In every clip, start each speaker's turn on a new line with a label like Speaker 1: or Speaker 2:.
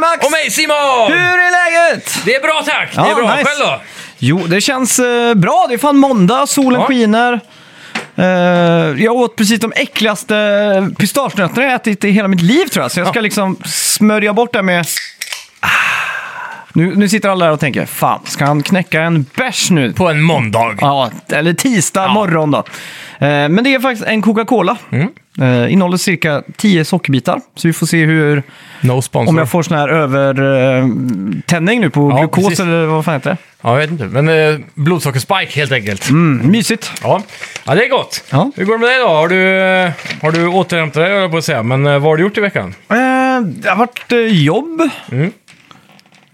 Speaker 1: Max!
Speaker 2: Och mig Simon!
Speaker 1: Hur är läget?
Speaker 2: Det är bra tack! det är
Speaker 1: Ja,
Speaker 2: bra.
Speaker 1: nice.
Speaker 2: Själv då?
Speaker 1: Jo, det känns eh, bra. Det är fan måndag, solen
Speaker 2: Ja.
Speaker 1: skiner. Eh, jag åt precis de äckligaste pistagenötterna jag ätit i hela mitt liv tror jag. Så jag ska liksom smörja bort det med... Ah. Nu, nu sitter alla där och tänker, fan, ska han knäcka en bärs nu?
Speaker 2: På en måndag.
Speaker 1: Ja, eller tisdag morgon då. Eh, Men det är faktiskt en Coca-Cola.
Speaker 2: Mm.
Speaker 1: Eh, Innehåller cirka 10 sockerbitar. Så vi får se hur,
Speaker 2: No sponsor.
Speaker 1: om jag får sån här övertänning nu på
Speaker 2: Ja,
Speaker 1: glukos
Speaker 2: precis.
Speaker 1: eller vad fan heter det?
Speaker 2: Ja, jag vet inte. Men eh, blodsockerspike helt enkelt.
Speaker 1: Mm, mysigt.
Speaker 2: Ja. ja, det är gott.
Speaker 1: Ja.
Speaker 2: Hur går det med dig då? Har du, eh, har du återhämtat dig, höll jag på att säga. Men eh, vad har du gjort i veckan?
Speaker 1: Eh, Det har varit eh, jobb.
Speaker 2: Mm.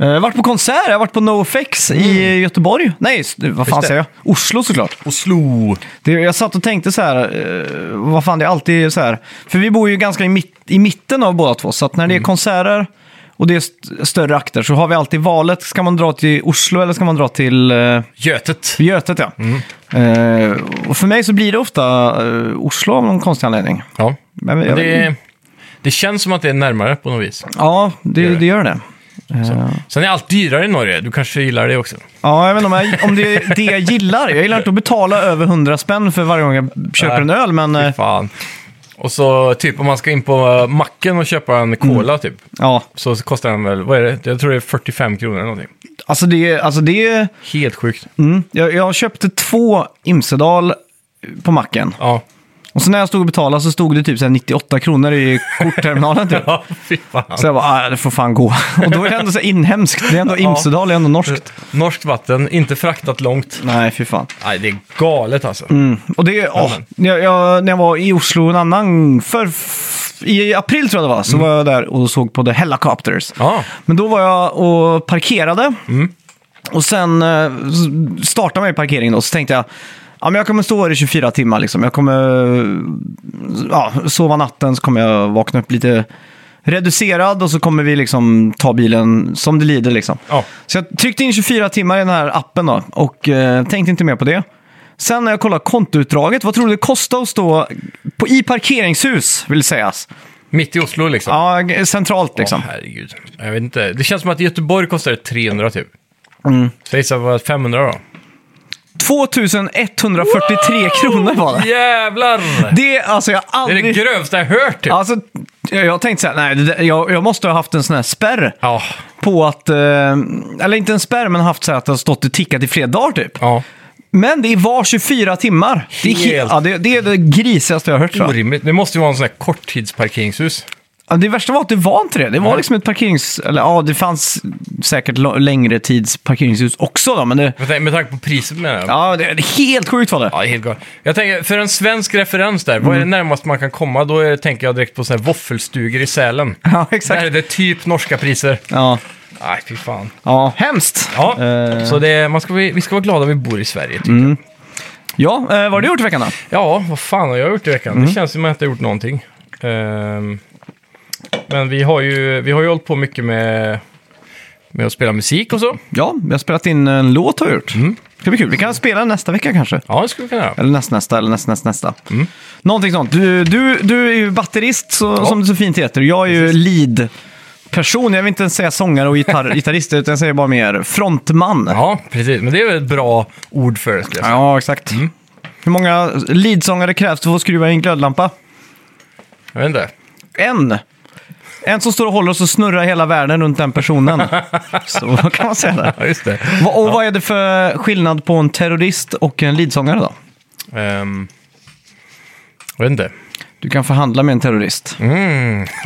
Speaker 1: Eh, Jag har varit på konsert, jag har varit på NoFX i Göteborg. Nej, s- vad fan
Speaker 2: Mm. det.
Speaker 1: säger jag? Oslo såklart.
Speaker 2: Oslo.
Speaker 1: Det, jag satt och tänkte så här, eh, vad fan det är alltid så här. För vi bor ju ganska i, mitt, i mitten av båda två, så att när
Speaker 2: Mm.
Speaker 1: det är konserter och det är st- större akter så har vi alltid valet, ska man dra till Oslo eller ska man dra till eh,
Speaker 2: Götet.
Speaker 1: Götet? Ja.
Speaker 2: Mm.
Speaker 1: Eh, och för mig så blir det ofta eh, Oslo av någon konstig anledning.
Speaker 2: Ja.
Speaker 1: Men, jag,
Speaker 2: Det, det känns som att det är närmare på något vis.
Speaker 1: Ja, det,
Speaker 2: gör det.
Speaker 1: det gör det.
Speaker 2: Sen är allt dyrare i Norge. Du kanske gillar det också.
Speaker 1: Ja, jag vet inte om, jag, om det är det jag gillar. Jag gillar inte att betala över 100 spänn för varje gång jag köper en öl, men eh,
Speaker 2: Fan. Och så typ om man ska in på eh, macken och köpa en
Speaker 1: Mm.
Speaker 2: cola typ.
Speaker 1: ja.
Speaker 2: Så kostar den väl, vad är det? Jag tror det är 45 kronor eller någonting.
Speaker 1: Alltså det, alltså det
Speaker 2: Helt sjukt.
Speaker 1: Mm. Jag, jag köpte två Imsedal på macken.
Speaker 2: Ja.
Speaker 1: Och så när jag stod och betalade så stod det typ så här 98 kronor i kortterminalen. Typ.
Speaker 2: Ja, fy fan.
Speaker 1: Så jag bara, "Ah, det får fan gå. Och då är det ändå så här inhemskt. Det är ändå Imsedal, det är ändå
Speaker 2: Eh.
Speaker 1: norskt.
Speaker 2: Norskt vatten, inte fraktat långt.
Speaker 1: Nej, fy fan.
Speaker 2: Nej, det är galet alltså.
Speaker 1: Och det, åh, jag, jag, när jag var i Oslo en annan, för, i april tror jag det var, så var jag där och såg på The Helicopters.
Speaker 2: Ja.
Speaker 1: Men då var jag och parkerade. Och sen eh, s- startade man i parkeringen då, så tänkte jag Ja, men jag kommer stå här i 24 timmar. Liksom. Jag kommer ja, sova natten, så kommer jag vakna upp lite reducerad och så kommer vi liksom ta bilen som det lider. Liksom.
Speaker 2: Ja.
Speaker 1: Så jag tryckte in 24 timmar i den här appen då, och eh, tänkte inte mer på det. Sen när jag kollade kontoutdraget, vad tror du det kostade att stå på, i parkeringshus, vill sägas?
Speaker 2: Mitt i Oslo liksom.
Speaker 1: Ja, g- centralt liksom.
Speaker 2: Åh, herregud. Jag vet inte. Det känns som att i Göteborg kostar det 300 typ. Så jag gissar på 500 då.
Speaker 1: 2143 kronor var det.
Speaker 2: Jävlar!
Speaker 1: Det, alltså jag har
Speaker 2: Det är
Speaker 1: aldrig...
Speaker 2: det grövsta jag hört typ.
Speaker 1: Alltså, jag jag tänkte så här, nej, det, där- jag, jag måste ha haft en sån här spärr
Speaker 2: Ja.
Speaker 1: på att, eh, eller inte en spärr, men haft så här att det har stått och tickat i flera dagar typ.
Speaker 2: ja.
Speaker 1: Men det var 24 timmar. Det är, he-
Speaker 2: Helt-
Speaker 1: ja, det, det är det grisigaste jag har hört. tror jag.
Speaker 2: Orimligt. Det måste ju vara en sån här korttidsparkeringshus.
Speaker 1: Ja, det värsta var att det var inte det. Det var liksom ett parkerings... Eller ja, det fanns säkert lo- längre tids parkeringshus också då, men det...
Speaker 2: Med, tan- med tanke på priset menar jag.
Speaker 1: Ja, det, det helt sjukt var det.
Speaker 2: Ja, det är helt galet. Jag tänker, för en svensk referens där,
Speaker 1: Mm.
Speaker 2: vad är det närmast man kan komma? Då är det, tänker jag direkt på sådana här våffelstugor i Sälen.
Speaker 1: Ja,
Speaker 2: Där är
Speaker 1: exakt.
Speaker 2: det typ norska priser.
Speaker 1: Ja,
Speaker 2: Nej, fy fan.
Speaker 1: ja hemskt.
Speaker 2: Ja,
Speaker 1: Eh, Mm.
Speaker 2: så det, man ska, vi, vi ska vara glada vi bor i Sverige. tycker jag.
Speaker 1: ja eh, vad har du gjort i veckan då?
Speaker 2: Ja, vad fan har jag gjort i veckan?
Speaker 1: Mm.
Speaker 2: Det känns som att jag inte har gjort någonting. Ehm, men vi har, ju, vi har ju hållit på mycket med, med att spela musik och så.
Speaker 1: Ja, jag har spelat in en låt har jag gjort. Mm. Det blir kul. Vi kan spela nästa vecka kanske.
Speaker 2: Ja, det skulle vi kunna göra.
Speaker 1: Eller nästnästa, eller nästnästa, nästa.
Speaker 2: Mm.
Speaker 1: Någonting sånt. Du, du, du är ju batterist, så, som det så fint heter. Jag är ju lead-person. Jag vill inte ens säga sångare och gitarr, gitarrist, utan jag säger bara mer frontman.
Speaker 2: Ja, precis. Men det är väl ett bra ord för det, skulle jag säga.
Speaker 1: Ja, exakt.
Speaker 2: Mm.
Speaker 1: Hur många leadsångare krävs för att skruva i en glödlampa?
Speaker 2: Jag vet inte.
Speaker 1: En. En som står och håller och så snurrar hela världen runt den personen. så kan man säga det.
Speaker 2: Ja, just det.
Speaker 1: Va- Och vad är det för skillnad på en terrorist och en leadsångare då?
Speaker 2: Ehm, jag vet inte.
Speaker 1: Du kan förhandla med en terrorist. Den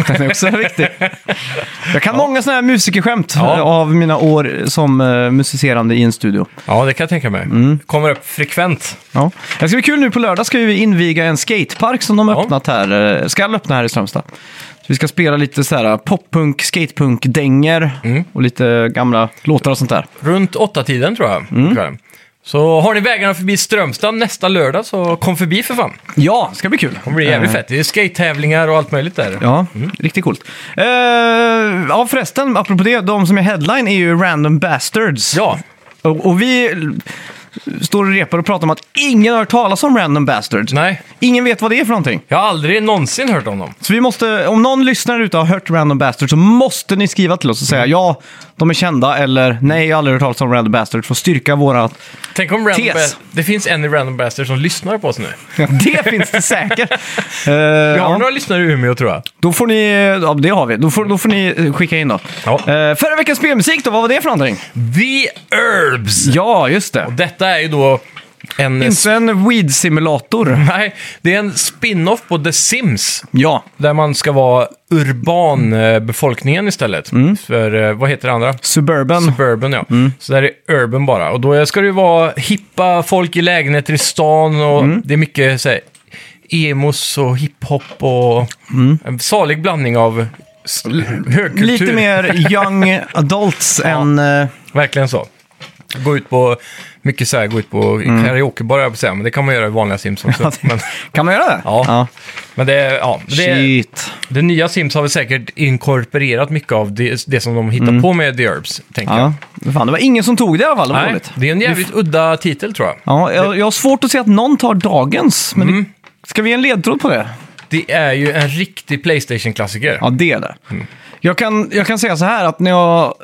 Speaker 1: är också viktig. Jag kan många sådana här musikerskämt
Speaker 2: Ja.
Speaker 1: eh, av mina år som eh, musicerande i en studio.
Speaker 2: Ja, det kan jag tänka mig.
Speaker 1: Mm.
Speaker 2: Kommer upp frekvent.
Speaker 1: Ja. Det ska bli kul nu på lördag ska vi inviga en skatepark som de har
Speaker 2: Ja.
Speaker 1: öppnat här, eh, ska öppna här i Strömstad. Så vi ska spela lite så här eh, poppunk, skatepunk-dänger och lite gamla låtar och sånt där.
Speaker 2: Runt åtta tiden tror jag.
Speaker 1: Mm.
Speaker 2: kvällen. Så har ni vägarna förbi Strömstad nästa lördag så kom förbi för fan. Det
Speaker 1: Ja, det ska bli kul.
Speaker 2: kommer bli jävligt fett. Det är skate-tävlingar och allt möjligt där.
Speaker 1: Eh. Ja, riktigt coolt. Eh, ja, förresten, apropå det, de som är headline är ju Random Bastards.
Speaker 2: Ja.
Speaker 1: Och, och vi står och repar och pratar om att ingen har hört talas om Random Bastards.
Speaker 2: Nej,
Speaker 1: Ingen vet vad det är för någonting.
Speaker 2: jag har aldrig någonsin hört om dem.
Speaker 1: Så vi måste, om någon lyssnare ute har hört Random Bastards så måste ni skriva till oss och säga ja, de är kända eller nej, jag har aldrig hört talas om Random Bastards för att styrka våra...
Speaker 2: Tänk om random
Speaker 1: Tes.
Speaker 2: ba- det finns en i Random Bastard som lyssnar på oss nu.
Speaker 1: Det finns det säkert! Eh,
Speaker 2: Vi har
Speaker 1: ja.
Speaker 2: några lyssnare i Umeå tror jag.
Speaker 1: Då får ni, ja det har vi, då får, då får ni eh, skicka in då.
Speaker 2: Ja.
Speaker 1: Eh, förra veckans spelmusik då, vad var det för någonting?
Speaker 2: The Herbs!
Speaker 1: Ja, just det.
Speaker 2: Detta är ju då en...
Speaker 1: Inte en weed-simulator.
Speaker 2: Nej, det är en spin-off på The Sims.
Speaker 1: Ja,
Speaker 2: Där man ska vara urbanbefolkningen istället.
Speaker 1: Mm.
Speaker 2: För, eh, vad heter det andra?
Speaker 1: Suburban.
Speaker 2: Suburban, ja.
Speaker 1: Mm.
Speaker 2: Så där är urban bara. Och då ska det ju vara hippa folk i lägenheter i stan och
Speaker 1: Mm.
Speaker 2: det är mycket så här, emos och hiphop och en salig blandning av s- högkultur.
Speaker 1: Mm. Lite mer young adults än... eh,
Speaker 2: Verkligen så. Gå ut på, mycket så här, gå ut på
Speaker 1: Mm.
Speaker 2: karaokebar, jag på att säga, men det kan man göra i vanliga Sims också. men,
Speaker 1: kan man göra det?
Speaker 2: Ja. men det, är- ja, det, är-
Speaker 1: Shit.
Speaker 2: det nya Sims har väl säkert inkorporerat mycket av det, det som de hittar på med The Herbs, tänker jag.
Speaker 1: Mm. Ja. Fan, det var ingen som tog det i alla fall. Det var
Speaker 2: Nej,
Speaker 1: dåligt.
Speaker 2: det är en jävligt udda titel tror jag.
Speaker 1: Ja, jag, jag har svårt att se att någon tar dagens, men
Speaker 2: Mm.
Speaker 1: det, ska vi ge en ledtråd på det?
Speaker 2: Det är ju en riktig Playstation-klassiker.
Speaker 1: Ja, det är det.
Speaker 2: Mm.
Speaker 1: Jag, kan, jag kan säga så här att när, jag,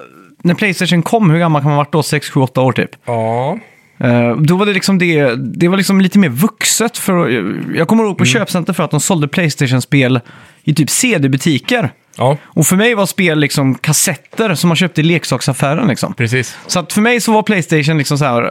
Speaker 1: när Playstation kom, hur gammal kan man ha varit då? 6, 7, 8 år typ.
Speaker 2: Ja.
Speaker 1: Eh, då var det liksom det, det var liksom lite mer vuxet. För, jag kommer ihåg på
Speaker 2: Mm.
Speaker 1: köpcenter för att de sålde Playstation-spel i typ CD-butiker.
Speaker 2: ja,
Speaker 1: Och för mig var spel liksom kassetter som man köpte i leksaksaffären liksom.
Speaker 2: precis.
Speaker 1: Så att för mig så var Playstation liksom så här,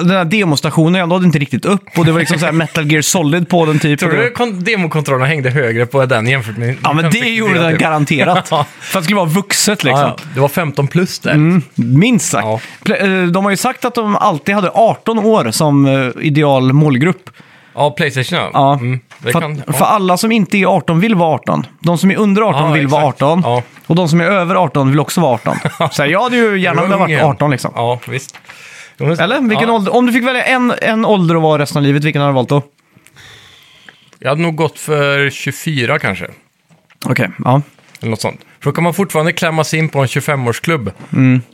Speaker 1: den här demostationen jag nådde inte riktigt upp och det var liksom så här Metal Gear Solid på den typ.
Speaker 2: Tror
Speaker 1: Och det-
Speaker 2: du kon- demokontrollerna hängde högre på den jämfört med...
Speaker 1: Ja men det gjorde den garanterat. För
Speaker 2: typ? Ja.
Speaker 1: att det skulle vara vuxet liksom.
Speaker 2: Ja, ja. Det var 15 plus där.
Speaker 1: Mm, minst sagt.
Speaker 2: Ja.
Speaker 1: Pla- eh, De har ju sagt att de alltid hade 18 år som eh, ideal målgrupp.
Speaker 2: Ja, Playstation ja.
Speaker 1: Ja.
Speaker 2: Mm, det
Speaker 1: för,
Speaker 2: kan,
Speaker 1: att- för alla som inte är 18 vill vara 18. De som är under 18
Speaker 2: Ja,
Speaker 1: vill vara
Speaker 2: exakt.
Speaker 1: 18.
Speaker 2: Ja.
Speaker 1: Och de som är över 18 vill också vara 18. Så här, jag hade ju gärna velat
Speaker 2: Ung
Speaker 1: varit
Speaker 2: igen.
Speaker 1: 18 liksom.
Speaker 2: Ja, visst. Jo, men-
Speaker 1: Eller? Vilken
Speaker 2: ja,
Speaker 1: ålder? Om du fick välja en, en ålder att vara resten av livet, vilken hade du valt då?
Speaker 2: Jag hade nog gått för 24 kanske.
Speaker 1: Okej, ja.
Speaker 2: Eller något sånt. För då kan man fortfarande klämma sig in på en 25-årsklubb.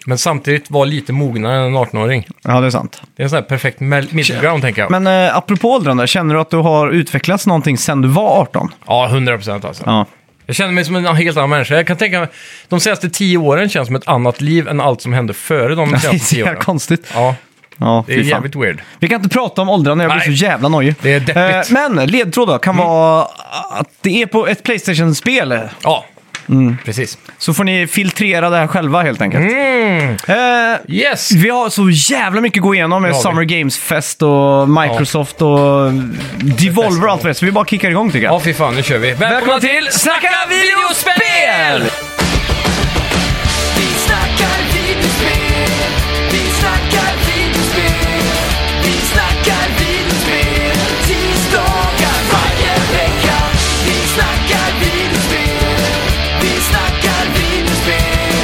Speaker 2: Men samtidigt vara lite mognare än en 18-åring.
Speaker 1: Ja, det är sant.
Speaker 2: Det är en sån här perfekt mel- middle ground tänker jag.
Speaker 1: Men eh, apropå åldrarna, känner du att du har utvecklats någonting sen du var 18?
Speaker 2: Ja, 100% alltså.
Speaker 1: Ja.
Speaker 2: Jag känner mig som en helt annan människa. Jag kan tänka mig, de senaste tio åren känns som ett annat liv än allt som hände före de
Speaker 1: Det är
Speaker 2: senaste
Speaker 1: så
Speaker 2: tio
Speaker 1: jävla
Speaker 2: åren.
Speaker 1: konstigt.
Speaker 2: Ja,
Speaker 1: Ja,
Speaker 2: det är
Speaker 1: fy fan.
Speaker 2: jävligt weird.
Speaker 1: Vi kan inte prata om åldrarna, jag blir
Speaker 2: Nej.
Speaker 1: så jävla nojig.
Speaker 2: Det är deppigt.
Speaker 1: Eh, men ledtråd då, kan vara att det är på ett Playstation-spel.
Speaker 2: Ja, precis.
Speaker 1: Så får ni filtrera det här själva helt enkelt.
Speaker 2: Mm.
Speaker 1: Eh,
Speaker 2: Yes!
Speaker 1: vi har så jävla mycket att gå igenom med
Speaker 2: Det har vi.
Speaker 1: Summer Games Fest och Microsoft och Devolver och allt vad det är. Så vi bara kickar igång tycker jag.
Speaker 2: Ja, fy fan, nu kör vi. Välkomna,
Speaker 1: Välkomna
Speaker 2: till Snacka videospel!
Speaker 3: Vi snackar videospel, vi snackar videospel, vi snackar videospel, tisdagar varje vecka. Vi snackar videospel, vi snackar videospel,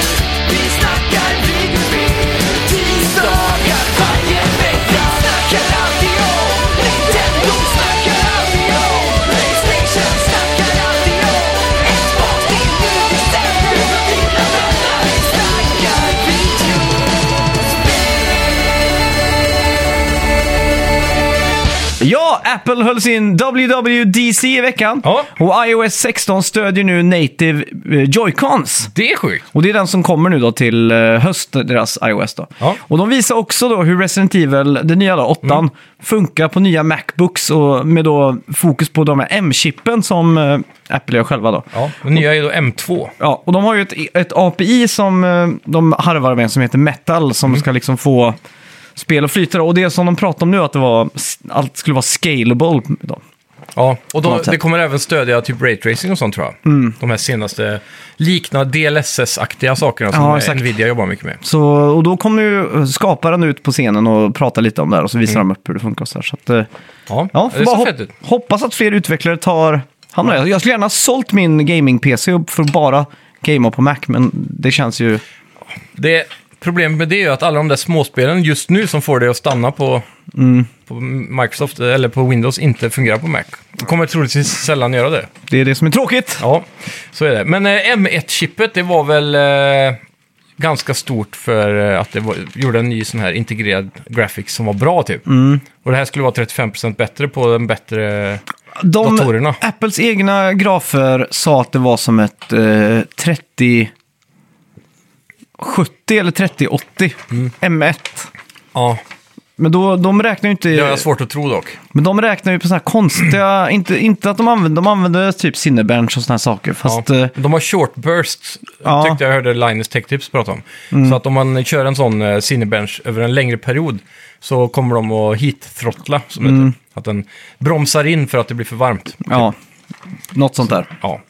Speaker 3: vi snackar videospel, tisdagar varje vecka. Snackar alltid om Nintendo, snackar alltid om Playstation, snackar alltid om Xbox, det är nu vi sänder och vibrar mellan. Vi snackar videospel.
Speaker 1: Ja, Apple höll sin WWDC i veckan.
Speaker 2: Ja.
Speaker 1: Och iOS 16 stödjer nu native eh, Joy-Cons.
Speaker 2: Det är sjukt.
Speaker 1: Och det är den som kommer nu då till eh, höst, deras iOS då.
Speaker 2: Ja. Mm.
Speaker 1: Och de visar också då hur Resident Evil, det nya då, 8 funkar på nya Macbooks och med då fokus på de här M-chippen som eh, Apple gör själva då.
Speaker 2: Ja, den nya är då M2.
Speaker 1: Ja, och de har ju ett, ett API som eh, de harvar med som heter Metal som
Speaker 2: Mm.
Speaker 1: ska liksom få spel att flyta. då. Och det som de pratar om nu att det var, allt skulle vara scalable. Då.
Speaker 2: Ja, och
Speaker 1: På
Speaker 2: då,
Speaker 1: något sätt. Mm.
Speaker 2: det kommer även stödja typ raytracing och sånt tror jag. De här senaste, likna DLSS-aktiga sakerna som eh,
Speaker 1: Ja, exakt.
Speaker 2: Nvidia jobbar mycket med.
Speaker 1: Så, och då kommer ju skaparen ut på scenen och pratar lite om det här och så visar de upp hur det funkar. Och så här. Så att, eh,
Speaker 2: Mm. Ja,
Speaker 1: ja, får
Speaker 2: det
Speaker 1: bara
Speaker 2: ser
Speaker 1: hop-
Speaker 2: fett ut.
Speaker 1: hoppas att fler utvecklare tar hand om det. Jag skulle gärna ha sålt min gaming-PC upp för att bara gamea på Mac, men det känns ju...
Speaker 2: Det problemet med det är ju att alla de där småspelen just nu som får det att stanna på,
Speaker 1: Mm.
Speaker 2: på Microsoft eller på Windows inte fungerar på Mac. Det kommer troligtvis sällan göra det.
Speaker 1: Det är det som är tråkigt.
Speaker 2: Ja, så är det. Men eh, M1-chippet, det var väl... Eh, ganska stort för eh, att det var, gjorde en ny sån här integrerad graphics som var bra typ.
Speaker 1: Mm.
Speaker 2: Och det här skulle vara 35% bättre på den bättre...
Speaker 1: De,
Speaker 2: Datorerna.
Speaker 1: Apples egna grafer sa att det var som ett eh, 30... 70 eller 3080 M1.
Speaker 2: Ja,
Speaker 1: Men då, de räknar ju inte...
Speaker 2: det har jag svårt att tro dock.
Speaker 1: Men de räknar ju på sådana här konstiga, inte, inte att de använder, de använder typ Cinebench och sådana här saker. Fast
Speaker 2: ja.
Speaker 1: eh,
Speaker 2: De har short bursts,
Speaker 1: Ja. Mm.
Speaker 2: tyckte jag hörde Linus Tech Tips prata om. Så att om man kör en sån eh, cinebench över en längre period så kommer de att heat-throttla, som det heter. Att den bromsar in för att det blir för varmt.
Speaker 1: Mm. ja, något sånt där.
Speaker 2: Ja.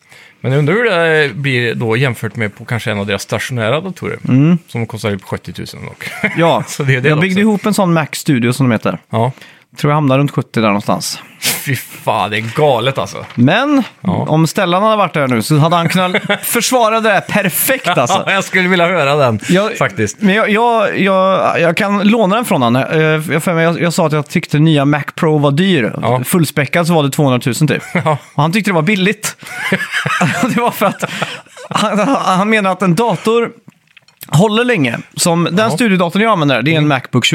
Speaker 2: Men jag undrar hur det blir då jämfört med på kanske en av deras stationära datorer.
Speaker 1: Mm.
Speaker 2: Som kostar ju 70 000 dock.
Speaker 1: Ja,
Speaker 2: Så det är det
Speaker 1: jag byggde
Speaker 2: också.
Speaker 1: ihop en sån Mac Studio som de heter.
Speaker 2: ja.
Speaker 1: Tror jag hamnar runt 70 där någonstans.
Speaker 2: Fy fan, det är galet alltså.
Speaker 1: Men
Speaker 2: Ja.
Speaker 1: om Stellan hade varit där nu så hade han kunnat försvara det där perfekt alltså.
Speaker 2: jag skulle vilja höra den
Speaker 1: Jag,
Speaker 2: faktiskt.
Speaker 1: Men jag, jag, jag, jag kan låna den från honom. Eh, Jag, för mig- jag, jag sa att jag tyckte nya Mac Pro var dyr.
Speaker 2: Ja.
Speaker 1: Fullspäckad så var det 200 000 typ.
Speaker 2: Ja.
Speaker 1: Och han tyckte det var billigt. det var för att han, han menar att en dator håller länge. Som den studiedatorn jag använder, det är
Speaker 2: Mm.
Speaker 1: en Macbook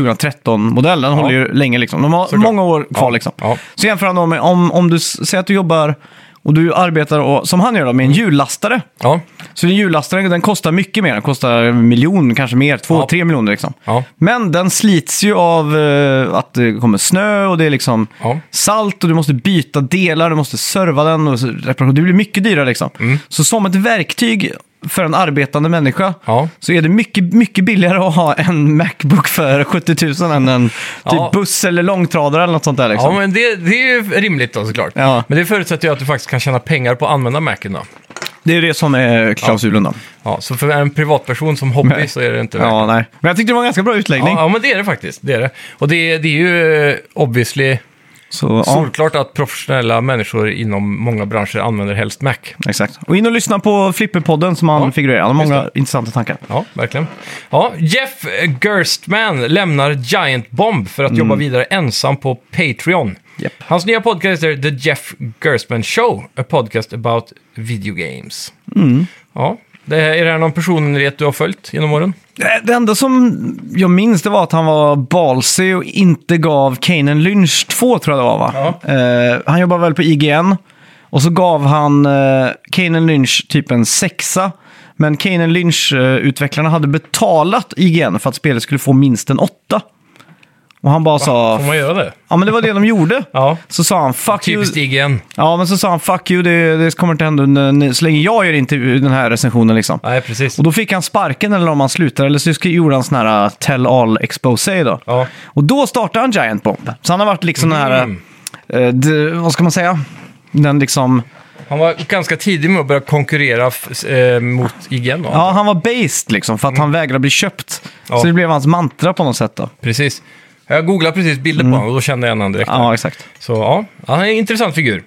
Speaker 1: 2013-modell. Den håller ju länge liksom. De har många år kvar
Speaker 2: Ja.
Speaker 1: liksom.
Speaker 2: Ja.
Speaker 1: Så jämför han då med om, om du s- säger att du jobbar och du arbetar, och, som han gör då, med en hjullastare.
Speaker 2: Ja.
Speaker 1: Så den hjullastaren den kostar mycket mer. Den kostar en miljon, kanske mer. Två,
Speaker 2: Ja.
Speaker 1: tre miljoner liksom.
Speaker 2: Ja.
Speaker 1: Men den slits ju av eh, att det kommer snö och det är liksom
Speaker 2: Ja.
Speaker 1: salt och du måste byta delar, du måste serva den och så- reparation. Det blir mycket dyrare liksom.
Speaker 2: Mm.
Speaker 1: Så som ett verktyg för en arbetande människa
Speaker 2: Ja.
Speaker 1: så är det mycket, mycket billigare att ha en Macbook för 70 000 än en typ
Speaker 2: Ja.
Speaker 1: buss eller långtradare eller något sånt där liksom.
Speaker 2: Ja, men det, det är ju rimligt då såklart.
Speaker 1: Ja.
Speaker 2: Men det förutsätter ju att du faktiskt kan tjäna pengar på att använda Macen då.
Speaker 1: Det är ju det som är klausulen då.
Speaker 2: Ja, så för en privatperson som hobby så är det inte värt
Speaker 1: Ja, nej. Men jag tyckte det var en ganska bra utläggning.
Speaker 2: Ja, ja, men det är det faktiskt. Det är det. Och det, är- det är ju eh, obviously
Speaker 1: Så, ja.
Speaker 2: solklart att professionella människor inom många branscher använder helst Mac.
Speaker 1: Exakt. Och in och lyssna på Flipperpodden som han
Speaker 2: Ja,
Speaker 1: figurerar. Han har
Speaker 2: just
Speaker 1: många intressanta tankar.
Speaker 2: Ja, verkligen. Ja, Jeff Gerstman lämnar Giant Bomb för att jobba vidare ensam på Patreon.
Speaker 1: Mm. Japp.
Speaker 2: Hans nya podcast är The Jeff Gerstman Show, a podcast about video games.
Speaker 1: Mm.
Speaker 2: Ja, det här, är det här någon personlighet du har följt genom åren?
Speaker 1: Eh, Det- Det enda som jag minns det var att han var balsig och inte gav Kanan Lynch 2 tror jag det var va? Eh, han jobbade väl på IGN. Och så gav han eh, Kanan Lynch typ en sexa. Men Kanan Lynch-utvecklarna hade betalat IGN för att spelet skulle få minst en åtta. Och han bara sa...
Speaker 2: Får man göra det?
Speaker 1: Ja men det var det de gjorde.
Speaker 2: Ja.
Speaker 1: Så sa han fuck you.
Speaker 2: Typiskt IGN.
Speaker 1: Ja, men så sa han fuck you, det, det kommer inte hända under- så länge jag gör intervju, den här recensionen liksom.
Speaker 2: Nej, precis.
Speaker 1: Och då fick han sparken eller om han slutade, eller så sk- gjorde han sån här uh, tell all expose då.
Speaker 2: Ja.
Speaker 1: Och då startade han Giant Bomb. Så han har varit liksom den här,
Speaker 2: Mm.
Speaker 1: eh, d- vad ska man säga? Den liksom,
Speaker 2: Han var ganska tidig med att börja konkurrera f- eh, mot IGN då.
Speaker 1: ja han var based liksom för att han vägrade bli köpt.
Speaker 2: Mm. Ja.
Speaker 1: Så det blev hans mantra på något sätt då.
Speaker 2: Precis. Jag googlade precis bilder på honom och då kände jag igen honom direkt.
Speaker 1: Mm. Ja, exakt.
Speaker 2: Så ja, han är en intressant figur.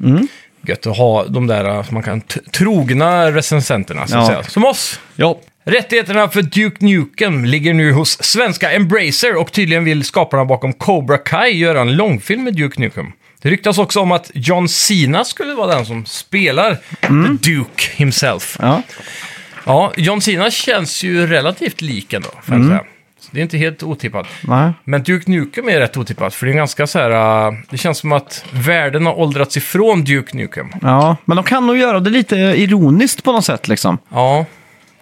Speaker 2: Gött att ha de där eh, som man kan t- trogna recensenterna, så att
Speaker 1: Ja.
Speaker 2: säga. Som oss!
Speaker 1: Ja.
Speaker 2: Rättigheterna för Duke Nukem ligger nu hos svenska Embracer och tydligen vill skaparna bakom Cobra Kai göra en långfilm med Duke Nukem. Det ryktas också om att John Cena skulle vara den som spelar The Duke himself.
Speaker 1: Ja.
Speaker 2: Ja, John Cena känns ju relativt lik ändå, får jag säga. Så det är inte helt otippat.
Speaker 1: Nej.
Speaker 2: Men Duke Nukem är rätt otippat, för det är ganska så här... äh, det känns som att världen har åldrats ifrån Duke Nukem.
Speaker 1: ja, men de kan nog göra det lite ironiskt på något sätt liksom.
Speaker 2: Ja,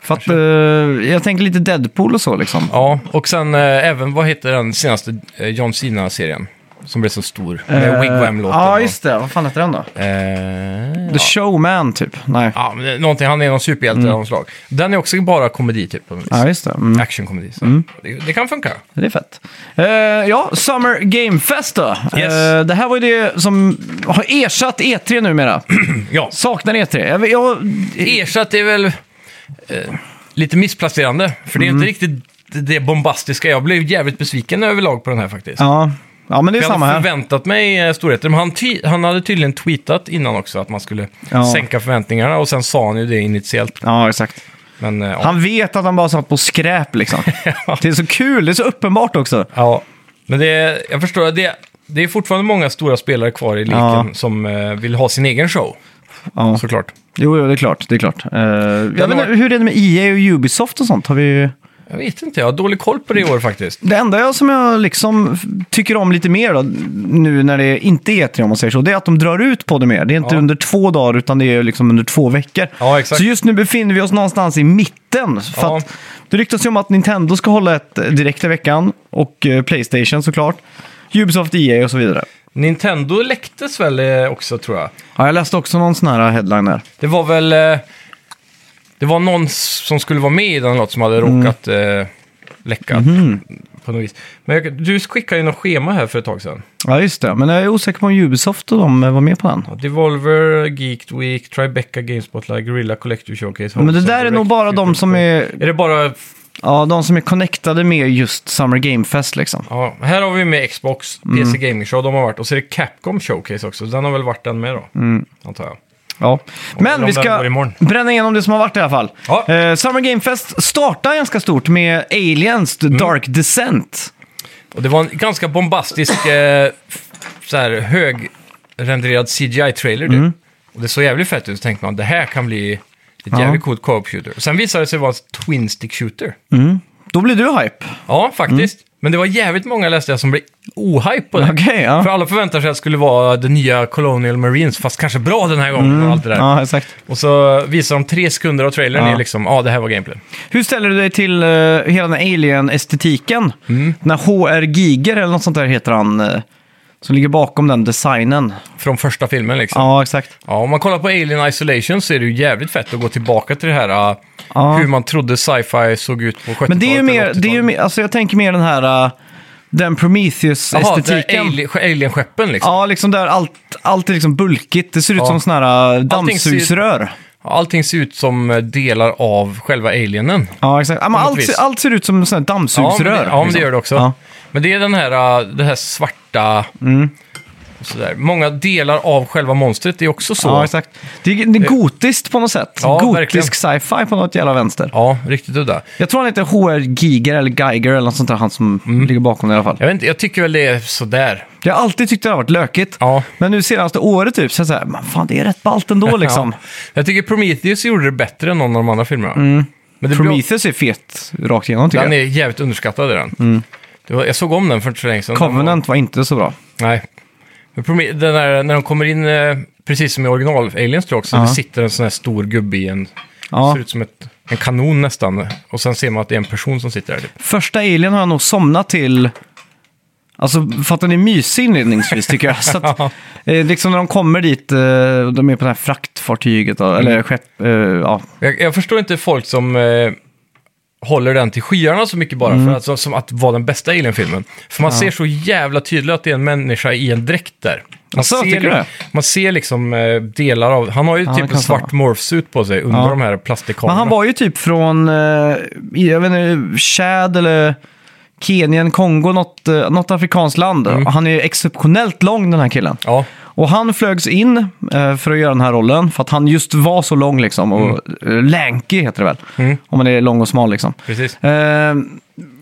Speaker 1: För att, eh, jag tänker lite Deadpool och så liksom.
Speaker 2: ja. Och sen äh, även, vad heter den senaste äh, John Cena-serien? Som blev så stor, med
Speaker 1: Eh,
Speaker 2: Wigwam-låten.
Speaker 1: Ja,
Speaker 2: och-
Speaker 1: just det. Vad fan heter den då?
Speaker 2: Eh,
Speaker 1: The Showman, typ. Nej.
Speaker 2: ja, men det är någonting, han är någon superhjälte av något slag. Den är också bara komedi, typ. På något vis.
Speaker 1: Mm. Ja, just det. Mm.
Speaker 2: Actionkomedi. Så. Det, det kan funka.
Speaker 1: Det är fett. Eh, ja, Summer Game Fest då.
Speaker 2: Yes.
Speaker 1: Eh, det här var ju det som har ersatt E3 numera.
Speaker 2: Ja.
Speaker 1: Saknar E3. Jag, jag,
Speaker 2: Ersatt är väl eh, lite missplacerande, för det är
Speaker 1: Mm.
Speaker 2: inte riktigt det bombastiska. Jag blev jävligt besviken överlag på den här faktiskt.
Speaker 1: ja. ja, men det är
Speaker 2: Jag hade
Speaker 1: samma här.
Speaker 2: förväntat mig eh, storheter, men han, ty- han hade tydligen tweetat innan också att man skulle
Speaker 1: Ja.
Speaker 2: sänka förväntningarna och sen sa han ju det initiellt.
Speaker 1: Ja, exakt.
Speaker 2: Men eh, ja.
Speaker 1: Han vet att han bara satt på skräp liksom. Det är så kul, det är så uppenbart också.
Speaker 2: ja. Men det, jag förstår, att det, det är fortfarande många stora spelare kvar i leken
Speaker 1: Ja.
Speaker 2: som eh, vill ha sin egen show,
Speaker 1: Ja.
Speaker 2: såklart.
Speaker 1: Jo, jo, det E är klart. Det är klart. Eh, jag vet
Speaker 2: har
Speaker 1: inte,
Speaker 2: varit-
Speaker 1: Hur är det med EA och Ubisoft och sånt? Har vi...
Speaker 2: Jag vet inte, jag har dålig koll på det i år faktiskt.
Speaker 1: Det enda jag, som jag liksom f- tycker om lite mer då, nu när det inte är E3 om man säger så, det är att de drar ut på det mer. Det är inte
Speaker 2: Ja.
Speaker 1: under två dagar utan det är liksom under två veckor.
Speaker 2: Ja, exakt.
Speaker 1: Så just nu befinner vi oss någonstans i mitten. För
Speaker 2: Ja.
Speaker 1: att det ryktas ju om att Nintendo ska hålla ett eh, direkt i veckan och eh, Playstation såklart. Ubisoft, EA och så vidare.
Speaker 2: Nintendo läcktes väl eh, också tror jag.
Speaker 1: Ja, jag läste också någon sån här headline där.
Speaker 2: Det var väl... eh, Det var någon s- som skulle vara med i den låt som hade
Speaker 1: Mm.
Speaker 2: råkat eh, läcka.
Speaker 1: Mhm.
Speaker 2: På något vis. Men jag, du skickade ju något schema här för ett tag sedan.
Speaker 1: Ja, just det. Men jag är osäker på om Ubisoft och de eh, var med på den.
Speaker 2: Ja, Devolver, Geek Week, Tribeca, Gamespotlight, Gorilla Collector Showcase.
Speaker 1: Men det
Speaker 2: Hobson
Speaker 1: där är
Speaker 2: Direct,
Speaker 1: nog bara de som är,
Speaker 2: Är det bara...
Speaker 1: ja, de som är connectade med just Summer Game Fest liksom.
Speaker 2: Ja, här har vi med Xbox,
Speaker 1: Mm.
Speaker 2: PC Gaming Show, de har varit. Och så är det Capcom Showcase också, så den har väl varit den med då.
Speaker 1: Mm.
Speaker 2: Antar jag.
Speaker 1: Ja. Men
Speaker 2: eller
Speaker 1: vi
Speaker 2: om den går
Speaker 1: ska
Speaker 2: imorgon.
Speaker 1: bränna igenom det som har varit i alla fall.
Speaker 2: Ja.
Speaker 1: Eh, Summer Game Fest startar ganska stort med Aliens
Speaker 2: Mm.
Speaker 1: The Dark Descent.
Speaker 2: Och det var en ganska bombastisk, eh, så här högrenderad CGI-trailer typ.
Speaker 1: Mm.
Speaker 2: Och det såg jävligt fett ut, så tänkte man det här kan bli ett
Speaker 1: Ja.
Speaker 2: jävligt coolt co-op shooter. Sen visade det sig vara en twin stick shooter.
Speaker 1: Då blir du hype.
Speaker 2: Ja, faktiskt. Men det var jävligt många läste jag som blev ohype på det.
Speaker 1: Mm. Okej, ja.
Speaker 2: För alla förväntar sig att det skulle vara det nya Colonial Marines, fast kanske bra den här gången och allt det där.
Speaker 1: Mm, Ja, exakt.
Speaker 2: Och så visar de tre sekunder av trailern
Speaker 1: Ja.
Speaker 2: är liksom, ja ah, det här var gameplay.
Speaker 1: Hur ställer du dig till eh, hela den här Alien-estetiken?
Speaker 2: Mm.
Speaker 1: Den här HR Giger eller något sånt där heter han. eh, som ligger bakom den designen.
Speaker 2: Från första filmen liksom.
Speaker 1: Ja, exakt.
Speaker 2: Ja, om man kollar på Alien Isolation så är det ju jävligt fett att gå tillbaka till det här äh,
Speaker 1: Ja.
Speaker 2: hur man trodde sci-fi såg ut på 70-talet.
Speaker 1: Men det är ju
Speaker 2: eller
Speaker 1: mer, det är ju
Speaker 2: 80-talet.
Speaker 1: mer alltså jag tänker mer den här, eh, den
Speaker 2: Jaha, det
Speaker 1: Prometheus-estetiken.
Speaker 2: är ali- alien-skeppen liksom.
Speaker 1: Ja, liksom där allt, allt är liksom bulkigt. Det ser ut
Speaker 2: Ja.
Speaker 1: som sådana här eh,
Speaker 2: Allting ser-
Speaker 1: dammsugsrör.
Speaker 2: Allting ser ut som eh, delar av själva alienen.
Speaker 1: Ja, exakt. Ja, men
Speaker 2: något
Speaker 1: allt,
Speaker 2: vis.
Speaker 1: ser- allt ser ut som sådana här
Speaker 2: Ja, men
Speaker 1: dammsugsrör.
Speaker 2: det, ja, men det
Speaker 1: liksom.
Speaker 2: gör det också.
Speaker 1: Ja. Mm.
Speaker 2: Men det är den här, äh, det här svarta... Och sådär. Många delar av själva monstret är också så.
Speaker 1: Ja, exakt. Det är, det är gotiskt på något sätt.
Speaker 2: Eh. Ja,
Speaker 1: Gotisk sci-fi på något jävla vänster.
Speaker 2: Ja, riktigt udda.
Speaker 1: Jag tror han heter H.R. Giger eller Geiger eller något sånt där, han som
Speaker 2: Mm.
Speaker 1: ligger bakom det i alla fall.
Speaker 2: Jag, vet inte, jag tycker väl det är sådär.
Speaker 1: Jag har alltid tyckt det har varit lökigt.
Speaker 2: Ja.
Speaker 1: Men nu senaste året typ, så är jag så här, "Man, fan det är rätt ballt ändå liksom. Mm.
Speaker 2: Ja. Jag tycker Prometheus gjorde det bättre än någon av de andra filmerna. Men det blir
Speaker 1: Prometheus är fet rakt igenom tycker
Speaker 2: Den
Speaker 1: jag. Mm.
Speaker 2: är jävligt underskattad är den. Det var, jag såg om den för inte så länge sedan.
Speaker 1: Covenant var inte så bra.
Speaker 2: Den var, nej. Men Prome- den där, när de kommer in, eh, precis som i original Aliens tror jag också,
Speaker 1: Ja.
Speaker 2: det sitter en sån här stor gubbe i en,
Speaker 1: Ja.
Speaker 2: ser ut som ett, en kanon nästan. Och sen ser man att det är en person som sitter där. Typ.
Speaker 1: Första Alien har jag nog somnat till. Alltså för att den är mysig inledningsvis tycker jag. Så att, eh, liksom när de kommer dit, eh, och de är på det här fraktfartyget, då, eller skepp, eh, ja.
Speaker 2: Jag, jag förstår inte folk som eh, håller den till skyarna så mycket bara,
Speaker 1: Mm.
Speaker 2: för att, som, som att vara den bästa Alien-filmen. För man ser så jävla tydligt att det är en människa i en dräkt där. Man,
Speaker 1: Asså,
Speaker 2: ser,
Speaker 1: tycker du det?
Speaker 2: man ser liksom eh, delar av, han har ju
Speaker 1: det
Speaker 2: typ
Speaker 1: kan
Speaker 2: en svart morphsuit på sig under
Speaker 1: Ja.
Speaker 2: de här
Speaker 1: Men
Speaker 2: plastdekalerna.
Speaker 1: han var ju typ från, eh, jag vet inte, Chad eller Kenien, Kongo, något, eh, något afrikanskt land. Och Han är exceptionellt lång den här killen.
Speaker 2: Ja,
Speaker 1: Och han flögs in eh, för att göra den här rollen, för att han just var så lång liksom. Och eh, lanky heter det väl, om man är lång och smal liksom.
Speaker 2: precis.
Speaker 1: Eh,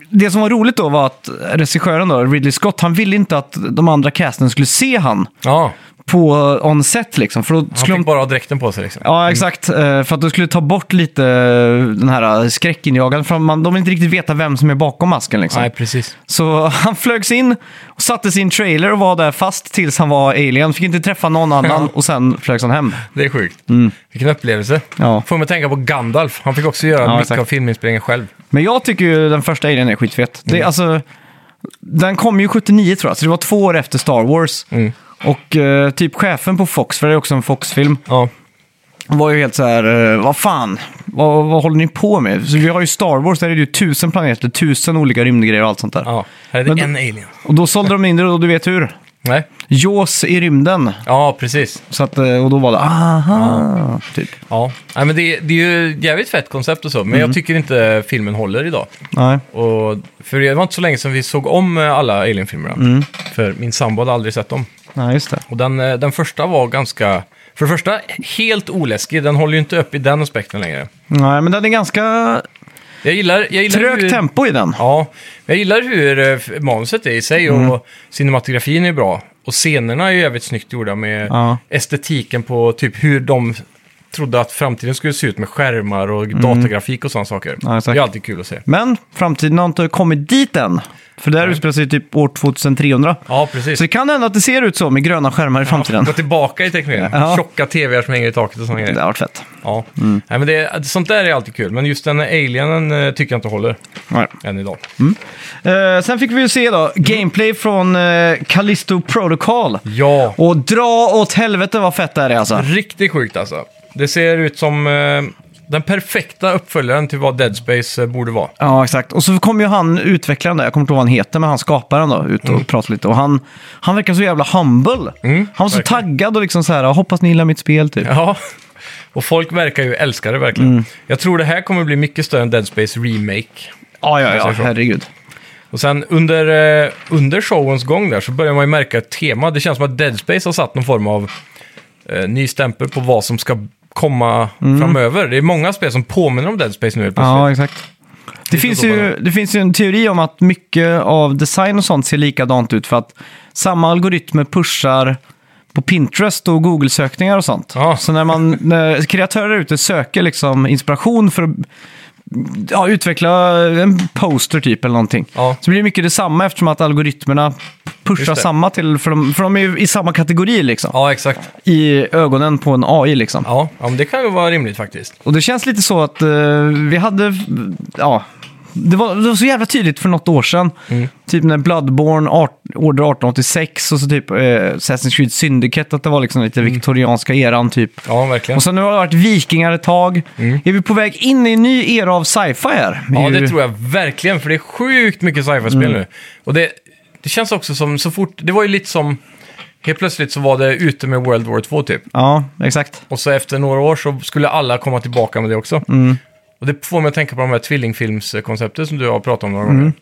Speaker 1: det som var roligt då var att regissören då, Ridley Scott, han ville inte att de andra casten skulle se han
Speaker 2: Ja,
Speaker 1: på on set liksom. För då
Speaker 2: han
Speaker 1: skulle de...
Speaker 2: fick bara ha dräkten på sig liksom.
Speaker 1: Ja, exakt. Eh, För att du skulle ta bort lite eh, den här skräckinjagande. För man, de vill inte riktigt veta vem som är bakom masken liksom.
Speaker 2: Nej, precis.
Speaker 1: Så han flögs in och satte sin trailer och var där fast tills han var alien. Fick inte träffa någon annan och sen flögs han hem.
Speaker 2: Det är sjukt. Vilken upplevelse.
Speaker 1: Mm. Ja.
Speaker 2: Får mig att tänka på Gandalf. Han fick också göra mycket
Speaker 1: exakt.
Speaker 2: av filminspelningen själv.
Speaker 1: Men jag tycker ju den första Alien är skitfet.
Speaker 2: Mm.
Speaker 1: Det, är alltså, den kom ju 79 tror jag, så det var två år efter Star Wars.
Speaker 2: Mm.
Speaker 1: Och eh, typ chefen på Fox, för det är också en Fox-film,
Speaker 2: Ja,
Speaker 1: var ju helt så här, eh, vad fan, vad, vad håller ni på med? Så vi har ju Star Wars, där är det ju tusen planeter, tusen olika rymdgrejer och allt sånt där.
Speaker 2: ja. här är det
Speaker 1: Men då-
Speaker 2: en alien.
Speaker 1: Och då sålde de in det, och du vet hur.
Speaker 2: Nej.
Speaker 1: Jaws i rymden.
Speaker 2: Ja, precis.
Speaker 1: Så att, eh, och då var det, aha, typ.
Speaker 2: Ja, Nej, men det, det är ju ett jävligt fett koncept och så, men
Speaker 1: Mm.
Speaker 2: jag tycker inte filmen håller idag.
Speaker 1: Nej.
Speaker 2: Och, för det var inte så länge sedan vi såg om eh, alla Alien-filmerna.
Speaker 1: Mm.
Speaker 2: För min sambo hade aldrig sett dem.
Speaker 1: Nej, just det.
Speaker 2: Och den, eh, den första var ganska... För det första, helt oläskig. Den håller ju inte upp i den aspekten längre.
Speaker 1: Nej, men den är ganska
Speaker 2: Jag gillar... Jag gillar hur-
Speaker 1: trögt tempo i den.
Speaker 2: Ja, jag gillar hur eh, f- manuset är i sig
Speaker 1: Mm.
Speaker 2: och cinematografin är bra. Och scenerna är ju jävligt snyggt gjorda med
Speaker 1: Ja.
Speaker 2: estetiken på typ hur de trodde att framtiden skulle se ut med skärmar och datagrafik och sådana saker.
Speaker 1: Mm. Ja,
Speaker 2: det
Speaker 1: exakt.
Speaker 2: är alltid kul att se.
Speaker 1: Men framtiden har inte kommit dit än. För det här utspelar sig typ år 2300.
Speaker 2: Ja, precis.
Speaker 1: Så det kan hända att det ser ut så med gröna skärmar i framtiden.
Speaker 2: Gå tillbaka i tekniken.
Speaker 1: Ja. Mm.
Speaker 2: Tjocka tvr som hänger i taket och sådana
Speaker 1: Det
Speaker 2: grejer.
Speaker 1: har varit fett.
Speaker 2: Ja. Nej, men det, sånt där är alltid kul, men just den alienen eh, tycker jag inte håller
Speaker 1: Ja.
Speaker 2: än idag.
Speaker 1: Eh, sen fick vi ju se då gameplay från eh, Callisto Protocol.
Speaker 2: Ja,
Speaker 1: Och dra åt helvete vad fett det här är alltså.
Speaker 2: riktigt sjukt alltså. Det ser ut som eh, den perfekta uppföljaren till vad Dead Space eh, borde vara.
Speaker 1: Ja, exakt. Och så kom ju han, utvecklaren där, jag kommer inte ihåg vad han heter, men han skaparen då, ut och
Speaker 2: Mm.
Speaker 1: pratade lite. Och han, han verkar så jävla humble. han var så
Speaker 2: verkligen.
Speaker 1: taggad och liksom så här, hoppas ni gillar mitt spel typ.
Speaker 2: Ja, och folk verkar ju älska det verkligen. Jag tror det här kommer bli mycket större än Dead Space Remake.
Speaker 1: Ja, ja, ja,
Speaker 2: Jag ser så.
Speaker 1: herregud.
Speaker 2: Och sen under, eh, under showens gång där så börjar man ju märka ett tema. Det känns som att Dead Space har satt någon form av eh, ny stämpel på vad som ska komma framöver. Det är många spel som påminner om Dead Space nu helt plötsligt.
Speaker 1: Ja, exakt. Det finns,
Speaker 2: så
Speaker 1: ju,
Speaker 2: bara.
Speaker 1: det finns ju en teori om att mycket av design och sånt ser likadant ut för att samma algoritmer pushar på Pinterest och Google-sökningar och sånt.
Speaker 2: Ja.
Speaker 1: Så när man när kreatörer ute söker liksom inspiration för att ja, utveckla en poster typ eller någonting.
Speaker 2: Ja.
Speaker 1: Så blir det mycket detsamma eftersom att algoritmerna pushar
Speaker 2: Just det.
Speaker 1: samma till, för de, för de är ju i samma kategori liksom.
Speaker 2: Ja, exakt.
Speaker 1: I ögonen på en AI liksom.
Speaker 2: Ja, ja men det kan ju vara rimligt faktiskt.
Speaker 1: Och det känns lite så att eh, vi hade, mm, ja, det var, det var så jävla tydligt för något år sedan.
Speaker 2: Mm.
Speaker 1: Typ när Bloodborne, art, Order 1886 och så typ eh, Assassin's Creed Syndicate, att det var liksom lite
Speaker 2: Mm.
Speaker 1: viktorianska eran typ.
Speaker 2: Ja, verkligen.
Speaker 1: Och sen nu har det varit vikingar ett tag. Är vi på väg in i en ny era av sci-fi här?
Speaker 2: Mm. Ja, det tror jag verkligen, för det är sjukt mycket sci-fi-spel
Speaker 1: Mm.
Speaker 2: nu. Och det, det känns också som så fort, det var ju lite som, helt plötsligt så var det ute med World War 2 typ.
Speaker 1: Ja, exakt.
Speaker 2: Och så efter några år så skulle alla komma tillbaka med det också.
Speaker 1: Mm.
Speaker 2: Och det får mig att tänka på de här tvillingfilmskonceptet som du har pratat om några gånger.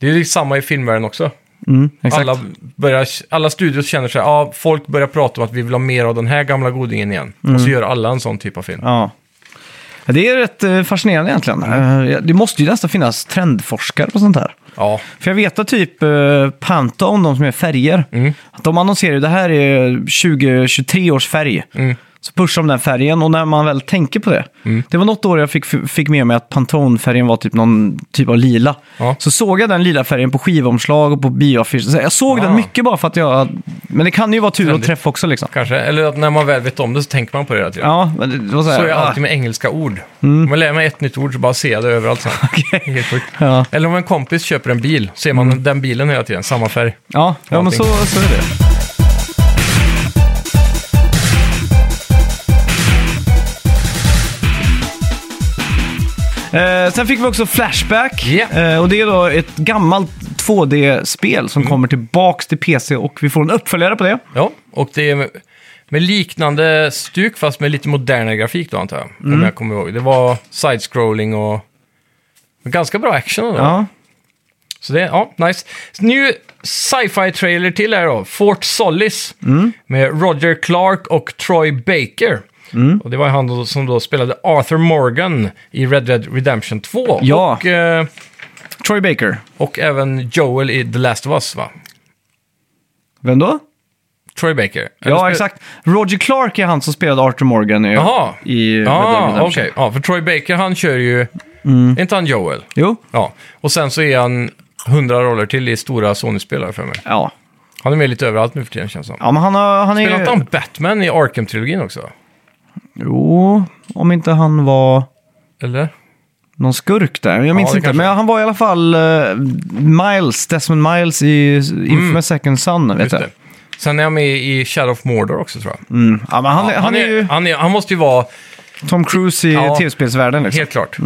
Speaker 2: Det är ju samma i filmvärlden också.
Speaker 1: Mm, exakt.
Speaker 2: Alla, börjar, alla studios känner sig, ja, folk börjar prata om att vi vill ha mer av den här gamla godingen igen. Och så gör alla en sån typ av film.
Speaker 1: Mm. Ja. Ja, Det är rätt eh, fascinerande egentligen.
Speaker 2: Mm.
Speaker 1: Eh, Det måste ju nästan finnas trendforskare på sånt här.
Speaker 2: Ja,
Speaker 1: För jag vet att typ eh, Pantone, de som är färger,
Speaker 2: Mm.
Speaker 1: att de annonserar ju det här är 2023 års färg.
Speaker 2: Mm.
Speaker 1: Så pushar de den färgen och när man väl tänker på det. Det var något år jag fick, fick med mig att Pantone-färgen var typ någon typ av lila.
Speaker 2: Ja.
Speaker 1: Så såg jag den lila färgen på skivomslag och på bioaffischer. Så Jag såg
Speaker 2: Ah.
Speaker 1: den mycket bara för att jag... Men det kan ju vara tur och
Speaker 2: Trendigt.
Speaker 1: träff också liksom.
Speaker 2: kanske. Eller att när man väl vet om det så tänker man på det hela tiden.
Speaker 1: Ja, Mm. men det var så här.
Speaker 2: Så är jag
Speaker 1: ah.
Speaker 2: alltid med engelska ord. Om jag lär mig ett nytt ord så bara ser jag det överallt sen. Helt sjukt.
Speaker 1: Ja. Mm.
Speaker 2: Eller om en kompis köper en bil, ser man den bilen hela tiden, samma färg.
Speaker 1: Ja, ja men så, så är det. Eh, sen fick vi också Flashback.
Speaker 2: Ja.
Speaker 1: Eh, och det är då ett gammalt 2D-spel som kommer tillbaks till PC och vi får en uppföljare på det.
Speaker 2: Mm. Ja, och det är med, med liknande stuk fast med lite modernare grafik då antar jag.
Speaker 1: Mm.
Speaker 2: Om jag kommer ihåg. Det var side-scrolling och men ganska bra action ändå.
Speaker 1: Ja.
Speaker 2: Så det, ja, nice. Nu sci-fi-trailer till här då. Fort Solis
Speaker 1: Mm.
Speaker 2: med Roger Clark och Troy Baker.
Speaker 1: Mm.
Speaker 2: Och det var han då, som då spelade Arthur Morgan i Red Dead Redemption 2.
Speaker 1: Ja.
Speaker 2: Och, eh,
Speaker 1: Troy Baker.
Speaker 2: och även Joel i The Last of Us, va?
Speaker 1: Vem då?
Speaker 2: Troy Baker. Eller
Speaker 1: Ja,
Speaker 2: spel-
Speaker 1: exakt. Roger Clark är han som spelade Arthur Morgan i,
Speaker 2: Jaha.
Speaker 1: i Red Dead
Speaker 2: Ja,
Speaker 1: Redemption. Mm.
Speaker 2: okej. Ja, för Troy Baker, han kör ju... Är inte han Joel?
Speaker 1: Jo.
Speaker 2: Ja. Och sen så är han hundra roller till i stora Sony-spel har jag för mig.
Speaker 1: Ja.
Speaker 2: Han är med lite överallt nu för tiden, känns det som.
Speaker 1: ja, men han, har, han är
Speaker 2: Spelar inte han Batman i Arkham-trilogin också?
Speaker 1: Jo, om inte han var...
Speaker 2: Eller?
Speaker 1: någon skurk där. Jag minns
Speaker 2: det
Speaker 1: inte,
Speaker 2: kanske.
Speaker 1: men han var i alla fall eh, Miles, Desmond Miles i Infamous Second Son, vet
Speaker 2: Mm. Just
Speaker 1: jag.
Speaker 2: det. Sen är han med i Shadow of Mordor också, tror jag.
Speaker 1: Mm. Ja, men han, han, är ju
Speaker 2: han, är, han måste ju vara,
Speaker 1: Tom Cruise i
Speaker 2: Ja.
Speaker 1: tv-spelsvärlden. Liksom.
Speaker 2: helt klart.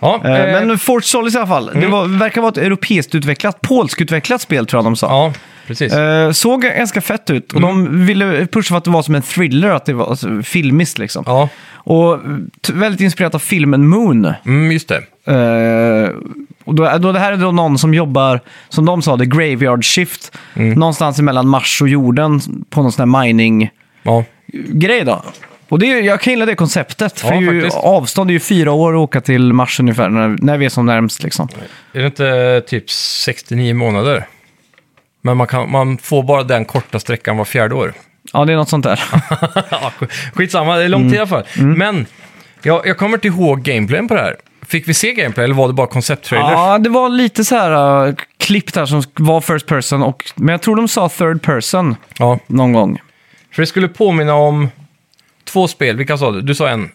Speaker 2: Ja,
Speaker 1: Eh,
Speaker 2: eh, Mm.
Speaker 1: Men Fort Solis i alla fall. Det var, verkar vara ett europeiskt utvecklat, polskutvecklat spel tror jag de sa.
Speaker 2: ja, Mm. precis.
Speaker 1: Eh, såg ganska fett ut och de ville pusha för att det var som en thriller, att det var alltså, filmiskt liksom.
Speaker 2: Ja,
Speaker 1: Och t- väldigt inspirerat av filmen Moon.
Speaker 2: mm, just det.
Speaker 1: Eh, och då, då det här är då någon som jobbar, som de sa, the graveyard shift.
Speaker 2: Mm.
Speaker 1: Någonstans mellan Mars och jorden på någon sån här mining-grej
Speaker 2: Ja,
Speaker 1: då. Och det, är- jag kan gilla det konceptet,
Speaker 2: Ja,
Speaker 1: för det är ju,
Speaker 2: faktiskt.
Speaker 1: avstånd är ju fyra år att åka till Mars ungefär, när, när vi är som närmst liksom.
Speaker 2: är det inte typ 69 månader? Men man, kan, man får bara den korta sträckan var fjärde år.
Speaker 1: Ja, det är något sånt där.
Speaker 2: Ja, Skitsamma, det är
Speaker 1: Mm.
Speaker 2: lång tid i alla fall. Men jag, jag kommer inte ihåg gameplayen på det här. Fick vi se gameplay eller var det bara koncepttrailers?
Speaker 1: Ja, det var lite så här uh, klipp där som var first person, och, men jag tror de sa third person
Speaker 2: Ja.
Speaker 1: någon gång.
Speaker 2: För det skulle påminna om två spel. Vilka sa du? Du sa en.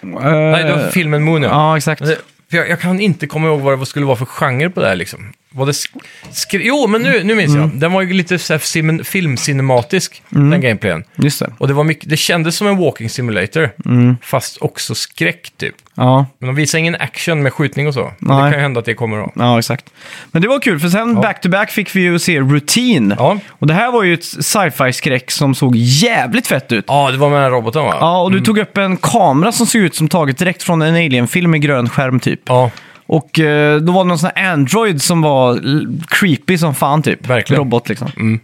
Speaker 2: Nej, det var filmen Moon, ja.
Speaker 1: Eh, Ja, exakt.
Speaker 2: Men det- För jag, jag kan inte komma ihåg vad det skulle vara för genre på det här liksom. Var det sk- skri- jo, men nu, nu minns
Speaker 1: Mm.
Speaker 2: jag. Den var ju lite så här sim- filmcinematisk, den gameplayen.
Speaker 1: Just det.
Speaker 2: Och det, var mycket, det kändes som en walking simulator,
Speaker 1: Mm.
Speaker 2: fast också skräck typ.
Speaker 1: Ja,
Speaker 2: Men de visar ingen action med skjutning och så. Men
Speaker 1: Nej.
Speaker 2: Det kan ju hända att det kommer då.
Speaker 1: ja, exakt. Men det var kul, för sen back-to-back fick vi ju se Routine.
Speaker 2: Ja.
Speaker 1: Och det här var ju ett sci-fi-skräck som såg jävligt fett ut.
Speaker 2: Ja, det var med den här roboten va?
Speaker 1: Ja, och du tog upp en kamera som såg ut som taget direkt från en Alien-film i grön skärm typ.
Speaker 2: Ja.
Speaker 1: Och eh, då var det någon sån här Android som var l- creepy som fan typ.
Speaker 2: Verkligen. Mm.
Speaker 1: Robot liksom.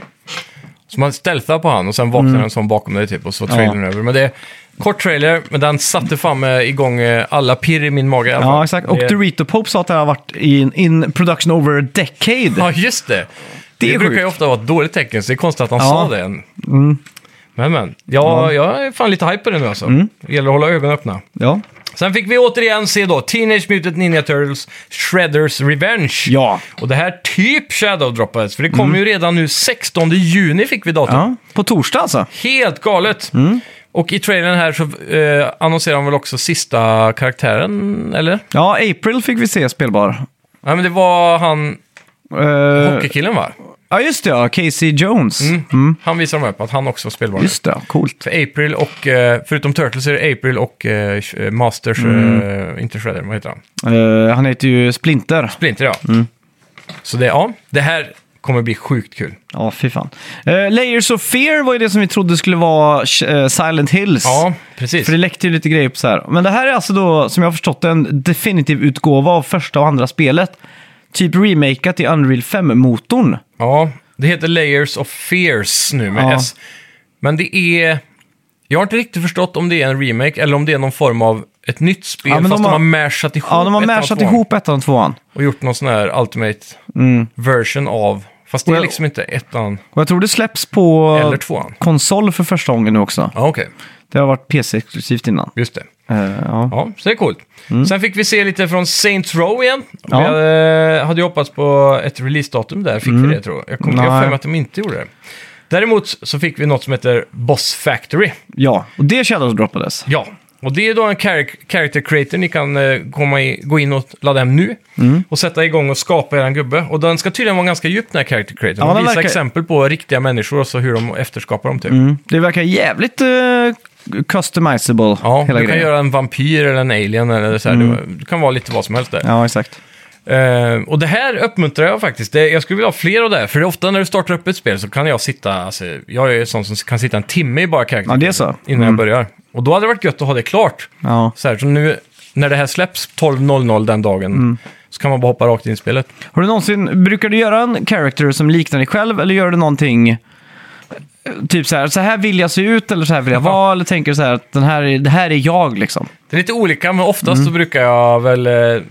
Speaker 2: Så man stealthar på han och sen
Speaker 1: Mm.
Speaker 2: vaknar en sån bakom dig typ och så trailern över. Men det är kort trailer, men den satte fan med igång eh, alla pirr i min mage i alla fall.
Speaker 1: Ja, exakt. Och
Speaker 2: det...
Speaker 1: Dorito Pope sa att det har varit in, in production over a decade.
Speaker 2: Ja, just det.
Speaker 1: Det
Speaker 2: Det,
Speaker 1: är
Speaker 2: brukar ju
Speaker 1: sjukt.
Speaker 2: ofta vara ett dåligt tecken, så det är konstigt att han
Speaker 1: Ja. Mm.
Speaker 2: sa det än. Men, men. Ja, Jag är fan lite hype på det nu alltså.
Speaker 1: Mm.
Speaker 2: Det gäller att hålla ögonen öppna.
Speaker 1: Ja.
Speaker 2: Sen fick vi återigen se då Teenage Mutant Ninja Turtles Shredders Revenge.
Speaker 1: Ja. Mm.
Speaker 2: Och det här typ Shadow-droppades, för det kom ju redan nu 16 juni fick vi datum.
Speaker 1: ja. På torsdag alltså.
Speaker 2: Helt galet!
Speaker 1: Mm.
Speaker 2: Och i trailern här så eh, annonserar de väl också sista karaktären, eller?
Speaker 1: Ja, April fick vi se spelbar.
Speaker 2: Ja, men det var han,
Speaker 1: Eh,
Speaker 2: hockeykillen va?
Speaker 1: ja, just det ja. Casey Jones.
Speaker 2: Mm. Han visar dem upp att han också spelbar.
Speaker 1: Just det, ja. coolt.
Speaker 2: För April och, eh, förutom Turtles är det April och eh, Sh- Masters,
Speaker 1: Mm.
Speaker 2: eh, inte Shredder, vad heter han?
Speaker 1: Eh, han heter ju Splinter.
Speaker 2: Splinter ja.
Speaker 1: Mm.
Speaker 2: Så det, ja, det här kommer bli sjukt kul.
Speaker 1: Ja, fy fan. Eh, Layers of Fear var ju det som vi trodde skulle vara eh, Silent Hills.
Speaker 2: Ja, precis.
Speaker 1: För det läckte ju lite grejer på så här. Men det här är alltså då, som jag har förstått en definitiv utgåva av första och andra spelet. Typ remakat i Unreal 5-motorn.
Speaker 2: Ja, det heter Layers of Fears nu med
Speaker 1: Ja.
Speaker 2: S. Men det är... Jag har inte riktigt förstått om det är en remake eller om det är någon form av ett nytt spel,
Speaker 1: Ja, men
Speaker 2: fast
Speaker 1: de
Speaker 2: de
Speaker 1: har-
Speaker 2: har, mashat ihop
Speaker 1: Ja, de har
Speaker 2: ettan och
Speaker 1: mashat
Speaker 2: tvåan
Speaker 1: ihop ettan och tvåan.
Speaker 2: Och gjort någon sån här Ultimate version av... Fast det är
Speaker 1: Well-
Speaker 2: liksom inte ettan
Speaker 1: Och jag tror det släpps på
Speaker 2: eller tvåan.
Speaker 1: konsol för första gången nu också.
Speaker 2: Ja, okej.
Speaker 1: Det har varit PC-exklusivt innan.
Speaker 2: Just det.
Speaker 1: Eh, ja.
Speaker 2: Ja, så det är coolt. Sen fick vi se lite från Saints Row igen.
Speaker 1: Mm. Ja. Mm.
Speaker 2: Vi hade, hade ju hoppats på ett releasedatum där, fick vi det tror jag. Jag kommer jag har för
Speaker 1: Nej.
Speaker 2: mig att de inte gjorde det. Däremot så fick vi något som heter Boss Factory.
Speaker 1: ja, och det Shadows droppades.
Speaker 2: Ja, och det är då en char- character creator ni kan eh, komma i, gå in och ladda hem nu.
Speaker 1: Mm.
Speaker 2: Och sätta igång och skapa er gubbe. Och den ska tydligen vara ganska djup den här character creatorn.
Speaker 1: Ja,
Speaker 2: Ja,
Speaker 1: den
Speaker 2: visa
Speaker 1: verkar-
Speaker 2: exempel på riktiga människor och så hur de efterskapar dem typ.
Speaker 1: Mm. Det verkar jävligt eh, customizable,
Speaker 2: Ja,
Speaker 1: hela grejen.
Speaker 2: du
Speaker 1: Mm.
Speaker 2: kan göra en vampyr eller en alien eller så här. Du, du kan vara lite vad som helst där.
Speaker 1: Ja, exakt.
Speaker 2: Eh, och det här uppmuntrar jag faktiskt. Det, jag skulle vilja ha fler av det här. För det är ofta när du startar upp ett spel så kan jag sitta, alltså, jag är ju sån som kan sitta en timme i bara character
Speaker 1: Ja, det är så. Mm.
Speaker 2: creator Innan jag börjar. Och då hade det varit gött att ha det klart.
Speaker 1: Ja.
Speaker 2: Så här, så nu när det här släpps 12.00 den dagen
Speaker 1: Mm.
Speaker 2: så kan man bara hoppa rakt in i spelet.
Speaker 1: Har du någonsin, brukar du göra en character som liknar dig själv eller gör du någonting eh, typ så här, så här vill jag se ut eller så här vill jag
Speaker 2: Ja.
Speaker 1: vara eller tänker du så här att den här, är- det här är jag liksom?
Speaker 2: Det är lite olika, men oftast
Speaker 1: Mm.
Speaker 2: så brukar jag väl... eh,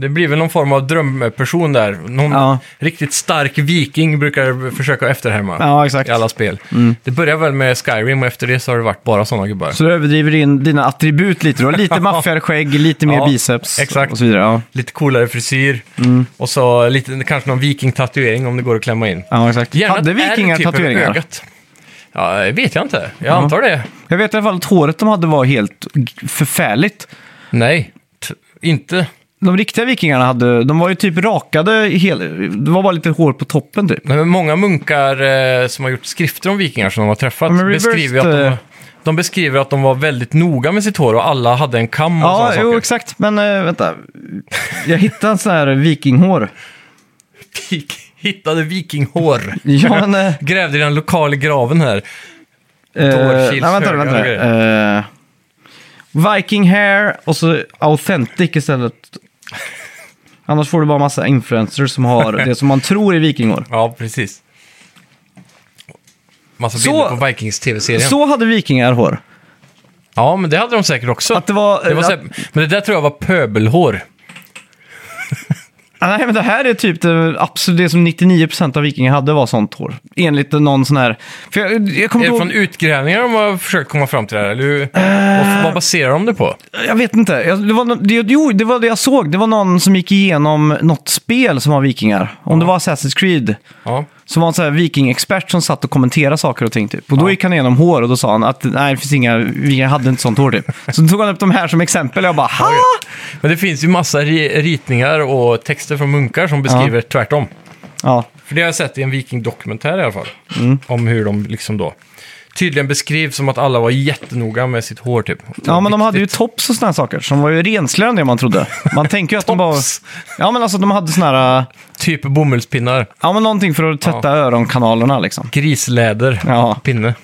Speaker 2: Det blir väl någon form av drömperson där. Någon
Speaker 1: Ja.
Speaker 2: riktigt stark viking brukar jag försöka efterhärma
Speaker 1: Ja, exakt. Mm.
Speaker 2: i alla spel. Det börjar väl med Skyrim och efter det så har det varit bara sådana gubbar.
Speaker 1: Så du överdriver in dina attribut lite då, lite maffigare skägg, lite mer
Speaker 2: Ja,
Speaker 1: biceps
Speaker 2: exakt.
Speaker 1: och så vidare. Ja,
Speaker 2: Lite coolare frisyr
Speaker 1: Mm.
Speaker 2: och så lite, kanske någon vikingtatuering om det går att klämma in.
Speaker 1: ja exakt.
Speaker 2: Gärna
Speaker 1: Hade
Speaker 2: ett R
Speaker 1: vikingar
Speaker 2: typ över
Speaker 1: tatueringar?
Speaker 2: ögat. Ja, det vet jag inte. Jag antar det.
Speaker 1: Jag vet i alla fall att håret de hade var helt g- förfärligt.
Speaker 2: Nej, t- inte.
Speaker 1: De riktiga vikingarna hade, de var ju typ rakade, i hel, det var bara lite hår på toppen typ.
Speaker 2: Nej, men många munkar eh, som har gjort skrifter om vikingar som de har träffat
Speaker 1: Ja, men reversed,
Speaker 2: beskriver ju att de,
Speaker 1: eh,
Speaker 2: de beskriver att de var väldigt noga med sitt hår och alla hade en kam och
Speaker 1: Ja,
Speaker 2: sådana
Speaker 1: jo
Speaker 2: saker.
Speaker 1: exakt, men eh, vänta. Jag hittade en sån här vikinghår.
Speaker 2: Vik- Hittade vikinghår.
Speaker 1: Ja, men, eh,
Speaker 2: Grävde i den lokala graven här.
Speaker 1: Eh,
Speaker 2: Dårkils
Speaker 1: nej, vänta,
Speaker 2: höga
Speaker 1: vänta. Eh, Viking hair och så authentic istället. Annars får du bara massa influencers som har det som man tror är vikingor.
Speaker 2: Ja, precis. Massa
Speaker 1: Så-
Speaker 2: bilder på Vikings-tv-serien.
Speaker 1: Så hade vikingar hår.
Speaker 2: Ja, men det hade de säkert också.
Speaker 1: Att det var...
Speaker 2: Det var så här, men det där tror jag var pöbelhår.
Speaker 1: Ah, Nej, men det här är typ det, absolut, det som 99% av vikingar hade var sånt hår. Enligt någon sån här... För jag, jag kommer
Speaker 2: Är det
Speaker 1: inte
Speaker 2: från
Speaker 1: ihåg-
Speaker 2: utgrävningar de har försökt komma fram till det här? Eller hur?
Speaker 1: Eh.
Speaker 2: Vad- vad baserar de det på?
Speaker 1: Jag vet inte. Jag, det, var, nå- det, jo, det var det jag såg. Det var någon som gick igenom något spel som var vikingar. Om det var Assassin's Creed.
Speaker 2: Ja.
Speaker 1: Som var en sån här vikingexpert som satt och kommenterade saker och ting. Typ. Och då gick han igenom hår och då sa han att nej, det finns inga, vi hade inte sånt hår typ. Så då tog han upp de här som exempel och jag bara ha!
Speaker 2: Men det finns ju massa ri- ritningar och texter från munkar som beskriver tvärtom.
Speaker 1: Ja,
Speaker 2: För det har jag sett i en vikingdokumentär i alla fall.
Speaker 1: Mm.
Speaker 2: Om hur de liksom då tydligen beskrivs som att alla var jättenoga med sitt hår typ.
Speaker 1: ja men de hade ju tops och såna här saker som var ju rensligare än det man trodde. Man tänker ju att de bara...
Speaker 2: Tops.
Speaker 1: Ja men alltså de hade såna här,
Speaker 2: Typ bomullspinnar,
Speaker 1: ja men någonting för att tvätta öronkanalerna liksom.
Speaker 2: grisläder,
Speaker 1: Ja,
Speaker 2: pinne.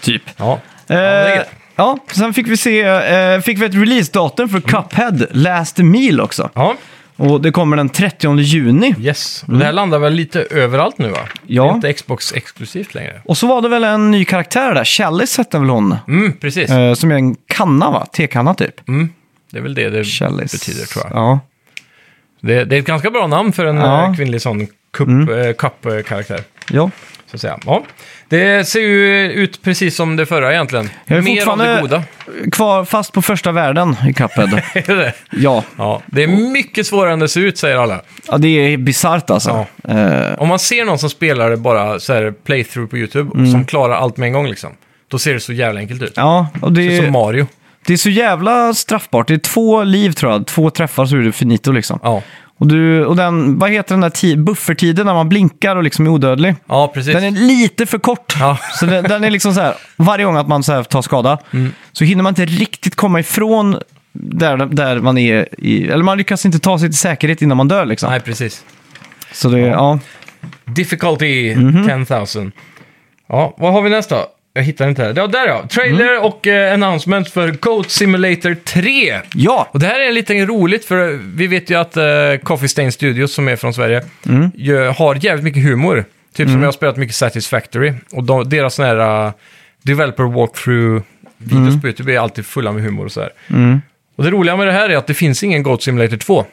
Speaker 1: typ.
Speaker 2: Ja. det är
Speaker 1: Eh,
Speaker 2: gött.
Speaker 1: ja, sen fick vi se, eh, fick vi ett releasedatum för Cuphead Last Meal också.
Speaker 2: ja,
Speaker 1: Och det kommer den 30 juni.
Speaker 2: yes. Och Det här landar väl lite överallt nu va?
Speaker 1: Mm. Ja.
Speaker 2: Det är inte Xbox exklusivt längre.
Speaker 1: Och så var det väl en ny karaktär där, Chalice hette väl hon.
Speaker 2: Mm, precis. Mm.
Speaker 1: Eh, som är en kanna va? Tekanna typ.
Speaker 2: Det är väl det det
Speaker 1: Chalice.
Speaker 2: betyder tror jag.
Speaker 1: Ja.
Speaker 2: Det, det är ett ganska bra namn för en
Speaker 1: Ja. Mm.
Speaker 2: eh, kvinnlig sån cup, eh, cup-karaktär.
Speaker 1: ja.
Speaker 2: Så att säga. Ja. Det ser ju ut precis som det förra egentligen.
Speaker 1: Jag är
Speaker 2: Mer av
Speaker 1: fortfarande
Speaker 2: det goda.
Speaker 1: kvar fast på första världen i Cuphead.
Speaker 2: Är det det?
Speaker 1: ja.
Speaker 2: ja. Det är mycket svårare än det ser ut, säger alla.
Speaker 1: ja, det är bisarrt alltså. Eh,
Speaker 2: Om man ser någon som spelar det bara så här playthrough på YouTube, som klarar allt med en gång liksom, då ser det så jävla enkelt ut.
Speaker 1: Mm. ja, och
Speaker 2: Det
Speaker 1: det,
Speaker 2: är som
Speaker 1: är,
Speaker 2: Mario.
Speaker 1: det är så jävla straffbart. Det är två liv tror jag, två träffar så är det finito liksom.
Speaker 2: Ja,
Speaker 1: Och, du, och den, vad heter den där ti- buffertiden när man blinkar och liksom är odödlig?
Speaker 2: ja precis.
Speaker 1: Den är lite för kort.
Speaker 2: Ja.
Speaker 1: Så den, den är liksom så här, varje gång att man så här tar skada
Speaker 2: Mm.
Speaker 1: så hinner man inte riktigt komma ifrån där, där man är i, eller man lyckas inte ta sig till säkerhet innan man dör liksom.
Speaker 2: Nej, precis.
Speaker 1: Så det, ja.
Speaker 2: Difficulty
Speaker 1: Mhm.
Speaker 2: 10,000. Ja, vad har vi nästa? Jag hittar inte här. Ja, där ja. Trailer
Speaker 1: Mm.
Speaker 2: och eh, announcement för Goat Simulator 3.
Speaker 1: Ja,
Speaker 2: Och det här är lite roligt för vi vet ju att eh, Coffee Stain Studios som är från Sverige ju, har jävligt mycket humor. Typ som jag har spelat mycket Satisfactory. Och de, deras sån här eh, developer walkthrough-videos på YouTube är alltid fulla med humor och så här. Och det roliga med det här är att det finns ingen Goat Simulator 2.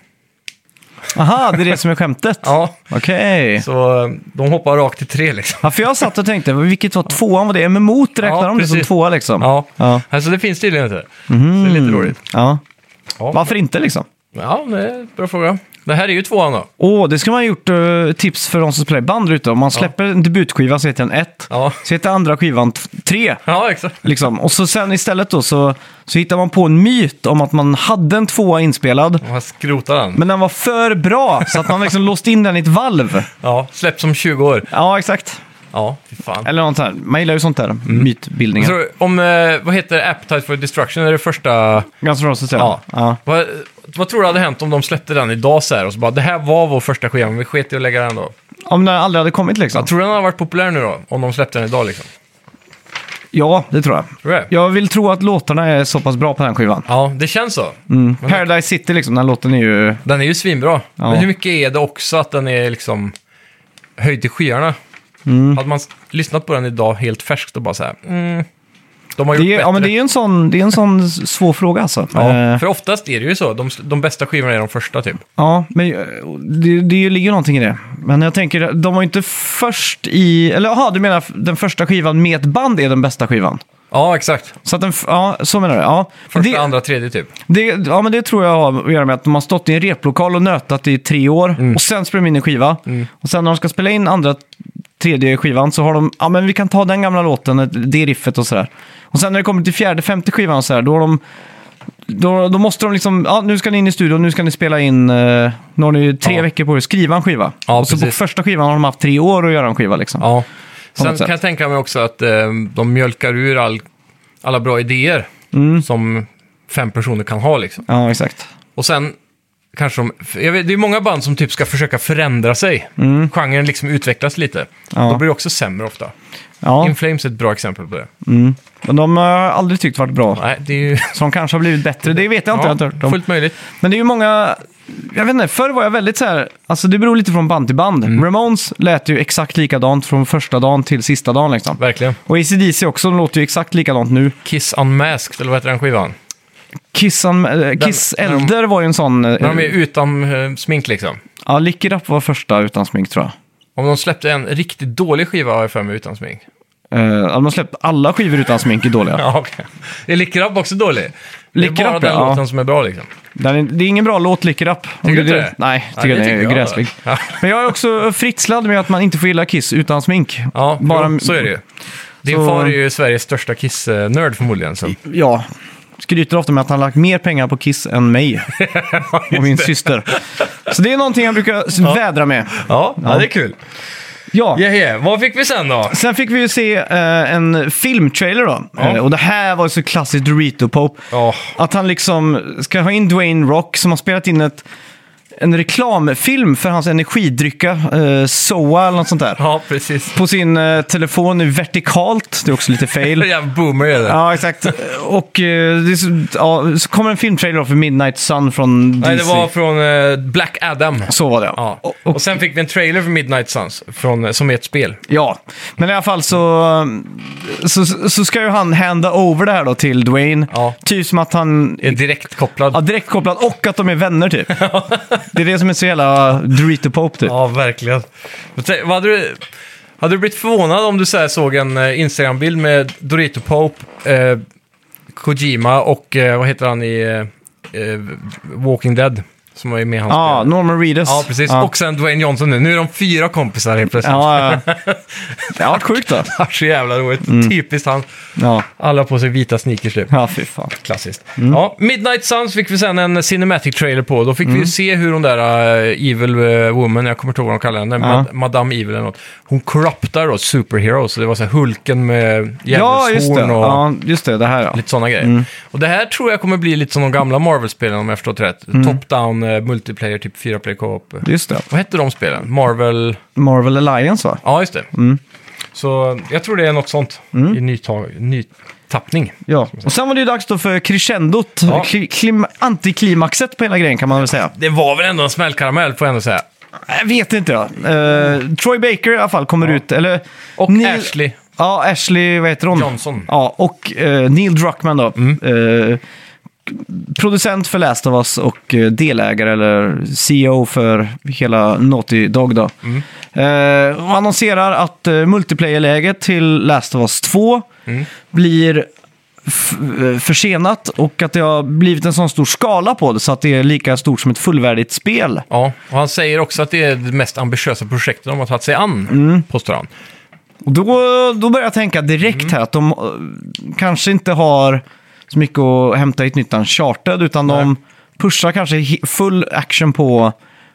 Speaker 1: aha, det är det som är skämtet.
Speaker 2: Ja,
Speaker 1: Okej.
Speaker 2: så eh, de hoppar rakt till 3 liksom.
Speaker 1: Ja, för jag satt och tänkte, vilket var tvåan? Var det MMO? Räknar
Speaker 2: Ja,
Speaker 1: de det som
Speaker 2: precis.
Speaker 1: tvåa liksom?
Speaker 2: Ja, Mm.
Speaker 1: Ja.
Speaker 2: alltså det finns tydligen inte. Så det är lite roligt.
Speaker 1: Ja.
Speaker 2: Ja.
Speaker 1: Varför inte liksom?
Speaker 2: Ja, det är en bra fråga. Det här är ju tvåan då.
Speaker 1: Åh, det ska man ha gjort eh, tips för de som spelar i band ute. Om man släpper en debutskiva så heter den 1.
Speaker 2: Ja.
Speaker 1: Så heter andra skivan 3.
Speaker 2: Ja, exakt.
Speaker 1: Liksom. Och så sen istället då så, så hittar man på en myt om att man hade en tvåa inspelad.
Speaker 2: Man skrotar den.
Speaker 1: Men den var för bra så att man liksom låste in den i ett valv.
Speaker 2: Ja, släpps om 20 år.
Speaker 1: Ja, exakt.
Speaker 2: Ja, fy fan.
Speaker 1: Eller något sånt här. Man gillar ju sånt där.
Speaker 2: Mm.
Speaker 1: Mytbildningar.
Speaker 2: Så om, eh, vad heter Appetite for Destruction? Är det första...
Speaker 1: Ganska bra system.
Speaker 2: Ja.
Speaker 1: ja.
Speaker 2: Vad, vad tror du hade hänt om de släppte den idag så här och så bara det här var vår första skiva, men vi sket i att lägga den då?
Speaker 1: Om den aldrig hade kommit liksom.
Speaker 2: Jag tror du den hade varit populär nu då? Om de släppte den idag liksom?
Speaker 1: Ja, det tror jag.
Speaker 2: Tror du det?
Speaker 1: Jag vill tro att låtarna är så pass bra på den skivan.
Speaker 2: Ja, det känns så.
Speaker 1: Mm. Paradise City liksom, den låten är ju...
Speaker 2: Den är ju svinbra.
Speaker 1: Ja.
Speaker 2: Men hur mycket är det också att den är liksom höjd till skyarna?
Speaker 1: Mm.
Speaker 2: Hade man s- lyssnat på den idag helt färskt och bara så här, mm, de har gjort
Speaker 1: Det är,
Speaker 2: bättre.
Speaker 1: ja, men det är ju en sån, det är en sån s- svår fråga alltså.
Speaker 2: Ja,
Speaker 1: Eh,
Speaker 2: för oftast är det ju så. De, de bästa skivorna är de första typ.
Speaker 1: Ja, men eh, det, det ligger ju någonting i det. Men jag tänker, de var ju inte först i... Eller jaha, du menar f- den första skivan med ett band är den bästa skivan?
Speaker 2: Ja, exakt.
Speaker 1: Så att den, f- ja, så menar du? Ja. Men
Speaker 2: Första,
Speaker 1: det,
Speaker 2: andra, tredje typ.
Speaker 1: det, ja, men det tror jag har att göra med att de har stått i en replokal och nötat i tre år
Speaker 2: Mm.
Speaker 1: och sen spelar de in en skiva. Och sen när de ska spela in andra, tredje skivan så har de, ja men vi kan ta den gamla låten, det riffet och sådär. Och sen när det kommer till fjärde, femte skivan och sådär, då har de då, då måste de liksom, ja nu ska ni in i studion, nu ska ni spela in, eh, nu har ni tre
Speaker 2: Ja.
Speaker 1: veckor på er att skriva en skiva.
Speaker 2: Ja,
Speaker 1: och så på
Speaker 2: precis.
Speaker 1: första skivan har de haft tre år att göra en skiva liksom.
Speaker 2: Ja.
Speaker 1: På
Speaker 2: Sen
Speaker 1: något sätt.
Speaker 2: kan jag tänka mig också att eh, de mjölkar ur all, alla bra idéer
Speaker 1: Mm.
Speaker 2: som fem personer kan ha. Liksom.
Speaker 1: Ja, exakt.
Speaker 2: Och sen kanske de... för Jag vet, det är många band som typ ska försöka förändra sig. Genren liksom utvecklas lite.
Speaker 1: Mm. Ja.
Speaker 2: Då blir det också sämre ofta.
Speaker 1: Ja,
Speaker 2: In Flames är ett bra exempel på det.
Speaker 1: men de har jag aldrig tyckt varit bra.
Speaker 2: Nej, det är ju...
Speaker 1: Så de kanske har blivit bättre, det vet jag inte. jag har inte hört om.
Speaker 2: fullt möjligt.
Speaker 1: Men det är ju många, jag vet inte, förr var jag väldigt så här, alltså det beror lite från band till band.
Speaker 2: Mm.
Speaker 1: Ramones lät ju exakt likadant från första dagen till sista dagen liksom.
Speaker 2: Verkligen.
Speaker 1: Och ACDC också, de låter ju exakt likadant nu.
Speaker 2: Kiss Unmasked, eller vad heter den skivan?
Speaker 1: Kiss, and, eh, Kiss
Speaker 2: när de-
Speaker 1: Elder var ju en sån... eh,
Speaker 2: När de är utan eh, smink liksom.
Speaker 1: Ja, Lick It Up var första utan smink tror jag.
Speaker 2: Om de släppte en riktigt dålig skiva har jag för mig utan smink.
Speaker 1: Uh, de har släppt alla skivor utan smink är dåliga.
Speaker 2: Ja, okej. Är Lick It Up också dålig?
Speaker 1: Lick It
Speaker 2: det är bara
Speaker 1: Up,
Speaker 2: den
Speaker 1: ja.
Speaker 2: låten som är bra liksom.
Speaker 1: Den är, det är ingen bra låt, Lick It Up. Om det-
Speaker 2: Tycker du inte
Speaker 1: det-
Speaker 2: det?
Speaker 1: Nej,
Speaker 2: Ja,
Speaker 1: tycker
Speaker 2: det
Speaker 1: den är
Speaker 2: tycker jag.
Speaker 1: gräslig.
Speaker 2: Ja.
Speaker 1: Men jag är också fritslad med att man inte får gilla Kiss utan smink.
Speaker 2: Ja,
Speaker 1: Bara-
Speaker 2: jo, så är det ju. Din
Speaker 1: Så-
Speaker 2: far är ju Sveriges största Kiss-nörd förmodligen. Så.
Speaker 1: Ja. Skryter ofta med att han lagt mer pengar på Kiss än mig. och min syster. Så det är någonting jag brukar s- vädra med.
Speaker 2: Ja, ja, det är kul.
Speaker 1: Ja.
Speaker 2: Yeah, yeah. Vad fick vi sen då?
Speaker 1: Sen fick vi ju se eh, en filmtrailer då.
Speaker 2: Ja.
Speaker 1: Eh, och det här var ju så klassiskt Dorito Pope.
Speaker 2: Ja.
Speaker 1: Att han liksom ska ha in Dwayne Rock som har spelat in ett, en reklamfilm för hans energidrycka, eh, Soa eller något sånt där.
Speaker 2: Ja, precis.
Speaker 1: På sin eh, telefon i vertikalt, det är också lite fail.
Speaker 2: Jävla boomer är det.
Speaker 1: Ja, exakt. Och eh, det är så, ja, så kommer en filmtrailer för Midnight Sun från DC.
Speaker 2: Nej, det var från eh, Black Adam.
Speaker 1: Så var det,
Speaker 2: Ja.
Speaker 1: Och,
Speaker 2: Och sen fick vi en trailer för Midnight Suns, från, eh, som är ett spel.
Speaker 1: ja. Men i alla fall så, så, så ska ju han handa over det här då till Dwayne.
Speaker 2: Ja.
Speaker 1: Typ som att han
Speaker 2: Är direkt kopplad.
Speaker 1: Ja, direkt kopplat och att de är vänner typ. det är det som är så jävla Dorito Pope typ.
Speaker 2: Ja, verkligen. Men tänk, Vad hade du... Hade du blivit förvånad om du så här såg en eh, Instagram-bild med Dorito Pope, eh, Kojima och eh, vad heter han i eh, eh, Walking Dead? Som var med i hans
Speaker 1: Ja,
Speaker 2: spel.
Speaker 1: Norman Reedus.
Speaker 2: Ja, precis.
Speaker 1: Ja.
Speaker 2: Och sen Dwayne Johnson nu. Nu är de fyra kompisar helt plötsligt. Ja.
Speaker 1: Ja, ja. Det har varit sjukt då.
Speaker 2: Så jävla roligt.
Speaker 1: Mm.
Speaker 2: Typiskt han.
Speaker 1: Ja.
Speaker 2: Alla har på sig vita sneakers typ. nu.
Speaker 1: ja, fy fan.
Speaker 2: Klassiskt.
Speaker 1: Mm.
Speaker 2: Ja, Midnight Suns fick vi sen en cinematic trailer på. Då fick
Speaker 1: Mm.
Speaker 2: vi ju se hur hon där eh, Evil eh, Woman, jag kommer inte ihåg vad de kallar henne,
Speaker 1: Ja.
Speaker 2: Mad- Madame Evil eller något. Hon corruptar då Superhero, så det var så här Hulken med
Speaker 1: Ja, just det.
Speaker 2: djävulshorn och
Speaker 1: Ja, Mm. just det. Det här ja.
Speaker 2: lite sådana grejer. Och det här tror jag kommer bli lite som de gamla Marvel-spelen om jag har förstått rätt. Top-down, eh, multiplayer, typ 4-player co-op.
Speaker 1: Just Mm. det.
Speaker 2: Vad hette de spelen? Marvel...
Speaker 1: Marvel Alliance va?
Speaker 2: Ja, just det.
Speaker 1: Mm.
Speaker 2: Så jag tror det är något sånt i nytag... nytappning.
Speaker 1: Ja. Och sen var det ju dags då för crescendot.
Speaker 2: Ja.
Speaker 1: Kli- klim- antiklimaxet på hela grejen kan man väl säga.
Speaker 2: Det var väl ändå en smällkaramell får jag ändå säga.
Speaker 1: Jag vet inte jag. Eh, Troy Baker i alla fall kommer ut. Eller,
Speaker 2: Och
Speaker 1: Neil-
Speaker 2: Ashley.
Speaker 1: Ja, Ashley, vad heter hon?
Speaker 2: Johnson. Mm.
Speaker 1: Ja, och eh, Neil Druckmann då. Eh, producent för Last of Us och eh, delägare eller CEO för hela Naughty Dog då.
Speaker 2: Mm.
Speaker 1: Eh, och annonserar att eh, multiplayer-läget till Last of Us 2
Speaker 2: Mm.
Speaker 1: blir f- eh, försenat och att det har blivit en sån stor skala på det så att det är lika stort som ett fullvärdigt spel.
Speaker 2: Ja, och han säger också att det är det mest ambitiösa projektet de har tagit sig an,
Speaker 1: Mm.
Speaker 2: påstår han.
Speaker 1: Och då, då börjar jag tänka direkt
Speaker 2: Mm.
Speaker 1: här att de eh, kanske inte har så mycket att hämta i ett nytt Uncharted, utan de pushar kanske he- full action på,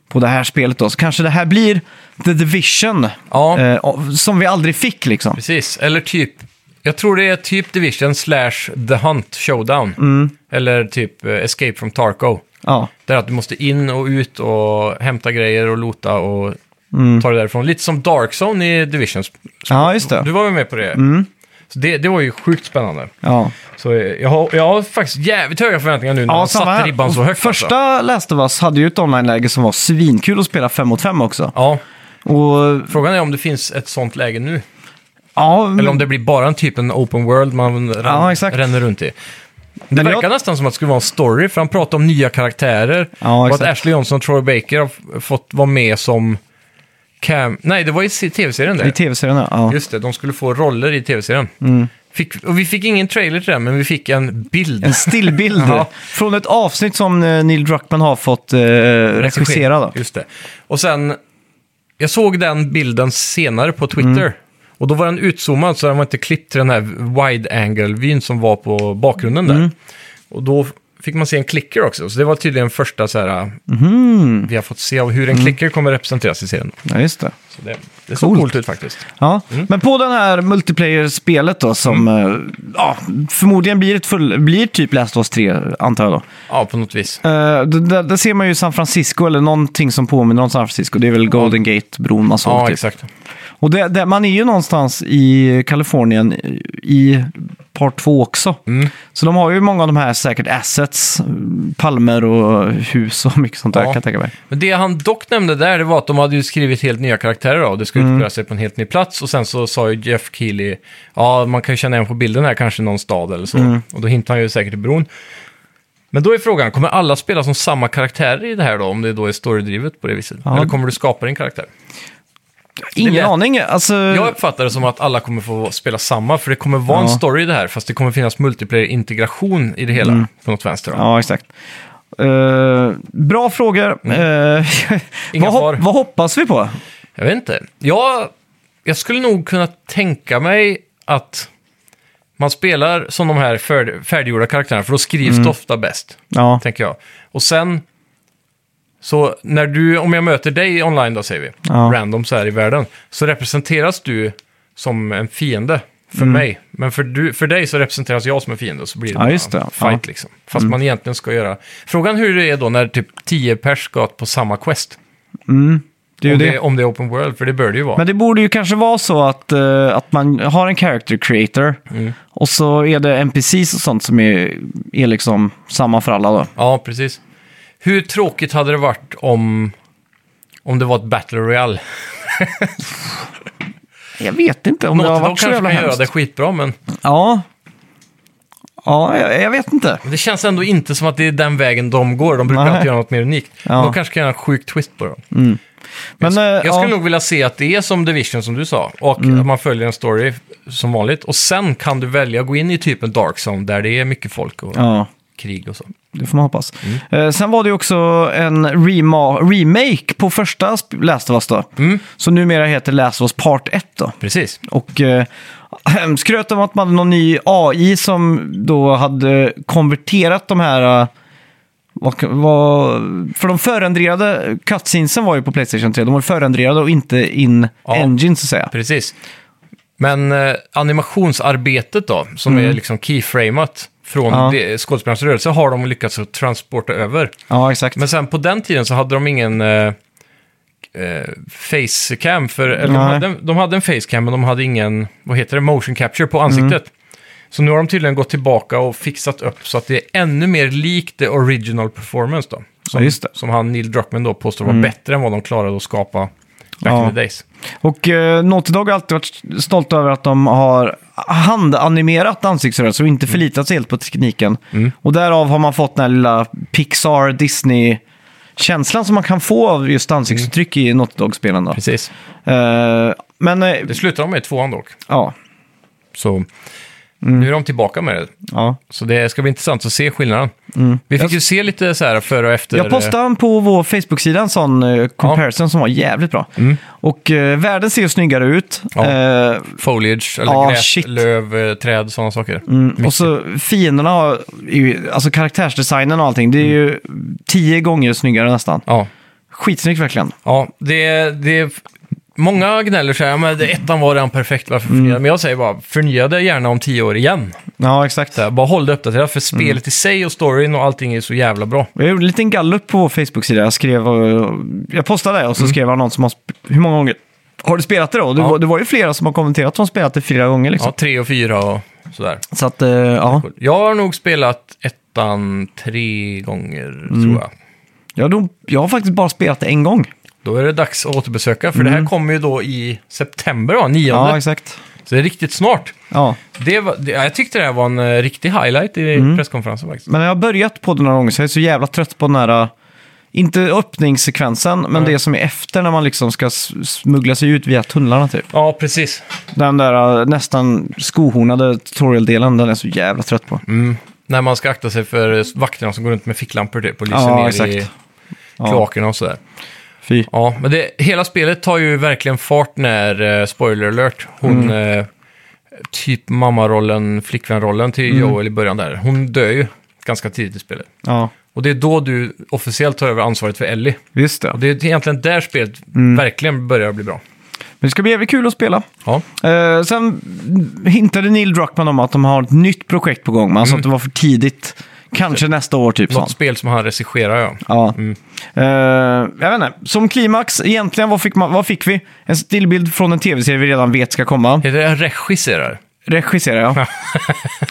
Speaker 1: på det här spelet då. Så kanske det här blir The Division,
Speaker 2: Ja.
Speaker 1: eh, av- som vi aldrig fick liksom.
Speaker 2: Precis, eller typ... Jag tror det är typ Division slash The Hunt Showdown.
Speaker 1: Mm.
Speaker 2: Eller typ eh, Escape from Tarko.
Speaker 1: Ja,
Speaker 2: Där att du måste in och ut och hämta grejer och lota och
Speaker 1: Mm.
Speaker 2: ta det därifrån. Lite som Dark Zone i Division.
Speaker 1: ja Mm. just
Speaker 2: Du
Speaker 1: det.
Speaker 2: var väl med på det? Så det, det var ju sjukt spännande.
Speaker 1: Ja.
Speaker 2: Så eh, jag har, jag har faktiskt jävligt höga förväntningar nu när
Speaker 1: Ja,
Speaker 2: han
Speaker 1: samma
Speaker 2: satte
Speaker 1: här.
Speaker 2: ribban så
Speaker 1: Och
Speaker 2: högt. Alltså.
Speaker 1: Första Last of Us hade ju ett online-läge som var svinkul att spela fem mot fem också.
Speaker 2: Ja,
Speaker 1: Och,
Speaker 2: frågan är om det finns ett sånt läge nu.
Speaker 1: ja, men-
Speaker 2: Eller om det blir bara en typ en open world man ren-
Speaker 1: Ja, exakt.
Speaker 2: ränner runt i. Det
Speaker 1: Men jag-
Speaker 2: verkar nästan som att det skulle vara en story, för han pratar om nya karaktärer.
Speaker 1: Ja,
Speaker 2: och att
Speaker 1: exakt.
Speaker 2: Ashley Johnson och Troy Baker har f- fått vara med som... Cam... Nej, det var i se- tv-serien
Speaker 1: i
Speaker 2: det.
Speaker 1: tv-serien, ja. Mm. ja.
Speaker 2: Just det, de skulle få roller i tv-serien. Fick... Och vi fick ingen trailer till den, men vi fick en bild.
Speaker 1: En stillbild
Speaker 2: Ja.
Speaker 1: från ett avsnitt som eh, Neil Druckmann har fått eh, regissera. Då.
Speaker 2: Just det. Och sen, jag såg den bilden senare på Twitter.
Speaker 1: Mm.
Speaker 2: Och då var den utzoomad så den var inte klippt till den här wide angle-vyn som var på bakgrunden
Speaker 1: Mm.
Speaker 2: där. Och då fick man se en klicker också. Så det var tydligen första så här,
Speaker 1: Mm.
Speaker 2: vi har fått se av hur en klicker kommer representeras i serien.
Speaker 1: Ja, just det.
Speaker 2: Så det, det såg
Speaker 1: Coolt.
Speaker 2: coolt ut faktiskt.
Speaker 1: Ja.
Speaker 2: Mm.
Speaker 1: Men på den här multiplayer-spelet då som eh, ja, förmodligen blir, ett full, blir typ Last of Us 3, antar jag då.
Speaker 2: Ja, på något vis.
Speaker 1: Eh, d- där, där ser man ju San Francisco eller någonting som påminner om San Francisco. Det är väl Golden Gate-bron man såg.
Speaker 2: Ja,
Speaker 1: typ.
Speaker 2: exakt.
Speaker 1: Och det, det, man är ju någonstans i Kalifornien i part två också.
Speaker 2: Mm.
Speaker 1: Så de har ju många av de här säkert assets, palmer och hus och mycket sånt där
Speaker 2: Ja.
Speaker 1: kan jag tänka mig.
Speaker 2: Men det han dock nämnde där, det var att de hade ju skrivit helt nya karaktärer då, och det skulle
Speaker 1: Mm.
Speaker 2: utspela sig på en helt ny plats. Och sen så sa ju Jeff Keely,
Speaker 1: Mm.
Speaker 2: ja, man kan ju känna igen på bilden här kanske någon stad eller så. Och då hintade han ju säkert till bron. Men då är frågan, kommer alla spela som samma karaktärer i det här då? Om det då är storydrivet på det viset?
Speaker 1: Ja.
Speaker 2: Eller kommer du skapa din karaktär?
Speaker 1: Ingen
Speaker 2: Det lät-
Speaker 1: aning. Alltså,
Speaker 2: Jag uppfattar det som att alla kommer få spela samma, för det kommer vara en
Speaker 1: Ja.
Speaker 2: story i det här, fast det kommer finnas multiplayer-integration i det hela på något vänster. då.
Speaker 1: Mm. Ja, exakt. Eh, bra frågor. Eh,
Speaker 2: Mm. Inga
Speaker 1: vad, hop-
Speaker 2: svar.
Speaker 1: vad hoppas vi på?
Speaker 2: Jag vet inte. Jag, jag skulle nog kunna tänka mig att man spelar som de här fär, färdiggjorda karaktärerna, för då skrivs
Speaker 1: Mm.
Speaker 2: det ofta bäst,
Speaker 1: Ja,
Speaker 2: tänker jag. Och sen, så när du, om jag möter dig online då, säger vi,
Speaker 1: Ja.
Speaker 2: random så här i världen, så representeras du som en fiende för mig. Men för, du, för dig så representeras jag som en fiende, och så blir det
Speaker 1: Mm. Ja,
Speaker 2: bara
Speaker 1: just det.
Speaker 2: en fight
Speaker 1: Ja. Mm.
Speaker 2: liksom. Fast man egentligen ska göra... Frågan hur det är då när typ 10 pers ska på samma quest.
Speaker 1: det är ju
Speaker 2: om,
Speaker 1: det.
Speaker 2: det. är- om det är open world, för det bör det ju vara.
Speaker 1: Men det borde ju kanske vara så att, eh, att man har en character creator
Speaker 2: Mm.
Speaker 1: och så är det NPCs och sånt som är, är liksom samma för alla då.
Speaker 2: Ja, precis. Hur tråkigt hade det varit om, om det var ett Battle Royale?
Speaker 1: Jag vet inte om det har
Speaker 2: Naughty Dog
Speaker 1: varit så
Speaker 2: kanske
Speaker 1: jävla
Speaker 2: kan göra
Speaker 1: hemskt.
Speaker 2: det skitbra, men
Speaker 1: Ja, ja jag, jag vet inte.
Speaker 2: det känns ändå inte som att det är den vägen de går. De brukar
Speaker 1: Nej.
Speaker 2: alltid göra något mer unikt.
Speaker 1: Ja.
Speaker 2: De kanske kan göra en sjuk twist på det.
Speaker 1: Men, eh,
Speaker 2: Jag
Speaker 1: ja, Mm.
Speaker 2: skulle nog vilja se att det är som Division, som du sa, och att man följer en story som vanligt. Och sen kan du välja att gå in i typ en dark zone där det är mycket folk och
Speaker 1: ja,
Speaker 2: krig och så.
Speaker 1: det får man hoppas. Eh, sen var det ju också en rema- remake på första sp- Last of Us då. Så numera heter Last of Us Part 1 då.
Speaker 2: Precis.
Speaker 1: Och eh, skröt om att man hade någon ny AI som då hade konverterat de här... eh, Vad, vad, för de förändrade cutscenesen var ju på Playstation 3. De var förändrade och inte in
Speaker 2: Ja.
Speaker 1: engine så att säga.
Speaker 2: Precis. Men eh, animationsarbetet då, som är liksom keyframat från
Speaker 1: Mm. Ja.
Speaker 2: det- skådespelarens rörelse, har de lyckats att transporta över.
Speaker 1: Ja, exakt.
Speaker 2: Men sen på den tiden så hade de ingen eh, eh, facecam, för, eller de
Speaker 1: Nej.
Speaker 2: hade, en- de hade en facecam men de hade ingen, vad heter det, motion capture på ansiktet.
Speaker 1: Mm.
Speaker 2: Så nu har de tydligen gått tillbaka och fixat upp så att det är ännu mer likt det original performance då. Som,
Speaker 1: Ja, just det. Mm.
Speaker 2: som han Neil Druckmann då påstår var bättre än vad de klarade att skapa back
Speaker 1: Ja.
Speaker 2: in the days.
Speaker 1: Och eh, Naughty Dog har alltid varit stolt över att de har handanimerat ansiktsrörelser och
Speaker 2: Mm.
Speaker 1: inte förlitat sig helt på tekniken. Och därav har man fått den här lilla Pixar, Disney-känslan som man kan få av just ansiktsuttryck i Naughty Dog-spelen. Då.
Speaker 2: Mm. Precis.
Speaker 1: Eh, men eh,
Speaker 2: Det slutar de med i tvåan dock.
Speaker 1: ja,
Speaker 2: Så
Speaker 1: Mm.
Speaker 2: nu är de tillbaka med det.
Speaker 1: ja.
Speaker 2: Så det ska bli intressant att se skillnaden. Vi fick ju se lite så här före och efter.
Speaker 1: Mm.
Speaker 2: eh,
Speaker 1: Jag postade en på vår Facebook-sida en sån eh, comparison som var jävligt bra. Och eh, världen ser ju snyggare ut.
Speaker 2: Mm. Ja.
Speaker 1: Eh,
Speaker 2: Foliage, eller
Speaker 1: Ah,
Speaker 2: gräs,
Speaker 1: shit. Mm.
Speaker 2: löv, eh, träd, sådana saker.
Speaker 1: och så fienderna, har, är ju- alltså karaktärsdesignen och allting, det är ju tio gånger snyggare nästan.
Speaker 2: Ja,
Speaker 1: Skitsnyggt verkligen.
Speaker 2: ja det, det, många gnäller så här, "Ja, men det- ettan var redan perfekt, varför
Speaker 1: Mm.
Speaker 2: förnya? Men jag säger bara, förnya det gärna om tio år igen.
Speaker 1: Ja, exakt.
Speaker 2: Så här, bara håll det uppdaterat, för
Speaker 1: Mm.
Speaker 2: spelet i sig och storyn och allting är så jävla bra.
Speaker 1: Jag gjorde en liten gallup på vår Facebook-sida. Jag, skrev, eh, jag postade det och så skrev jag någon som har... sp- Hur många gånger har du spelat det då? Det,
Speaker 2: Ja.
Speaker 1: var, det var ju flera som har kommenterat att de har spelat det fyra gånger liksom.
Speaker 2: Ja, tre och fyra och sådär.
Speaker 1: Så att, eh, ja.
Speaker 2: Jag har nog spelat ettan tre gånger,
Speaker 1: Mm.
Speaker 2: tror jag.
Speaker 1: Jag, har nog- jag har faktiskt bara spelat det en gång.
Speaker 2: Då är det dags att återbesöka, för det här kommer ju då i september, va? 9.
Speaker 1: Mm. Ja, exakt.
Speaker 2: så det är riktigt snart.
Speaker 1: Ja.
Speaker 2: Det var, det, jag tyckte det här var en eh, riktig highlight i
Speaker 1: Mm.
Speaker 2: presskonferensen faktiskt.
Speaker 1: Men jag har börjat på det några gånger så jag är så jävla trött på den här, äh, inte öppningssekvensen, men det som är efter när man liksom ska s- smuggla sig ut via tunnlarna typ.
Speaker 2: Ja, precis.
Speaker 1: Den där eh, nästan skohornade tutorial-delen, den är jag så jävla trött på.
Speaker 2: Mm. När man ska akta sig för eh, vakterna som går runt med ficklampor typ, och lyser
Speaker 1: Ja,
Speaker 2: ner
Speaker 1: exakt.
Speaker 2: i
Speaker 1: Ja.
Speaker 2: kloakerna och sådär.
Speaker 1: Fy.
Speaker 2: Ja, men det, hela spelet tar ju verkligen fart när, eh, spoiler alert, hon...
Speaker 1: Mm.
Speaker 2: Eh, typ mammarollen, flickvänrollen till
Speaker 1: Mm.
Speaker 2: Joel i början där. Hon dör ju ganska tidigt i spelet.
Speaker 1: Ja,
Speaker 2: Och det är då du officiellt tar över ansvaret för Ellie.
Speaker 1: just det.
Speaker 2: Och det är egentligen där spelet
Speaker 1: Mm.
Speaker 2: verkligen börjar bli bra.
Speaker 1: Men det ska bli jävligt kul att spela.
Speaker 2: Ja,
Speaker 1: Eh, sen hintade Neil Druckmann om att de har ett nytt projekt på gång, men han sa att det var för tidigt. Kanske nästa år typ. sa han.
Speaker 2: något spel som han regisserar, ja.
Speaker 1: Ja.
Speaker 2: Mm.
Speaker 1: Eh, jag vet inte. Som klimax, egentligen, vad fick, man, vad fick vi? En stillbild från en tv-serie vi redan vet ska komma.
Speaker 2: Heter det regisserar?
Speaker 1: Regisserar jag.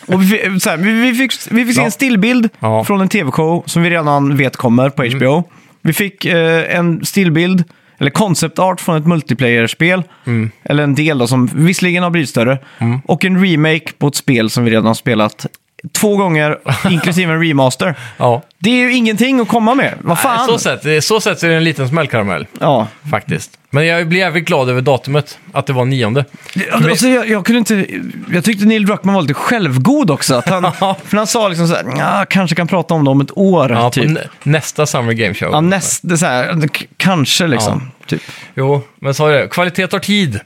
Speaker 1: och vi, fick- så här, vi, vi fick, vi fick se
Speaker 2: Ja.
Speaker 1: en stillbild
Speaker 2: Ja. Mm.
Speaker 1: från en tv-show som vi redan vet kommer på HBO. Vi fick eh, en stillbild, eller concept art från ett multiplayer-spel.
Speaker 2: Mm.
Speaker 1: Eller en del då, som visserligen har blivit större. Och en remake på ett spel som vi redan har spelat två gånger, inklusive en remaster.
Speaker 2: Ja.
Speaker 1: Det är ju ingenting att komma med. Vad fan?
Speaker 2: Nej, Så sett, så sett så är det en liten smällkaramell,
Speaker 1: Ja.
Speaker 2: faktiskt. Men jag blir jävligt glad över datumet, att det var nionde.
Speaker 1: Ja, Alltså, jag, jag, kunde inte, jag tyckte Neil Druckmann var lite självgod också. Att han, för han sa liksom så här, "Nja, kanske kan prata om det om ett år.
Speaker 2: Ja, på
Speaker 1: typ.
Speaker 2: nä- nästa Summer Game Show.
Speaker 1: ja, näst, det är så här, k- kanske liksom. Typ.
Speaker 2: Jo, men så är det. Kvalitet tar tid.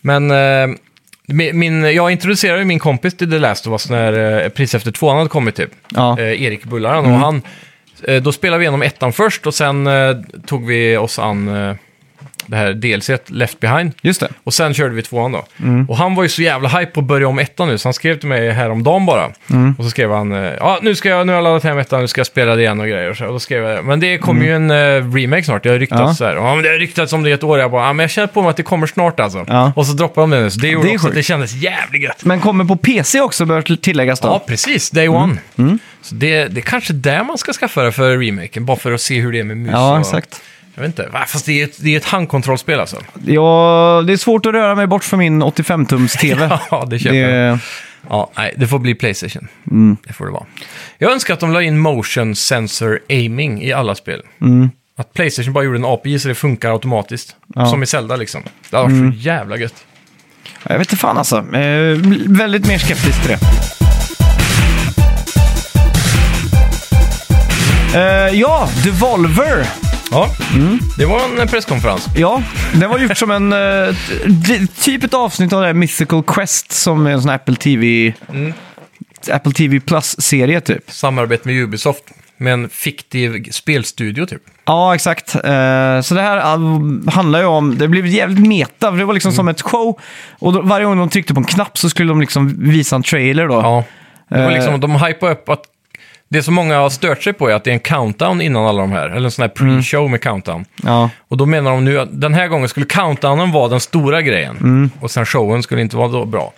Speaker 2: Men eh, mi- min, jag introducerade ju min kompis till The Last of Us när eh, precis efter tvåan hade kommit typ.
Speaker 1: Ja.
Speaker 2: Eh, Erik Bullaren. Och han, eh, då spelade vi igenom ettan först och sen eh, tog vi oss an eh, det här delset Left Behind.
Speaker 1: Just det.
Speaker 2: Och sen körde vi tvåan då.
Speaker 1: Mm.
Speaker 2: Och han var ju så jävla hype på att börja om ettan nu, så han skrev till mig häromdagen bara.
Speaker 1: Mm.
Speaker 2: Och så skrev han, eh, ja nu, ska jag, nu har jag laddat hem ettan, nu ska jag spela det igen och grejer. Och Så, och då skrev jag, men det kommer ju en eh, remake snart, det har ryktats
Speaker 1: Mm. Ja.
Speaker 2: så här. Ja men det har ryktats om det i ett år, jag bara, ja men jag känner på mig att det kommer snart alltså.
Speaker 1: Ja.
Speaker 2: Och så droppade de det nu, så det gjorde
Speaker 1: Det är
Speaker 2: också att
Speaker 1: sjukt.
Speaker 2: det kändes jävligt gött.
Speaker 1: Men kommer på PC också, bör till- tilläggas då.
Speaker 2: Ja, precis. Day
Speaker 1: Mm.
Speaker 2: one. Så det, det är kanske där man ska skaffa det för remaken, bara för att se hur det är med mus
Speaker 1: Ja,
Speaker 2: och-
Speaker 1: exakt.
Speaker 2: Jag vet inte, Va, fast det är ett, det är ett handkontrollspel alltså.
Speaker 1: Ja, det är svårt att röra mig bort från min 85-tums-TV.
Speaker 2: Ja, det köper jag.
Speaker 1: det,
Speaker 2: Ja, nej, det får bli Playstation.
Speaker 1: Mm.
Speaker 2: Det får det vara. Jag önskar att de la in motion sensor aiming i alla spel. Att Playstation bara gjorde en API så det funkar automatiskt.
Speaker 1: Mm. Ja. Mm.
Speaker 2: Som i Zelda liksom. Det var så jävla gött.
Speaker 1: jag vet inte fan alltså. Eh, väldigt mer skeptisk till det. Eh, ja, Devolver.
Speaker 2: Ja,
Speaker 1: Mm.
Speaker 2: det var en presskonferens.
Speaker 1: Ja, den var gjort som en... eh, t- typ ett avsnitt av det här Mythical Quest som är en sån här Apple TV... Apple TV Plus-serie typ.
Speaker 2: Samarbete med Ubisoft. Med en fiktiv spelstudio typ.
Speaker 1: Ja, exakt. Eh, så det här all- handlar ju om... Det blev jävligt meta, för det var liksom som ett show. Och då, varje gång de tryckte på en knapp så skulle de liksom visa en trailer då.
Speaker 2: Ja. Det var
Speaker 1: Eh.
Speaker 2: liksom, de hypade upp att det som många har stört sig på är att det är en countdown innan alla de här. Eller en sån här pre-show med countdown.
Speaker 1: Ja.
Speaker 2: Och då menar de nu att den här gången skulle countdownen vara den stora grejen. Och sen showen skulle inte vara då bra. Och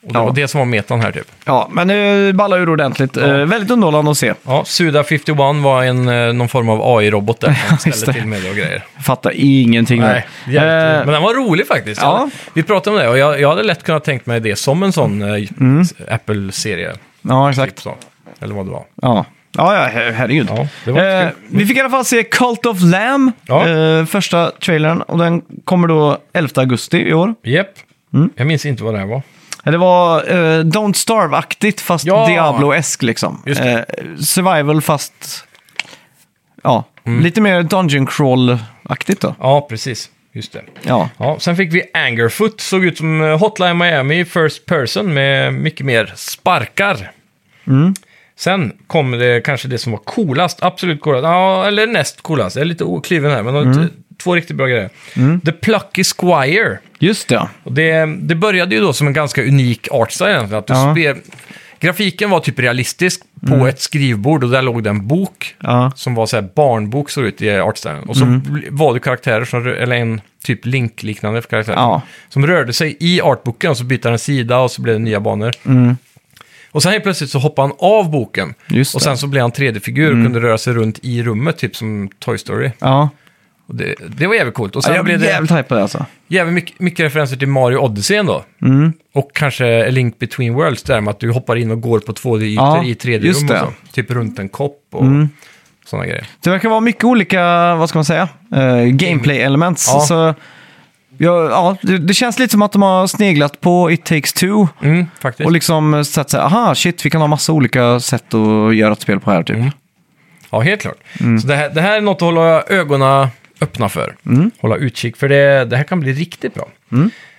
Speaker 2: det
Speaker 1: Mm. Ja.
Speaker 2: var det som var metan här typ.
Speaker 1: ja, men det ballar ur ordentligt. Eh, väldigt underhållande att se.
Speaker 2: Ja, Suda51 var en, eh, någon form av AI-robot där som
Speaker 1: just
Speaker 2: ställde
Speaker 1: det.
Speaker 2: till med det och grejer.
Speaker 1: Fattar ingenting.
Speaker 2: Nej,
Speaker 1: nu.
Speaker 2: jävligt.
Speaker 1: Eh,
Speaker 2: Men den var rolig faktiskt.
Speaker 1: ja.
Speaker 2: Jag- Vi pratade om det och jag, jag hade lätt kunnat tänkt mig det som en sån eh, Apple-serie.
Speaker 1: ja,
Speaker 2: Typ
Speaker 1: Mm. exakt.
Speaker 2: så. Eller vad det var.
Speaker 1: Ja, ja, ja her- herregud.
Speaker 2: Ja, det var
Speaker 1: eh,
Speaker 2: kul.
Speaker 1: vi fick i alla fall se Cult of Lamb,
Speaker 2: Ja.
Speaker 1: eh, första trailern. Och den kommer då 11 augusti i år.
Speaker 2: Jep.
Speaker 1: Mm.
Speaker 2: Jag minns inte vad det här var.
Speaker 1: Eh, Det var eh, Don't Starve-aktigt fast
Speaker 2: Ja.
Speaker 1: Diablo-esk liksom.
Speaker 2: Just
Speaker 1: Eh, survival fast... Ja,
Speaker 2: Mm.
Speaker 1: lite mer Dungeon Crawl-aktigt då.
Speaker 2: Ja, precis. Just det.
Speaker 1: Ja.
Speaker 2: Ja, sen fick vi Angerfoot, såg ut som eh, Hotline Miami i First Person med mycket mer sparkar. Sen kom det kanske det som var coolast, absolut coolast, ja, eller näst coolast, jag är lite okliven här, men de har t- två riktigt bra grejer. The Plucky Squire.
Speaker 1: Just det, ja.
Speaker 2: Och det, det började ju då som en ganska unik artstyle egentligen. Att du
Speaker 1: Ja. Mm.
Speaker 2: spe, grafiken var typ realistisk på ett skrivbord och där låg det en bok
Speaker 1: Ja. Mm.
Speaker 2: som var så här barnbok såg det ut i artstylen. Och så bl- var det karaktärer, som, rö- eller en typ Link-liknande karaktär,
Speaker 1: Ja.
Speaker 2: som rörde sig i artboken och så bytte den sida och så blev det nya banor. Och sen helt plötsligt så hoppade han av boken
Speaker 1: Mm. Just
Speaker 2: och
Speaker 1: det. Mm.
Speaker 2: sen så blev han 3D-figur och kunde röra sig runt i rummet, typ som Toy Story.
Speaker 1: Ja.
Speaker 2: Och det, det var jävligt coolt. Och sen
Speaker 1: jag
Speaker 2: blev
Speaker 1: blev
Speaker 2: det...
Speaker 1: jävligt hype på det alltså.
Speaker 2: Jävligt mycket, mycket referenser till Mario Odyssey ändå.
Speaker 1: Mm.
Speaker 2: Och kanske A Link Between Worlds, där med att du hoppar in och går på 2D-ytor
Speaker 1: Ja,
Speaker 2: i 3D-rum
Speaker 1: just det. Mm.
Speaker 2: och så. Typ runt en kopp och sådana grejer.
Speaker 1: Det verkar vara mycket olika, vad ska man säga, eh, gameplay elements.
Speaker 2: Ja.
Speaker 1: Så, ja, ja, det, det känns lite som att de har sneglat på It takes two.
Speaker 2: Mm, faktiskt.
Speaker 1: Och liksom sett så här, aha, shit, vi kan ha massa olika sätt att göra ett spel på här typ.
Speaker 2: Mm. Ja, helt klart.
Speaker 1: Mm.
Speaker 2: Så det här, det här är något att hålla ögonen öppna för.
Speaker 1: Mm.
Speaker 2: Hålla utkik, för det, det här kan bli riktigt bra.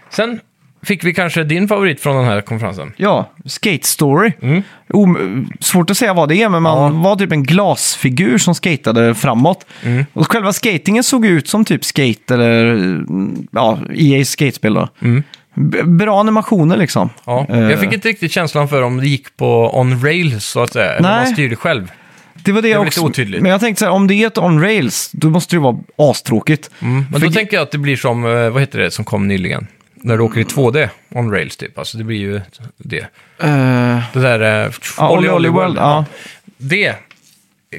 Speaker 2: Sen fick vi kanske din favorit från den här konferensen.
Speaker 1: Ja, Skate Story.
Speaker 2: Mm.
Speaker 1: Om, svårt att säga vad det är, men man var typ en glasfigur som skatade framåt.
Speaker 2: Mm.
Speaker 1: Och själva skatingen såg ut som typ skate eller mm, ja, EA skatespel då. B- Bra animationer liksom.
Speaker 2: Mm. Ja,
Speaker 1: Eh,
Speaker 2: jag fick inte riktigt känslan för om det gick på on rail så att säga. Eller om
Speaker 1: Nej.
Speaker 2: man styrde själv.
Speaker 1: Det var det,
Speaker 2: var
Speaker 1: jag
Speaker 2: lite
Speaker 1: också.
Speaker 2: otydligt.
Speaker 1: Men jag tänkte så här, om det är ett on rails, då måste det ju vara astråkigt.
Speaker 2: Mm. Men
Speaker 1: För-
Speaker 2: då tänker jag att det blir som, eh, vad heter det som kom nyligen? När du åker i 2D, on rails typ. Alltså det blir ju det.
Speaker 1: Eh,
Speaker 2: Det där... eh,
Speaker 1: ja, Olly Olly World, ja.
Speaker 2: Det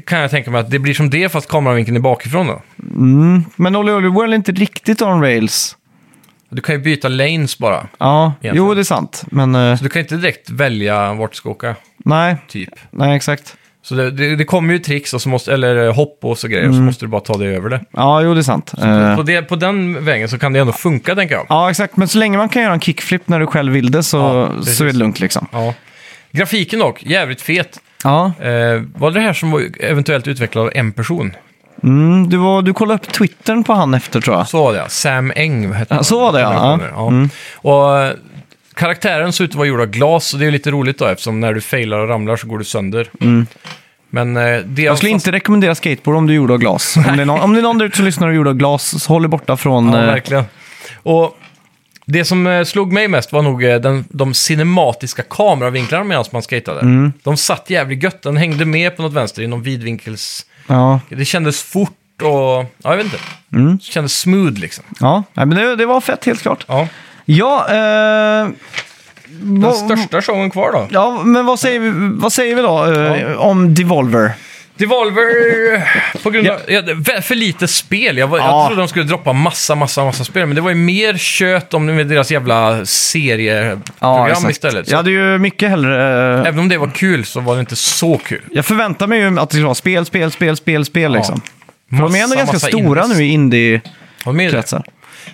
Speaker 2: kan jag tänka mig att det blir som det fast kameravinkeln är bakifrån då.
Speaker 1: Mm. Men Olly Olly World är inte riktigt on rails.
Speaker 2: Du kan ju byta lanes bara.
Speaker 1: Ja,
Speaker 2: Egentligen.
Speaker 1: jo det är sant. Men eh,
Speaker 2: Så du kan inte direkt välja vart du ska åka.
Speaker 1: Nej,
Speaker 2: typ.
Speaker 1: nej exakt.
Speaker 2: Så det, det, det kommer ju tricks, och så måste, eller eh, hopp och så grejer, och så måste du bara ta dig över det.
Speaker 1: Mm. Ja, jo det är sant. Eh,
Speaker 2: På, det, på den vägen så kan det ändå funka, tänker jag.
Speaker 1: Ja, exakt. Men så länge man kan göra en kickflip när du själv vill det så,
Speaker 2: Ja, precis.
Speaker 1: så är det lugnt liksom.
Speaker 2: Ja. Grafiken dock, jävligt fet.
Speaker 1: Ja.
Speaker 2: Eh, var det det här som var eventuellt utvecklad av en person?
Speaker 1: Mm, du, var, du kollade upp Twittern på han efter tror jag.
Speaker 2: Så var det ja. Sam Eng hette
Speaker 1: Ja,
Speaker 2: han.
Speaker 1: så var det, ja.
Speaker 2: Han
Speaker 1: Ja. Mm.
Speaker 2: kommer, Och eh, karaktären såg ut att vara gjord av glas, så det är ju lite roligt då eftersom när du failar och ramlar så går du sönder. Men eh, det
Speaker 1: Mm. Jag skulle inte rekommendera skateboard om du gjorde av glas. Om det, är någon, om det är någon där ute som lyssnar och gjorde av glas, så håll er borta från...
Speaker 2: Ja,
Speaker 1: eh,
Speaker 2: verkligen. Och det som eh, slog mig mest var nog eh, den, de cinematiska kameravinklarna medan man skatade.
Speaker 1: Mm.
Speaker 2: De satt jävligt gött. Den hängde med på något vänster i någon vidvinkels...
Speaker 1: ja.
Speaker 2: Det kändes fort och... Ja, jag vet inte.
Speaker 1: Mm.
Speaker 2: Det kändes smooth liksom.
Speaker 1: ja. Nej, men det, det var fett helt klart.
Speaker 2: Ja.
Speaker 1: Ja, eh,
Speaker 2: Den
Speaker 1: vad-
Speaker 2: största showen kvar då?
Speaker 1: ja men vad säger vi, vad säger vi då eh, om Devolver?
Speaker 2: Devolver... eh, På grund av... Ja. det- för lite spel. Jag, var,
Speaker 1: Ja.
Speaker 2: jag trodde de skulle droppa massa, massa, massa spel. Men det var ju mer kött om det med deras jävla serieprogram istället. Så
Speaker 1: Jag hade ju mycket hellre... eh,
Speaker 2: Även om det var kul så var det inte så kul.
Speaker 1: jag förväntar mig ju att det ska vara spel, spel, spel, spel, spel liksom. För de är ändå
Speaker 2: Massa,
Speaker 1: ganska
Speaker 2: massa
Speaker 1: stora
Speaker 2: indies.
Speaker 1: nu i indie-kretsar.
Speaker 2: Håll med dig.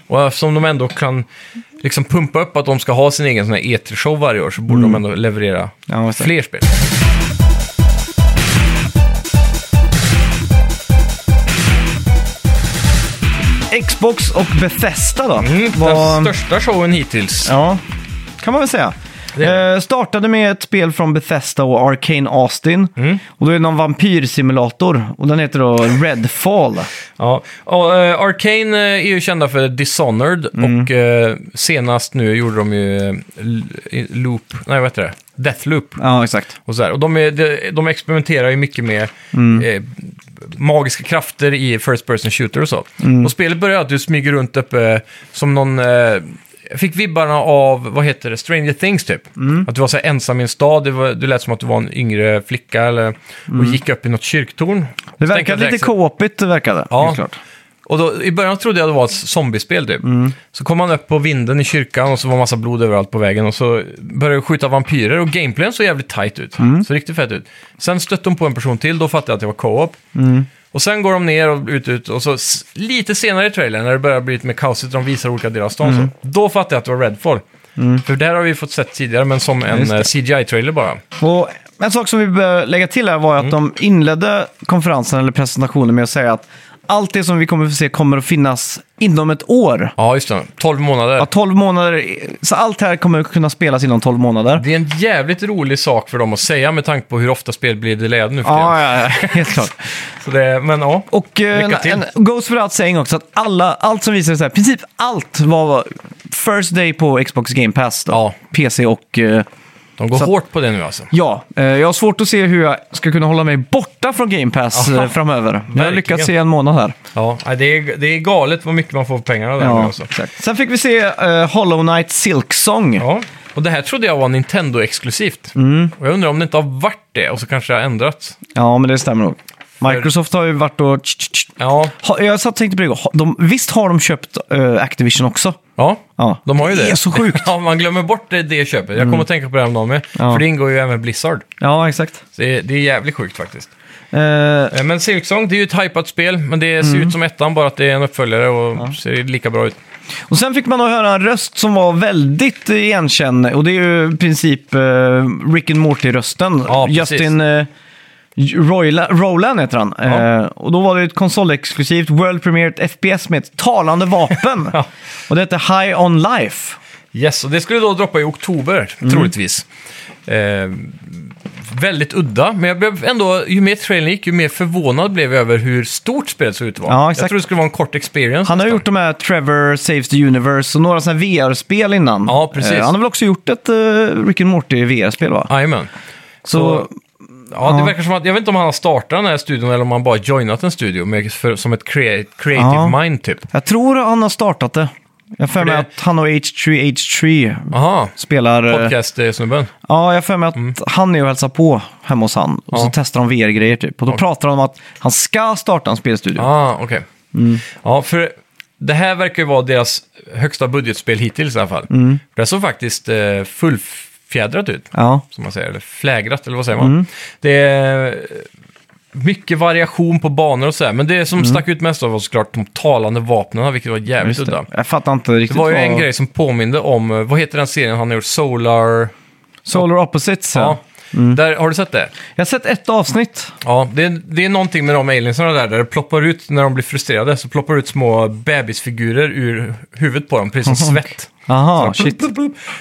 Speaker 2: Och eftersom de ändå kan liksom pumpa upp att de ska ha sin egen sån här E3-show varje år så borde de ändå leverera
Speaker 1: Mm. Ja, just det.
Speaker 2: fler spel.
Speaker 1: Xbox och Bethesda då?
Speaker 2: Mm,
Speaker 1: var-
Speaker 2: Den största showen hittills.
Speaker 1: Ja, kan man väl säga.
Speaker 2: Det är
Speaker 1: Eh, startade med ett spel från Bethesda och Arcane Austin.
Speaker 2: Mm.
Speaker 1: Och då är det någon vampyrsimulator. Och den heter då Redfall.
Speaker 2: Ja. Och, eh, Arcane eh, är ju kända för Dishonored
Speaker 1: Mm.
Speaker 2: och eh, senast nu gjorde de ju eh, L- eh, Loop, nej vad heter det? Deathloop.
Speaker 1: Ja, exakt.
Speaker 2: Och, så här. och de, är, de- de experimenterar ju mycket med
Speaker 1: Mm.
Speaker 2: eh, magiska krafter i First Person Shooter och så.
Speaker 1: Mm.
Speaker 2: Och spelet börjar att du smyger runt uppe eh, som någon... Eh, jag fick vibbarna av, vad heter det, Stranger Things typ.
Speaker 1: Mm.
Speaker 2: Att du var så här ensam i en stad, det, var, det lät som att du var en yngre flicka eller, och gick upp i något kyrktorn.
Speaker 1: Mm. Det
Speaker 2: Så tänkte jag
Speaker 1: verkade lite
Speaker 2: direkt så-
Speaker 1: co-opigt, det verkade.
Speaker 2: Ja.
Speaker 1: helt klart.
Speaker 2: och då, I början trodde jag det var ett zombiespel typ.
Speaker 1: Mm.
Speaker 2: Så kom man upp på vinden i kyrkan och så var massa blod överallt på vägen och så började jag skjuta vampyrer och gameplayen såg jävligt tight ut.
Speaker 1: Mm.
Speaker 2: Så riktigt fett ut. Sen stötte de på en person till, då fattade jag att det var co-op.
Speaker 1: Mm.
Speaker 2: Och sen går de ner och ut, ut och så s- lite senare i trailern när det börjar bli lite mer kaosigt, de visar olika delar av stan
Speaker 1: Mm.
Speaker 2: så. Då fattade jag att det var Redfall. För där har vi fått sett tidigare, men som en
Speaker 1: Just det.
Speaker 2: eh, CGI-trailer bara.
Speaker 1: Och en sak som vi bör lägga till här
Speaker 2: Mm.
Speaker 1: var att de inledde konferensen eller presentationen med att säga att allt det som vi kommer att se kommer att finnas inom ett år.
Speaker 2: Ja, just det. 12 månader.
Speaker 1: Ja, 12 månader. Så allt här kommer att kunna spelas inom 12 månader.
Speaker 2: Det är en jävligt rolig sak för dem att säga med tanke på hur ofta spel blir delayade nu för tiden.
Speaker 1: Ja, ja, ja, helt klart.
Speaker 2: Så det, men ja.
Speaker 1: Och eh,
Speaker 2: Lycka
Speaker 1: en,
Speaker 2: till.
Speaker 1: en Goes Without Saying också, att alla, allt som visades här, i princip allt var first day på Xbox Game Pass. Då.
Speaker 2: Ja.
Speaker 1: PC och... eh,
Speaker 2: De går
Speaker 1: Så att-
Speaker 2: hårt på det nu alltså.
Speaker 1: ja, eh, jag har svårt att se hur jag ska kunna hålla mig borta från Game Pass
Speaker 2: Aha.
Speaker 1: eh, framöver. Jag har
Speaker 2: Verkligen.
Speaker 1: lyckats se en månad här.
Speaker 2: Ja, nej, det är, det är galet vad mycket man får för pengarna där nu
Speaker 1: Ja,
Speaker 2: alltså.
Speaker 1: exakt. Sen fick vi se eh, Hollow Knight Silksong. Ja.
Speaker 2: Ja. Och det här trodde jag var Nintendo-exklusivt.
Speaker 1: Mm.
Speaker 2: Och jag undrar om det inte har varit det och så kanske det har ändrats.
Speaker 1: men det stämmer nog. Microsoft har ju varit och... tsch, tsch, tsch.
Speaker 2: Ja,
Speaker 1: Ha- Jag satt och tänkte på det igår. Ha- de, Visst har de köpt eh, Activision också?
Speaker 2: ja.
Speaker 1: Ja.
Speaker 2: de har ju det.
Speaker 1: Det är så sjukt. Mm.
Speaker 2: ja, man glömmer bort det, det köpet. Jag kommer att tänka på det häromdagen med.
Speaker 1: Ja.
Speaker 2: För det ingår ju även Blizzard.
Speaker 1: Ja, exakt.
Speaker 2: Så det, är- det är jävligt sjukt faktiskt.
Speaker 1: Eh,
Speaker 2: Eh, Men Silksong, det är ju ett hypat spel, men det
Speaker 1: Mm.
Speaker 2: ser ut som ettan, bara att det är en uppföljare och ser lika bra ut.
Speaker 1: Och sen fick man då höra en röst som var väldigt eh, igenkänd. Och det är ju i princip eh, Rick and Morty-rösten.
Speaker 2: Ja, precis.
Speaker 1: Justin eh, Royla, Roland heter han. Eh, och då var det ett konsolexklusivt World Premiere FPS med ett talande vapen.
Speaker 2: Ja.
Speaker 1: Och det hette High On Life.
Speaker 2: Yes, och det skulle då droppa i oktober,
Speaker 1: Mm.
Speaker 2: troligtvis. Eh, väldigt udda, men jag blev ändå, ju mer trailern gick, ju mer förvånad blev jag över hur stort spelet såg ut att vara.
Speaker 1: Ja,
Speaker 2: jag
Speaker 1: exakt.
Speaker 2: trodde det skulle vara en kort experience.
Speaker 1: Han har
Speaker 2: nästan.
Speaker 1: gjort de här Trevor Saves the Universe och några sådana VR-spel innan.
Speaker 2: Ja, precis.
Speaker 1: Eh, han har väl också gjort ett eh, Rick and Morty VR-spel va?
Speaker 2: Jajamän.
Speaker 1: Så,
Speaker 2: Ja,
Speaker 1: Ja.
Speaker 2: det verkar som att, jag vet inte om han har startat den här studion eller om han bara joinat en studio med, för, som ett crea- creative
Speaker 1: Ja.
Speaker 2: mind typ.
Speaker 1: jag tror han har startat det. Jag har för mig
Speaker 2: det-
Speaker 1: att han och H3H3
Speaker 2: Aha,
Speaker 1: spelar... eh,
Speaker 2: podcast-snubben.
Speaker 1: Ja, jag har för mig att han är och hälsar på hemma hos han. Och så
Speaker 2: Mm. Ja.
Speaker 1: testar de VR-grejer typ. Och då pratar de om att han ska starta en spelstudio.
Speaker 2: Ah, okej.
Speaker 1: Mm.
Speaker 2: Ja, för det här verkar ju vara deras högsta budgetspel hittills i alla fall. Det såg faktiskt eh, full, fjädrat ut.
Speaker 1: Mm. Ja.
Speaker 2: Som man säger, eller flägrat eller vad säger man?
Speaker 1: Mm.
Speaker 2: Det är mycket variation på banor och sådär. Men det som stack ut mest av var såklart de talande vapnen, vilket var jävligt
Speaker 1: Mm. Just
Speaker 2: udda.
Speaker 1: det. Jag fattar inte
Speaker 2: Det
Speaker 1: riktigt
Speaker 2: var ju en
Speaker 1: vad-
Speaker 2: grej som påminde om, eh, vad heter den serien han har gjort? Solar...
Speaker 1: Solar Opposites.
Speaker 2: Ja.
Speaker 1: Ja. Mm.
Speaker 2: Där, har du sett det?
Speaker 1: Jag har sett ett avsnitt.
Speaker 2: Ja, det är, det är någonting med de aliensarna där, där det ploppar ut, när de blir frustrerade, så ploppar det ut små bebisfigurer ur huvudet på dem, precis som svett.
Speaker 1: Aha, shit.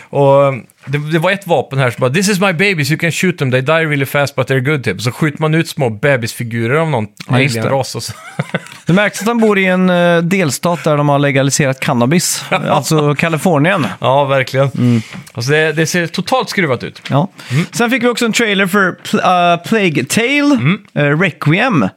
Speaker 2: Och um, det, det var ett vapen här som bara “This is my babies, you can shoot them, they die really fast but they're good” typ. Så skjuter man ut små bebisfigurer av någon
Speaker 1: Ja, just det.
Speaker 2: alien-ras och så.
Speaker 1: Det märks att han bor i en eh, delstat där de har legaliserat cannabis. alltså Kalifornien.
Speaker 2: Ja, verkligen.
Speaker 1: Mm.
Speaker 2: Alltså det, det ser totalt skruvat ut.
Speaker 1: Ja.
Speaker 2: Mm.
Speaker 1: Sen fick vi också en trailer för Pl- eh, Plague Tale,
Speaker 2: Mm.
Speaker 1: eh, Requiem.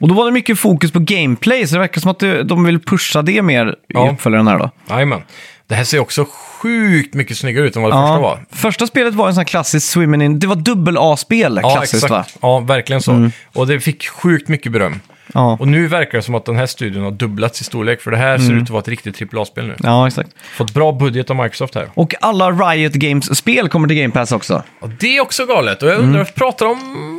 Speaker 1: Och då var det mycket fokus på gameplay, så det verkar som att det- de vill pusha det mer
Speaker 2: Ja.
Speaker 1: i uppföljaren här då.
Speaker 2: Jajamän. Det här ser också sjukt mycket snyggare ut än vad det första var.
Speaker 1: Första spelet var en sån här klassisk Swimmin' in, det var dubbel-A-spel klassiskt va? Mm.
Speaker 2: Ja, verkligen så. Och det fick sjukt mycket beröm.
Speaker 1: Ja.
Speaker 2: Och nu verkar det som att den här studion har dubblats i storlek, för det
Speaker 1: Mm.
Speaker 2: här ser ut att vara ett riktigt AAA-spel nu.
Speaker 1: ja, exakt.
Speaker 2: Fått bra budget av Microsoft här.
Speaker 1: Och alla Riot Games-spel kommer till Game Pass också.
Speaker 2: Och det är också galet. Och jag undrar,
Speaker 1: Mm.
Speaker 2: pratar de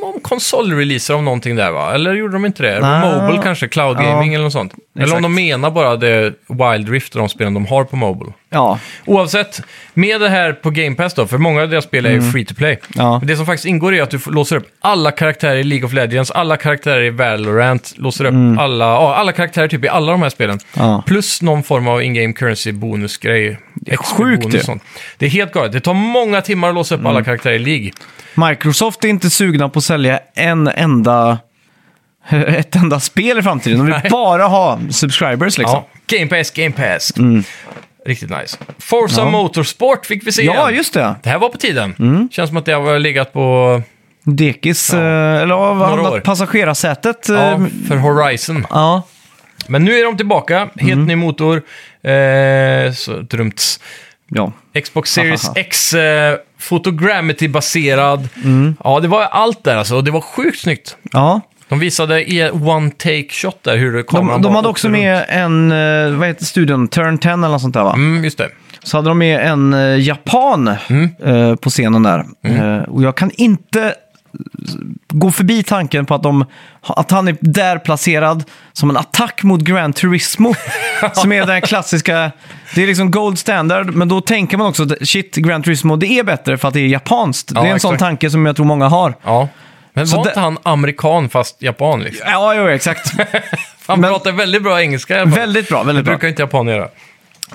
Speaker 2: om konsolreleaser om någonting där va? Eller gjorde de inte det?
Speaker 1: Nej.
Speaker 2: Mobile kanske, cloud gaming
Speaker 1: Ja.
Speaker 2: eller något sånt. Eller om de menar bara det Wild Rift och de spelen de har på Mobile.
Speaker 1: Ja,
Speaker 2: Oavsett, med det här på Game Pass då, för många av deras spel är ju free to play.
Speaker 1: Mm. Ja.
Speaker 2: Men Det som faktiskt ingår är att du får- låser upp alla karaktärer i League of Legends, alla karaktärer i Valorant, låser upp alla, ja, alla karaktärer typ i alla de här spelen.
Speaker 1: Mm. Ja.
Speaker 2: Plus någon form av in-game currency bonusgrej. Det
Speaker 1: är sjukt ju. Mm.
Speaker 2: Det är helt galet. Det tar många timmar att låsa upp alla karaktärer i League.
Speaker 1: Microsoft är inte sugna på att sälja en enda, ett enda spel i framtiden. De vill
Speaker 2: Nej.
Speaker 1: bara ha subscribers liksom.
Speaker 2: Ja. Game Pass, Game Pass.
Speaker 1: Mm.
Speaker 2: Riktigt nice. Forza Motorsport fick vi se
Speaker 1: Ja,
Speaker 2: igen.
Speaker 1: just Mm. det.
Speaker 2: Det här var på tiden. Känns som att det har legat på
Speaker 1: Dekis, eh, eller vad
Speaker 2: Några
Speaker 1: var
Speaker 2: år.
Speaker 1: det? passagerarsätet.
Speaker 2: ja,
Speaker 1: eh,
Speaker 2: för Horizon.
Speaker 1: ja.
Speaker 2: Men nu är de tillbaka. Helt
Speaker 1: Mm.
Speaker 2: ny motor. Eh, så, drumts.
Speaker 1: ja.
Speaker 2: Xbox Series
Speaker 1: Ahaha.
Speaker 2: X, eh, Photogrammetry-baserad.
Speaker 1: Mm.
Speaker 2: Ja, det var allt där alltså. Och det var sjukt snyggt.
Speaker 1: ja.
Speaker 2: De visade i one take shot där hur kameran
Speaker 1: De, de
Speaker 2: bara
Speaker 1: hade
Speaker 2: åkte
Speaker 1: också
Speaker 2: runt.
Speaker 1: med en, eh, vad heter studion, Turn 10 eller något sånt där va?
Speaker 2: Mm, just det.
Speaker 1: Så hade de med en eh, japan
Speaker 2: Mm.
Speaker 1: eh, på scenen där. Eh, och jag kan inte eh, gå förbi tanken på att, de, att han är där placerad som en attack mot Gran Turismo. som är den klassiska, det är liksom gold standard, men då tänker man också att shit, Gran Turismo, det är bättre för att det är japanskt.
Speaker 2: Ja,
Speaker 1: det är en sån
Speaker 2: exakt.
Speaker 1: tanke som jag tror många har.
Speaker 2: Ja. Men
Speaker 1: Så
Speaker 2: var
Speaker 1: det-
Speaker 2: inte han amerikan fast japan liksom?
Speaker 1: Ja, jo, exakt.
Speaker 2: Han
Speaker 1: Men-
Speaker 2: pratar väldigt bra engelska i alla fall.
Speaker 1: väldigt bra,
Speaker 2: Det
Speaker 1: väldigt bra.
Speaker 2: brukar inte japaner göra.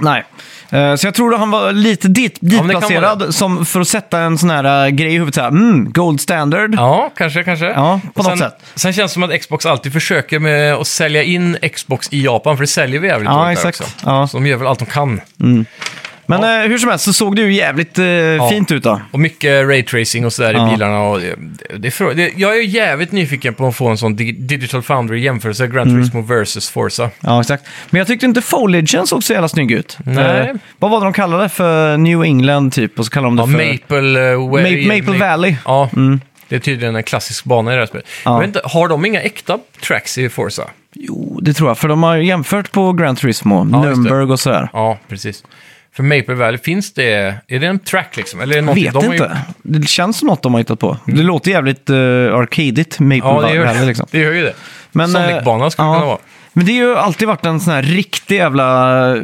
Speaker 1: Nej. Eh, Så jag tror att han var lite dit,
Speaker 2: men det kan
Speaker 1: ditplacerad som för att sätta en sån här eh, grej i huvudet. Så här, mm, gold standard.
Speaker 2: Ja, kanske, kanske.
Speaker 1: Ja, på
Speaker 2: Och
Speaker 1: något
Speaker 2: sen,
Speaker 1: sätt.
Speaker 2: Sen känns det som att Xbox alltid försöker med att sälja in Xbox i Japan, för det säljer vi jävligt
Speaker 1: Ja,
Speaker 2: dåligt där
Speaker 1: exakt.
Speaker 2: också.
Speaker 1: Ja.
Speaker 2: Så de gör väl allt de kan.
Speaker 1: Men eh, hur som helst så såg det ju jävligt eh, fint ut då.
Speaker 2: Och mycket raytracing och sådär i
Speaker 1: Ja.
Speaker 2: bilarna. Och det, det, är frå- det, jag är jävligt nyfiken på att få en sån dig- Digital Foundry-jämförelse, Gran
Speaker 1: Mm.
Speaker 2: Turismo versus Forza.
Speaker 1: Ja, exakt. Men jag tyckte inte Foligen såg så jävla snygg ut.
Speaker 2: Nej.
Speaker 1: Eh, vad var det de kallade det för New England typ? Och så kallade de det
Speaker 2: Ja,
Speaker 1: för...
Speaker 2: Maple, eh, Way-
Speaker 1: Ma- Maple Valley. Mm.
Speaker 2: Ja, det är tydligen en klassisk bana i det här spelet.
Speaker 1: Ja.
Speaker 2: Jag vet inte, har de inga äkta tracks i Forza?
Speaker 1: Jo, det tror jag. För de har ju jämfört på Gran Turismo,
Speaker 2: Ja, just det.
Speaker 1: Nürnberg och sådär.
Speaker 2: Ja, precis. För Maple Valley, finns det... Är det en track liksom? Eller är
Speaker 1: Jag
Speaker 2: det någonting-
Speaker 1: vet
Speaker 2: de har ju-
Speaker 1: inte. Det känns som något de har hittat på. Det låter jävligt uh, arcadigt, Maple
Speaker 2: Ja, det gör,
Speaker 1: Valley liksom.
Speaker 2: det gör ju det.
Speaker 1: Men,
Speaker 2: Sonic-banan skulle
Speaker 1: eh,
Speaker 2: kunna vara.
Speaker 1: Men det har ju alltid varit en sån här riktig jävla... eh,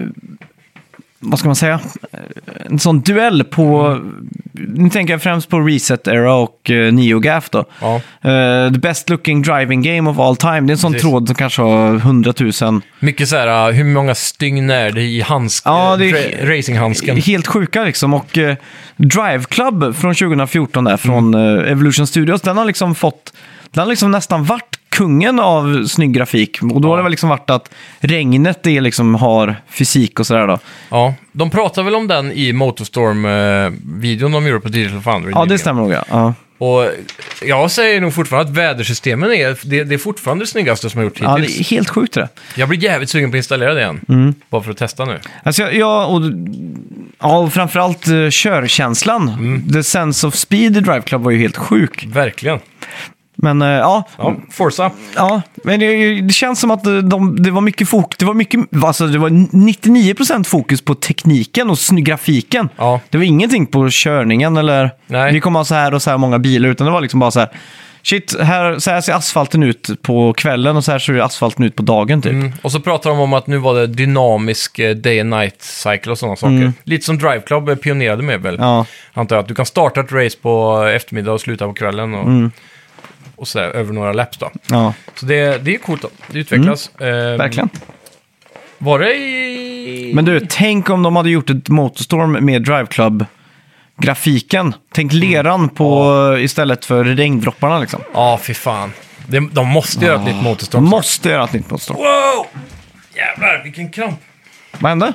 Speaker 1: Vad ska man säga? Eh, En sån duell på... Nu tänker jag främst på Reset Era och uh, NeoGaf då.
Speaker 2: Ja.
Speaker 1: Eh, the best looking driving game of all time. Det är en sån
Speaker 2: Precis.
Speaker 1: tråd som kanske har 100 000.
Speaker 2: Mycket så här, uh, hur många stygn är det i handsken?
Speaker 1: Ja, det är-
Speaker 2: dra- racinghandsken.
Speaker 1: Helt sjuka liksom. Och eh, Drive Club från 2014 där, från eh, Evolution Studios, den har liksom fått... Den har liksom nästan varit kungen av snygg grafik. Och då har det väl liksom varit att regnet är liksom har fysik och sådär då.
Speaker 2: Ja, de pratar väl om den i Motorstorm-videon de gjorde på Digital Foundry.
Speaker 1: Ja, det
Speaker 2: nyligen.
Speaker 1: stämmer nog ja. ja.
Speaker 2: Och jag säger nog fortfarande att vädersystemen är det, det är fortfarande det snyggaste som har gjort
Speaker 1: ja det Mm.
Speaker 2: hittills.
Speaker 1: är helt sjukt det.
Speaker 2: Jag blir jävligt sugen på att installera det igen. Bara för att testa nu.
Speaker 1: Alltså, jag- jag, och, ja, och framförallt eh, Mm. körkänslan. The sense of speed i Drive Club var ju helt sjuk.
Speaker 2: Verkligen.
Speaker 1: Men eh, ja,
Speaker 2: Ja, Forza.
Speaker 1: ja. Men det, det känns som att eh, de, det var mycket fokus. Det var, mycket, alltså, det var 99% fokus på tekniken och sny- grafiken.
Speaker 2: Ja.
Speaker 1: Det var ingenting på körningen eller
Speaker 2: Nej.
Speaker 1: vi kommer ha så här och så här många bilar. Utan det var liksom bara så här. Shit, här, så här ser asfalten ut på kvällen och så här ser asfalten ut på dagen typ.
Speaker 2: Mm. Och så pratar de om att nu var det dynamisk eh, day and night cycle och sådana saker. Lite som Drive Club eh, pionerade med väl.
Speaker 1: Mm. Ja.
Speaker 2: Antar jag att du kan starta ett race på eftermiddag och sluta på kvällen. Och,
Speaker 1: Mm.
Speaker 2: och så där, över några laps då.
Speaker 1: Ja,
Speaker 2: Så det, det är coolt då. Det utvecklas. Ehm,
Speaker 1: Mm. verkligen.
Speaker 2: Var det i...
Speaker 1: Men du, tänk om de hade gjort ett Motorstorm med Drive Club-grafiken. Tänk
Speaker 2: Mm.
Speaker 1: leran på istället för regndropparna liksom.
Speaker 2: Ja, fy fan. De, de måste göra ett nytt motorstorm.
Speaker 1: De måste göra ett nytt Motorstorm.
Speaker 2: Wow! Jävlar, vilken kramp.
Speaker 1: Vad hände?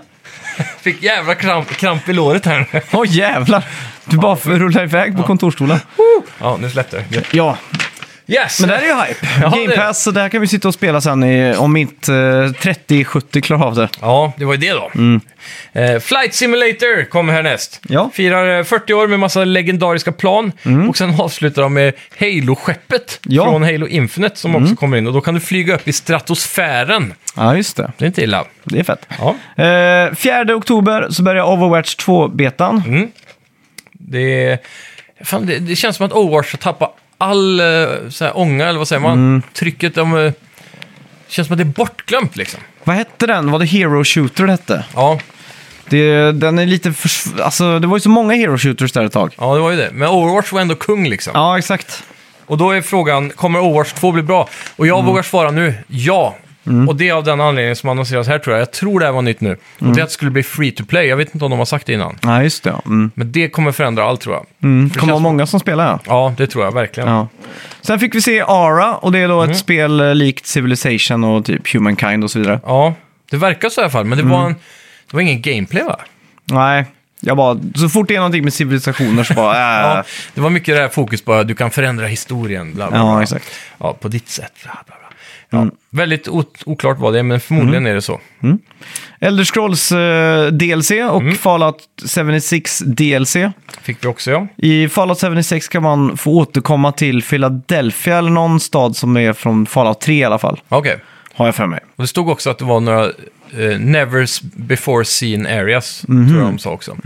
Speaker 2: Fick jävla kramp, kramp i låret här.
Speaker 1: Åh jävlar! Du bara rullar iväg på kontorsstolen.
Speaker 2: ja, nu släppte det.
Speaker 1: Ja,
Speaker 2: Yes!
Speaker 1: men det här är ju hype.
Speaker 2: Ja, det är
Speaker 1: Game
Speaker 2: det.
Speaker 1: Pass, så där kan vi sitta och spela sen i, om inte eh, 30-70 klarar av det.
Speaker 2: Ja, det var ju det då. Eh, Flight Simulator kommer härnäst.
Speaker 1: Mm. Ja. Mm.
Speaker 2: Firar eh, 40 år med massa legendariska plan. Och sen avslutar de med Halo-skeppet
Speaker 1: Ja. Mm.
Speaker 2: från Halo Infinite som också kommer in. Och då kan du flyga upp i stratosfären.
Speaker 1: Ja, just det.
Speaker 2: Det är inte illa.
Speaker 1: Det är fett.
Speaker 2: Ja,
Speaker 1: Eh, 4 oktober så börjar Overwatch 2-betan.
Speaker 2: det, är- fan, det, det känns som att Overwatch har tappat all eh, så här, ånga, eller vad säger man?
Speaker 1: Mm.
Speaker 2: Trycket. De, eh, känns som att det är bortglömt liksom.
Speaker 1: Vad hette den? Var det Hero Shooter det hette?
Speaker 2: Ja,
Speaker 1: Det, den är lite förs- alltså, det var ju så många hero shooters där ett tag.
Speaker 2: ja, det var ju det. Men Overwatch var ändå kung liksom.
Speaker 1: Ja, exakt.
Speaker 2: Och då är frågan, kommer Overwatch 2 bli bra? Och
Speaker 1: Mm.
Speaker 2: jag vågar svara nu, ja. Och det är av den anledningen som annonseras här tror jag. Jag tror det här var nytt nu.
Speaker 1: Mm.
Speaker 2: Och det är att det skulle bli free to play. Jag vet inte om de har sagt det innan.
Speaker 1: Ja, just det. Ja. Mm.
Speaker 2: Men det kommer förändra allt tror jag.
Speaker 1: Mm. Det
Speaker 2: För det
Speaker 1: kommer vara
Speaker 2: känns-
Speaker 1: många som spelar, ja.
Speaker 2: Ja, det tror jag verkligen.
Speaker 1: ja. Sen fick vi se Ara, och det är då ett spel eh, likt Civilization och typ Humankind och så vidare.
Speaker 2: Ja, det verkar så i alla fall. Men det,
Speaker 1: Mm.
Speaker 2: var, en, det var ingen gameplay va?
Speaker 1: Nej, jag bara, så fort det är någonting med civilisationer så bara, äh.
Speaker 2: Ja, det var mycket det här fokus på att du kan förändra historien. Bla, bla, bla.
Speaker 1: Ja, exakt. Mm.
Speaker 2: Ja, på ditt sätt. Bla, bla, bla. Ja, Väldigt ot- oklart vad det är, men förmodligen är det så.
Speaker 1: Elder Scrolls eh, DLC och Fallout 76 DLC.
Speaker 2: Fick vi också ja.
Speaker 1: I Fallout 76 kan man få återkomma till Philadelphia eller någon stad som är från Fallout 3 i alla fall.
Speaker 2: Okej.
Speaker 1: Har jag för mig.
Speaker 2: Och det stod också att det var några eh, never s- before seen areas, tror jag de sa också.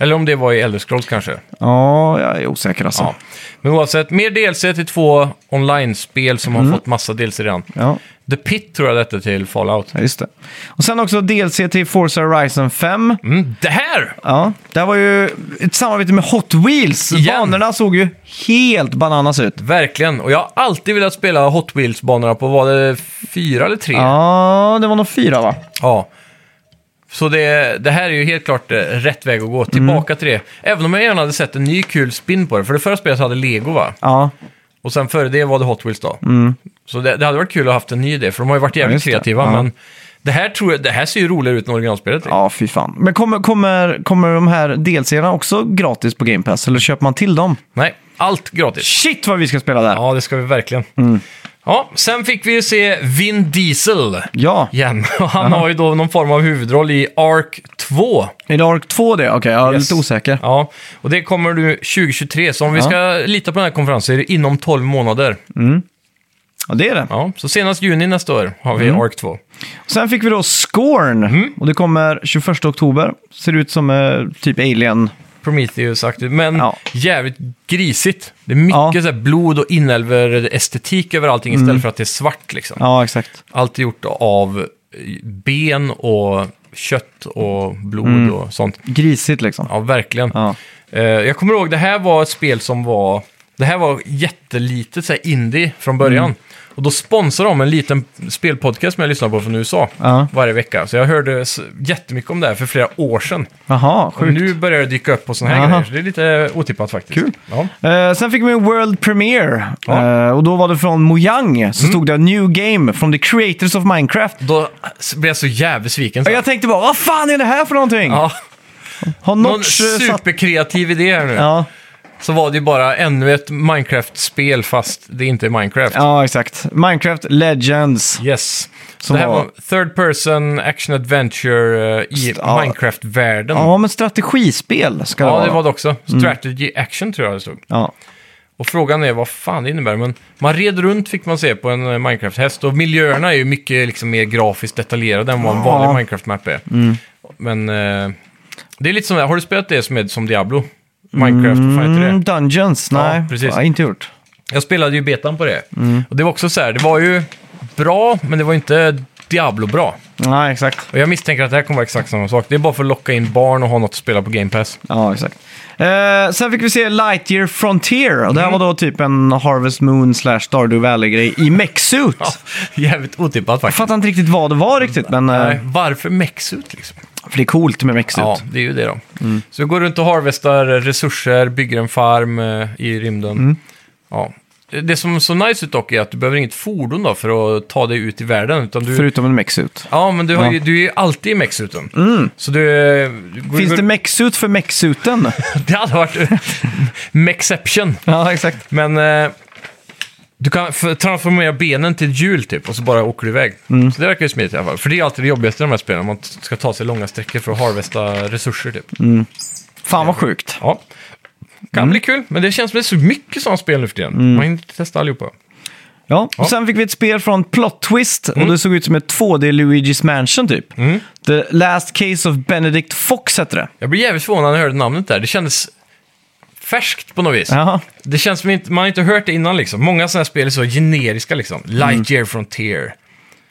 Speaker 2: Eller om det var i Elder Scrolls kanske.
Speaker 1: Mhm. Mm. Ja, jag är osäker alltså.
Speaker 2: Ja. Men oavsett, mer DLC till två online-spel som har fått massa DLC redan.
Speaker 1: Mhm. Ja,
Speaker 2: The Pit tror jag detta till Fallout.
Speaker 1: ja, just det. Och sen också DLC till Forza Horizon 5.
Speaker 2: Mm, det här!
Speaker 1: Ja, det här var ju ett samarbete med Hot Wheels.
Speaker 2: Igen.
Speaker 1: Banorna såg ju helt bananas ut.
Speaker 2: Verkligen, och jag har alltid velat spela Hot Wheels-banorna på, var det fyra eller tre?
Speaker 1: Ja, det var nog fyra va?
Speaker 2: Ja. Så det, det här är ju helt klart eh, rätt väg att
Speaker 1: Mm.
Speaker 2: gå, tillbaka till det. Även om jag gärna hade sett en ny kul spin på det, för det förra spelet så hade Lego va?
Speaker 1: Ja,
Speaker 2: Och sen före det var det Hot Wheels då. Så det, det hade varit kul att ha haft en ny idé, för de har ju varit
Speaker 1: Mm. Ja,
Speaker 2: jävligt
Speaker 1: just det.
Speaker 2: kreativa.
Speaker 1: Ja.
Speaker 2: Men det här, tror jag, det här ser ju roligare ut än originalspelet.
Speaker 1: ja fy fan. Men kommer, kommer, kommer de här delserierna också gratis på Game Pass? Eller köper man till dem?
Speaker 2: Nej, allt gratis.
Speaker 1: Shit Mm. vad vi ska spela där! Ja.
Speaker 2: Ja, det ska vi verkligen. Ja, sen fick vi ju se Vin Diesel igen. Och han har ju då någon form av huvudroll i Ark 2.
Speaker 1: Är det Ark 2 det? Okej, jag är
Speaker 2: Yes.
Speaker 1: lite osäker.
Speaker 2: Ja, och det kommer nu 2023. Så om vi
Speaker 1: Ja.
Speaker 2: ska lita på den här konferensen är det inom 12 månader.
Speaker 1: Ja, det är det.
Speaker 2: Ja, så senast juni nästa år har
Speaker 1: Mm.
Speaker 2: vi Ark 2.
Speaker 1: Sen fick vi då Scorn. Och det kommer 21 oktober. Ser ut som eh, typ Alien.
Speaker 2: Prometheus-aktigt, men
Speaker 1: Ja.
Speaker 2: jävligt grisigt. Det är mycket
Speaker 1: Ja. Mm.
Speaker 2: så här blod och inälver estetik över allting istället för att det är svart liksom.
Speaker 1: Ja, exakt.
Speaker 2: Allt är gjort av eh, ben och kött och blod och sånt.
Speaker 1: Grisigt liksom.
Speaker 2: Ja, verkligen.
Speaker 1: Mm. Ja.
Speaker 2: Eh, jag kommer ihåg, det här var ett spel som var... Det här var jättelitet, så här indie från början.
Speaker 1: Mm.
Speaker 2: Och då sponsrade de en liten spelpodcast som jag lyssnar på från USA
Speaker 1: Ja.
Speaker 2: varje vecka. Så jag hörde s- jättemycket om det här för flera år sedan.
Speaker 1: Jaha, sjukt.
Speaker 2: Och nu börjar det dyka upp på sådana här
Speaker 1: Aha.
Speaker 2: grejer, så det är lite otippat faktiskt.
Speaker 1: Kul.
Speaker 2: Ja.
Speaker 1: Eh, sen fick vi en World Premiere.
Speaker 2: Ja.
Speaker 1: Eh, och då var det från Mojang. Så stod det New Game from the Creators of Minecraft.
Speaker 2: Då blev jag så jävligt besviken.
Speaker 1: Och jag tänkte bara, vad fan är det här för någonting?
Speaker 2: Ja,
Speaker 1: Har
Speaker 2: någon
Speaker 1: Notch eh, satt...
Speaker 2: superkreativ idé här nu.
Speaker 1: Ja,
Speaker 2: Så var det ju bara ännu ett Minecraft-spel fast det inte är Minecraft.
Speaker 1: ja, exakt. Minecraft Legends.
Speaker 2: Yes. Så
Speaker 1: Som
Speaker 2: det här
Speaker 1: var-
Speaker 2: var third person action adventure eh, i
Speaker 1: Ja.
Speaker 2: Minecraft-världen.
Speaker 1: Ja, men strategispel ska det
Speaker 2: Ja,
Speaker 1: vara.
Speaker 2: det var det också. Strategy action tror jag det stod.
Speaker 1: Ja.
Speaker 2: Och frågan är vad fan det innebär, men man red runt fick man se på en eh, Minecraft-häst och miljöerna är ju mycket liksom, mer grafiskt detaljerade än vad en vanlig
Speaker 1: Ja.
Speaker 2: Minecraft-map är. Men eh, det är lite som, har du spelat det som är som Diablo? Minecraft, vad fan heter det?
Speaker 1: Mm, Dungeons? Nej,
Speaker 2: precis.
Speaker 1: har jag inte gjort.
Speaker 2: Jag spelade ju betan på det. Och det var också så här, det var ju bra, men det var inte Diablo-bra.
Speaker 1: Nej, exakt.
Speaker 2: Och jag misstänker att det här kommer vara exakt samma sak. Det är bara för att locka in barn och ha något att spela på Game Pass.
Speaker 1: Ja, exakt. Eh, sen fick vi se Lightyear Frontier. Och det här
Speaker 2: Mm.
Speaker 1: var då typ en Harvest Moon slash Stardew Valley-grej i mech-suit.
Speaker 2: Ja, jävligt otippat
Speaker 1: Jag
Speaker 2: faktiskt.
Speaker 1: fattar inte riktigt vad det var riktigt, men eh,
Speaker 2: Nej, varför mexut liksom?
Speaker 1: för det är coolt med mech-suit.
Speaker 2: Ja, det är ju det då.
Speaker 1: Mm.
Speaker 2: Så du går runt och harvestar eh, resurser, bygger en farm eh, i rymden.
Speaker 1: Mm.
Speaker 2: Ja. Det som är så nice ut dock är att du behöver inget fordon då för att ta dig ut i världen. Utan du...
Speaker 1: Förutom en mech-suit.
Speaker 2: Ja, men du, har
Speaker 1: Ja. Mm.
Speaker 2: ju, du är ju alltid i mexuten. Så du... du går-
Speaker 1: Finns det mech-suit för mech-suiten?
Speaker 2: Det hade varit mexception.
Speaker 1: ja, exakt.
Speaker 2: Men eh, du kan f- transformera benen till ett hjul typ och så bara åker du iväg.
Speaker 1: Mm.
Speaker 2: Så det verkar ju smidigt i alla fall. För det är alltid det jobbigaste i de här spelen, om man t- ska ta sig långa sträckor för att harvesta resurser typ.
Speaker 1: Fan vad sjukt.
Speaker 2: Ja. Kan bli kul, men det känns som det är så mycket sådana spel nu för tiden. Man hinner inte testa allihopa.
Speaker 1: Ja. Och sen fick vi ett spel från Plot Twist
Speaker 2: Mm.
Speaker 1: och det såg ut som ett 2D Luigi's Mansion typ. The Last Case of Benedict Fox hette det.
Speaker 2: Jag blev jävligt förvånad när jag hörde namnet där. Det kändes färskt på något vis.
Speaker 1: Jaha.
Speaker 2: Det känns som inte, man har inte hört det innan liksom. Många sådana här spel är så generiska liksom. Lightyear Frontier.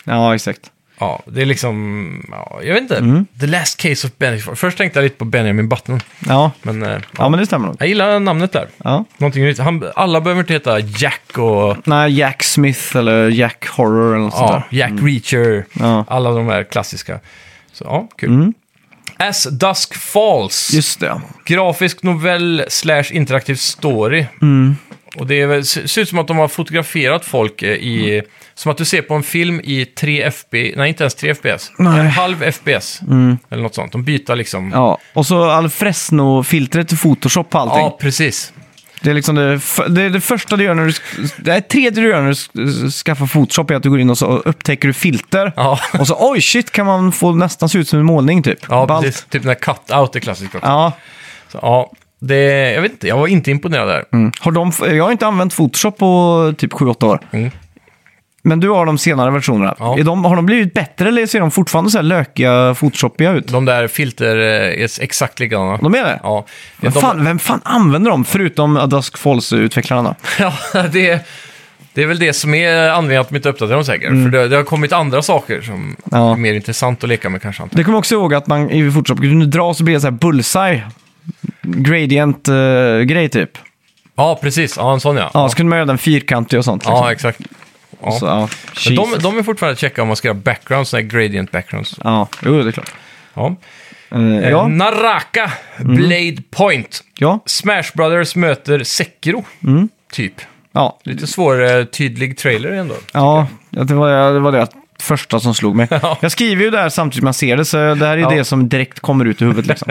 Speaker 1: Ja, exakt.
Speaker 2: Ja, det är liksom... Ja, jag vet inte. The Last Case of Benjamin. Först tänkte jag lite på Benjamin Button.
Speaker 1: Ja,
Speaker 2: Men eh,
Speaker 1: ja men det stämmer nog.
Speaker 2: jag gillar namnet där.
Speaker 1: Ja.
Speaker 2: Någonting nytt. Han, alla behöver inte heta Jack och
Speaker 1: Nej, Jack Smith eller Jack Horror eller något sånt
Speaker 2: ja,
Speaker 1: där.
Speaker 2: Jack Reacher.
Speaker 1: Mm. Ja. Mm.
Speaker 2: Alla de här klassiska. Så ja, kul. As Dusk Falls.
Speaker 1: Just det.
Speaker 2: Grafisk novell slash interaktiv story.
Speaker 1: Mm.
Speaker 2: Och det är, väl- se- ser ut som att de har fotograferat folk eh, i... Som att du ser på en film i 3 FB... Nej, inte ens 3 FPS.
Speaker 1: Nej. Mm.
Speaker 2: En halv FPS. Eller något sånt. De byter liksom...
Speaker 1: Ja, och så Alfresno-filtret till Photoshop på allting.
Speaker 2: Ja, precis.
Speaker 1: Det är liksom det, f- det, är det första du gör när du... sk- Det är tredje du gör när du sk- skaffar Photoshop är att du går in och så upptäcker du filter.
Speaker 2: Ja.
Speaker 1: Och så oj shit kan man få nästan se ut som en målning typ.
Speaker 2: Ja,
Speaker 1: Ballt.
Speaker 2: precis. Typ den här cut-out är klassiskt också. Ja.
Speaker 1: Ja.
Speaker 2: Så, ja, det, jag vet inte, jag var inte imponerad där.
Speaker 1: Mm. Har de, f- jag har inte använt Photoshop på typ 7-8 år.
Speaker 2: Mm.
Speaker 1: Men du har de senare versionerna.
Speaker 2: Ja.
Speaker 1: Är de, har de blivit bättre eller ser de fortfarande så här lökiga, photoshopiga ut?
Speaker 2: De där filter eh, är exakt likadana.
Speaker 1: De är det?
Speaker 2: Ja.
Speaker 1: Vem,
Speaker 2: de,
Speaker 1: fan, vem fan använder dem förutom A Dusk Falls-utvecklarna? då?
Speaker 2: ja, det, det är väl det som är anledningen att de inte uppdaterar dem säkert. För det, det har kommit andra saker som
Speaker 1: Ja.
Speaker 2: är mer intressant att leka med kanske. antar
Speaker 1: Det kommer jag också ihåg att man i Photoshop kunde dra och så blev det så här bullseye. Gradient-grej typ.
Speaker 2: jag. Ja, precis. Ja, en sån ja.
Speaker 1: Ja, så kunde man göra den fyrkantig och sånt. liksom.
Speaker 2: ja exakt. Ja.
Speaker 1: Så, ja.
Speaker 2: Men de,
Speaker 1: Jesus.
Speaker 2: de är fortfarande checka om man ska göra backgrounds, såna här gradient backgrounds.
Speaker 1: Ja, jo, det är klart.
Speaker 2: Ja. Mm.
Speaker 1: Eh,
Speaker 2: Eh,
Speaker 1: ja.
Speaker 2: Naraka, Blade Point.
Speaker 1: ja,
Speaker 2: Smash Brothers möter Sekiro, typ.
Speaker 1: ja,
Speaker 2: Lite svår, eh, tydlig trailer ändå.
Speaker 1: ja. Det var det, var det första som slog mig.
Speaker 2: Ja.
Speaker 1: Jag skriver ju där samtidigt man ser det, så det här är
Speaker 2: Ja.
Speaker 1: det som direkt kommer ut ur huvudet. Liksom.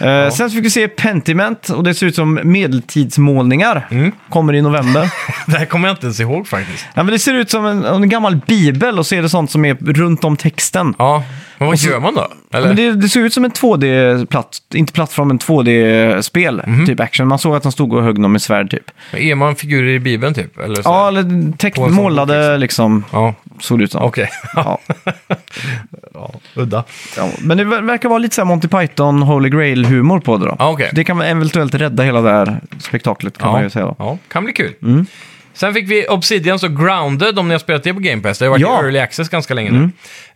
Speaker 1: Eh, Sen så fick vi se Pentiment och det ser ut som medeltidsmålningar.
Speaker 2: Mm.
Speaker 1: Kommer i november.
Speaker 2: Det här kommer jag inte ens ihåg faktiskt.
Speaker 1: ja, men det ser ut som en, en gammal bibel och så är det sånt som är runt om texten.
Speaker 2: Ja, men vad gör man då? Eller?
Speaker 1: Men det, det såg ut som en 2D-platt, inte plattform, men 2D-spel,
Speaker 2: Mhm.
Speaker 1: typ action. Man såg att han stod och högg någon med svärd typ.
Speaker 2: Är man figurer i Bibeln typ? Eller så?
Speaker 1: Ja, eller
Speaker 2: På en
Speaker 1: tecknade,
Speaker 2: sån
Speaker 1: målade liksom,
Speaker 2: ja.
Speaker 1: såg det ut som.
Speaker 2: Okej.
Speaker 1: Ja.
Speaker 2: ja, udda.
Speaker 1: Ja, men det ver- verkar vara lite så här Monty Python, Holy Grail-humor på det då.
Speaker 2: Ja, Ah, okej.
Speaker 1: Det kan eventuellt rädda hela det här spektaklet kan man ju säga då. Mm.
Speaker 2: ja, kan bli kul. Sen fick vi Obsidians och Grounded, om ni har spelat det på Game Pass. Det har varit
Speaker 1: Ja. Mm.
Speaker 2: i Early Access ganska länge nu.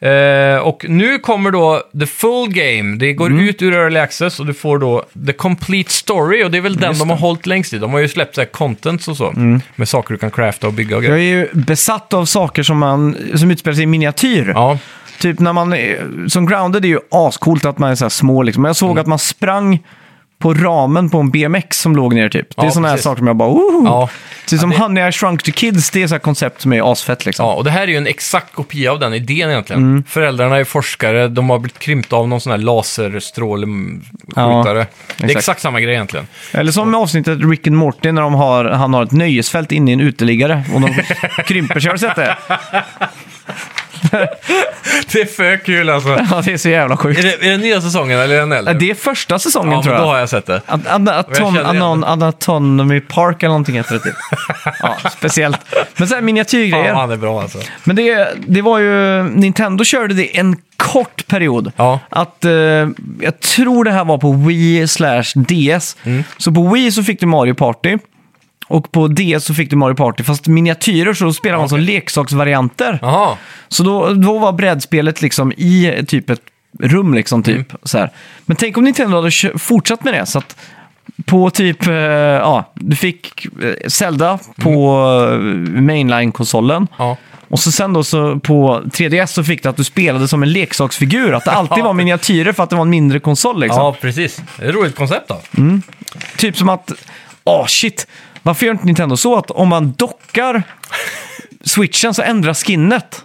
Speaker 2: Eh, och nu kommer då The Full Game. Det går ut ur Early Access och du får då The Complete Story. Och det är väl den de har hållit längst i. De har ju släppt så här contents och så.
Speaker 1: Mm.
Speaker 2: Med saker du kan crafta och bygga och
Speaker 1: Jag
Speaker 2: grejer.
Speaker 1: är ju besatt av saker som, man, som utspelar sig i miniatyr.
Speaker 2: Ja,
Speaker 1: Typ när man, är- som grounded är ju ascoolt att man är så här små liksom. Men jag
Speaker 2: Mm.
Speaker 1: såg att man sprang på ramen på en BMX som låg ner typ. Det är
Speaker 2: Ja,
Speaker 1: sådana här
Speaker 2: precis.
Speaker 1: saker som jag bara, oh!
Speaker 2: Ja.
Speaker 1: Typ som
Speaker 2: Ja, det-
Speaker 1: Honey I Shrunk to Kids, det är så här koncept som är asfett liksom.
Speaker 2: Ja, och det här är ju en exakt kopia av den idén egentligen.
Speaker 1: Mm.
Speaker 2: Föräldrarna är forskare, de har blivit krympta av någon sån här laserstråleskjutare. det är
Speaker 1: exakt.
Speaker 2: exakt samma grej egentligen.
Speaker 1: Eller som i avsnittet Rick and Morty när de har, han har ett nöjesfält inne i en uteliggare och de krymper sig. Har du sett det?
Speaker 2: Det är för kul alltså.
Speaker 1: Ja, det är så jävla
Speaker 2: Är
Speaker 1: sjukt.
Speaker 2: det, är det nya säsongen eller är den äldre?
Speaker 1: Ja, Det är första säsongen
Speaker 2: ja, men
Speaker 1: tror
Speaker 2: då har
Speaker 1: jag.
Speaker 2: jag sett det.
Speaker 1: An- an- aton-
Speaker 2: känner igen
Speaker 1: anon- Anatomy Park eller någonting heter det typ. ja, speciellt. Men sen
Speaker 2: Fan
Speaker 1: miniatyrgrejer.
Speaker 2: vad han är bra alltså.
Speaker 1: Men det, det var ju, Nintendo körde det en kort period.
Speaker 2: Ja.
Speaker 1: Att, eh, jag tror det här var på Wii slash DS. Så på Wii så fick du Mario Party. Och på DS så fick du Mario Party, fast miniatyrer så spelade man som leksaksvarianter.
Speaker 2: Jaha.
Speaker 1: Så då, då var brädspelet liksom i typ ett rum liksom typ.
Speaker 2: Mm.
Speaker 1: Så här. Men tänk om Nintendo hade kö- fortsatt med det. Så att på typ, eh, ja, du fick eh, Zelda på eh, mainline-konsolen.
Speaker 2: Ja.
Speaker 1: Och så sen då så på 3DS så fick du att du spelade som en leksaksfigur. Att det alltid var miniatyrer för att det var en mindre konsol liksom.
Speaker 2: ja, precis. Det är ett roligt koncept då.
Speaker 1: Typ som att, ah shit, varför gör inte Nintendo så att om man dockar switchen så ändras skinnet?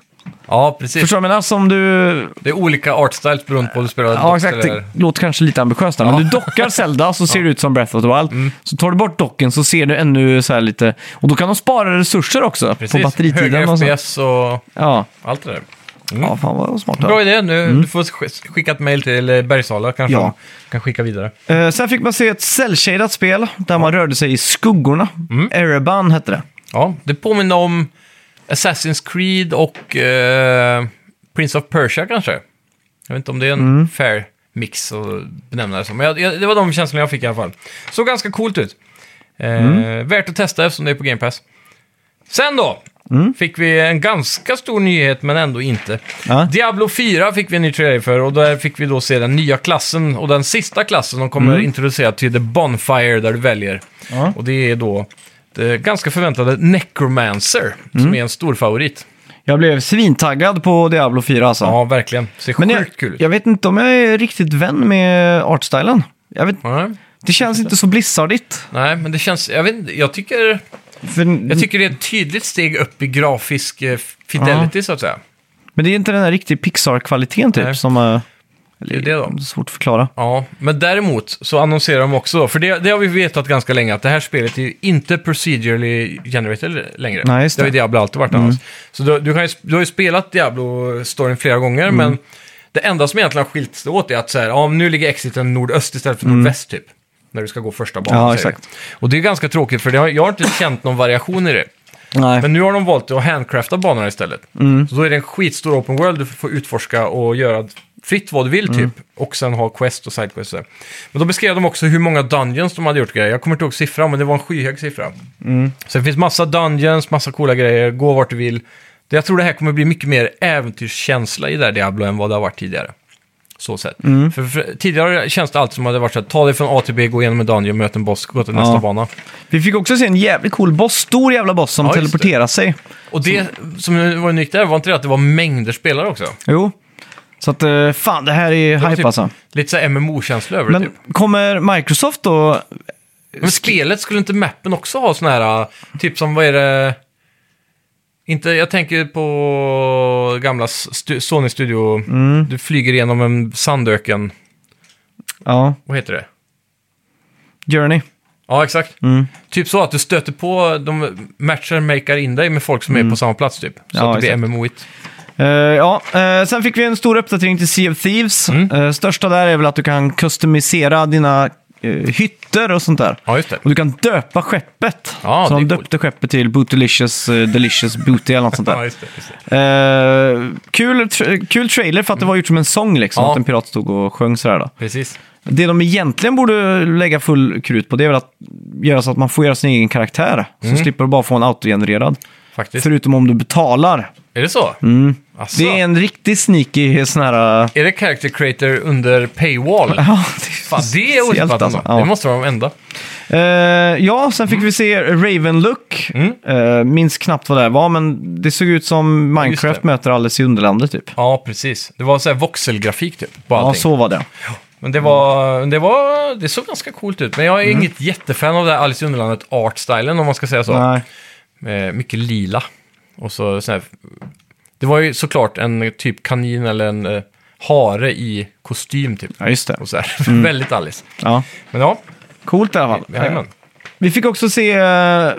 Speaker 2: Ja, precis.
Speaker 1: Förstår du vad jag menar? Som du
Speaker 2: Det är olika artstyles beroende på om du spelar
Speaker 1: Ja,
Speaker 2: dock
Speaker 1: exakt.
Speaker 2: eller-
Speaker 1: Det låter kanske lite ambitiöst, där, men
Speaker 2: Ja. Mm.
Speaker 1: du dockar Zelda så ser det ut som Breath of the Wild. Så tar du bort docken så ser du ännu så här lite... Och då kan de spara resurser också
Speaker 2: Precis.
Speaker 1: på batteritiden.
Speaker 2: Högre
Speaker 1: Och så.
Speaker 2: FPS och
Speaker 1: Ja.
Speaker 2: allt det där.
Speaker 1: ja, fan vad smart.
Speaker 2: Bra idé. Nu, Du får sk- skicka ett mejl till eh, Bergsala kanske.
Speaker 1: Ja.
Speaker 2: kan skicka vidare.
Speaker 1: Eh, sen fick man se ett cellshadat spel där man rörde sig i skuggorna.
Speaker 2: Mm.
Speaker 1: Ereban hette det.
Speaker 2: Ja, det påminner om Assassin's Creed och eh, Prince of Persia kanske. Jag vet inte om det är en fair mix att benämna det som. Men jag, jag, det var de känslorna jag fick i alla fall. Såg ganska coolt ut. Eh, Värt att testa eftersom det är på Game Pass. Sen då! Fick vi en ganska stor nyhet, men ändå inte.
Speaker 1: Ja.
Speaker 2: Diablo 4 fick vi en ny trailer för och där fick vi då se den nya klassen och den sista klassen de kommer introducera till The Bonfire där du väljer.
Speaker 1: Ja.
Speaker 2: Och det är då det ganska förväntade Necromancer
Speaker 1: Mm.
Speaker 2: som är en stor favorit.
Speaker 1: Jag blev svintaggad på Diablo 4 alltså.
Speaker 2: Ja, verkligen. Ser
Speaker 1: men jag,
Speaker 2: sjukt kul ut.
Speaker 1: jag vet inte om jag är riktigt vän med artstylen. Jag vet,
Speaker 2: Ja.
Speaker 1: det känns inte så blizzardigt.
Speaker 2: Nej, men det känns... Jag, vet, inte, jag, tycker,
Speaker 1: För,
Speaker 2: jag tycker det är ett tydligt steg upp i grafisk eh, fidelity, så att säga.
Speaker 1: Men det är inte den här riktigt Pixar-kvaliteten typ
Speaker 2: Nej.
Speaker 1: som... eh,
Speaker 2: Det är det då.
Speaker 1: Svårt att förklara.
Speaker 2: Ja, men däremot så annonserar de också då, för det, det har vi vetat ganska länge, att det här spelet är ju inte procedurally generated längre.
Speaker 1: Nej, just
Speaker 2: det har ju
Speaker 1: det. Mm.
Speaker 2: Diablo alltid varit annars. Så du, du, kan ju, du har ju spelat Diablo-storyn flera gånger,
Speaker 1: Mm.
Speaker 2: men det enda som egentligen har skilt sig åt är att så här, ja, nu ligger exiten nordöst istället för nordväst typ. När du ska gå första banan.
Speaker 1: Mm. Ja,
Speaker 2: säger vi.
Speaker 1: exakt.
Speaker 2: Och det är ganska tråkigt, för det har, jag har inte känt någon variation i det.
Speaker 1: Nej. Mm.
Speaker 2: Men nu har de valt att handcrafta banorna istället. Så då är det en skitstor open world du får utforska och göra fritt vad du vill
Speaker 1: Mm.
Speaker 2: typ. Och sen ha quest och sidequest. och så där. Men då beskrev de också hur många dungeons de hade gjort grejer. Jag kommer inte ihåg siffran, men det var en skyhög siffra.
Speaker 1: Mm.
Speaker 2: Så det finns massa dungeons, massa coola grejer, gå vart du vill. Det- Jag tror det här kommer bli mycket mer äventyrskänsla i det här Diablo än vad det har varit tidigare. Så sett.
Speaker 1: Mm.
Speaker 2: För, för, tidigare känns det alltid som att det varit så här, ta dig från A till B, gå igenom en dungeon, möt en boss, gå till nästa
Speaker 1: Ja.
Speaker 2: bana.
Speaker 1: Vi fick också se en jävligt cool boss, stor jävla boss som
Speaker 2: Ja, just det.
Speaker 1: teleporterar sig.
Speaker 2: Och det som var unikt där var inte det att det var mängder spelare också?
Speaker 1: Jo. Så att, eh, fan det här är hype
Speaker 2: typ-
Speaker 1: alltså.
Speaker 2: Lite såhär MMO-känsla över det
Speaker 1: Men
Speaker 2: typ.
Speaker 1: kommer Microsoft då...
Speaker 2: Men spelet, skulle inte mappen också ha sån här, typ som vad är det? Inte, jag tänker på gamla stu- Sony Studio,
Speaker 1: Mm.
Speaker 2: du flyger genom en sandöken,
Speaker 1: Ja,
Speaker 2: vad heter det?
Speaker 1: Journey.
Speaker 2: Ja, exakt.
Speaker 1: Mm.
Speaker 2: Typ så att du stöter på, de matchar makar in dig med folk som är på samma plats typ. Så
Speaker 1: Mm. Ja,
Speaker 2: att det blir
Speaker 1: exakt.
Speaker 2: MMO-igt.
Speaker 1: Eh, ja, eh, sen fick vi en stor uppdatering till Sea of Thieves.
Speaker 2: Mm.
Speaker 1: Eh, största där är väl att du kan customisera dina eh, hytter och sånt där.
Speaker 2: Ja, just det.
Speaker 1: Och du kan döpa skeppet.
Speaker 2: Ja,
Speaker 1: så
Speaker 2: det
Speaker 1: de
Speaker 2: är
Speaker 1: döpte skeppet till Bootylicious, eh, Delicious Booty eller något sånt där.
Speaker 2: Ja, just det, just det.
Speaker 1: Eh, kul, tra- kul trailer för att det var gjort som en sång liksom.
Speaker 2: Ja.
Speaker 1: Att en pirat stod och sjöng sådär då.
Speaker 2: Precis.
Speaker 1: Det de egentligen borde lägga full krut på det är väl att göra så att man får göra sin egen karaktär.
Speaker 2: Mm.
Speaker 1: Så slipper du bara få en autogenererad.
Speaker 2: Faktiskt.
Speaker 1: Förutom om du betalar.
Speaker 2: Är det så? Mm. Alltså,
Speaker 1: Det är en riktig sneaky sån här... eh,
Speaker 2: är det character creator under paywall?
Speaker 1: Ja,
Speaker 2: Fan, det är
Speaker 1: speciellt,
Speaker 2: otippat alltså.
Speaker 1: alltså. Ja.
Speaker 2: Det Mm. måste vara de enda.
Speaker 1: Eh, ja, sen fick vi se Ravenlook. Mm. minns knappt vad det här var, men det såg ut som Minecraft
Speaker 2: det.
Speaker 1: möter Alice i Underlandet typ.
Speaker 2: Ja, precis. Det var så här voxelgrafik typ på
Speaker 1: Ja,
Speaker 2: allting.
Speaker 1: så var det.
Speaker 2: Men det var, det var... Det såg ganska coolt ut. Men jag är
Speaker 1: Mm.
Speaker 2: inget jättefan av det här Alice i Underlandet art-stylen om man ska säga så.
Speaker 1: Nej.
Speaker 2: Eh, mycket lila. Och så, så här, Det var ju såklart en typ kanin eller en eh, hare i kostym typ.
Speaker 1: Ja, just det.
Speaker 2: Och så här. Väldigt Alice.
Speaker 1: Ja.
Speaker 2: Men ja,
Speaker 1: Coolt i alla fall.
Speaker 2: jajamän.
Speaker 1: Vi fick också se eh,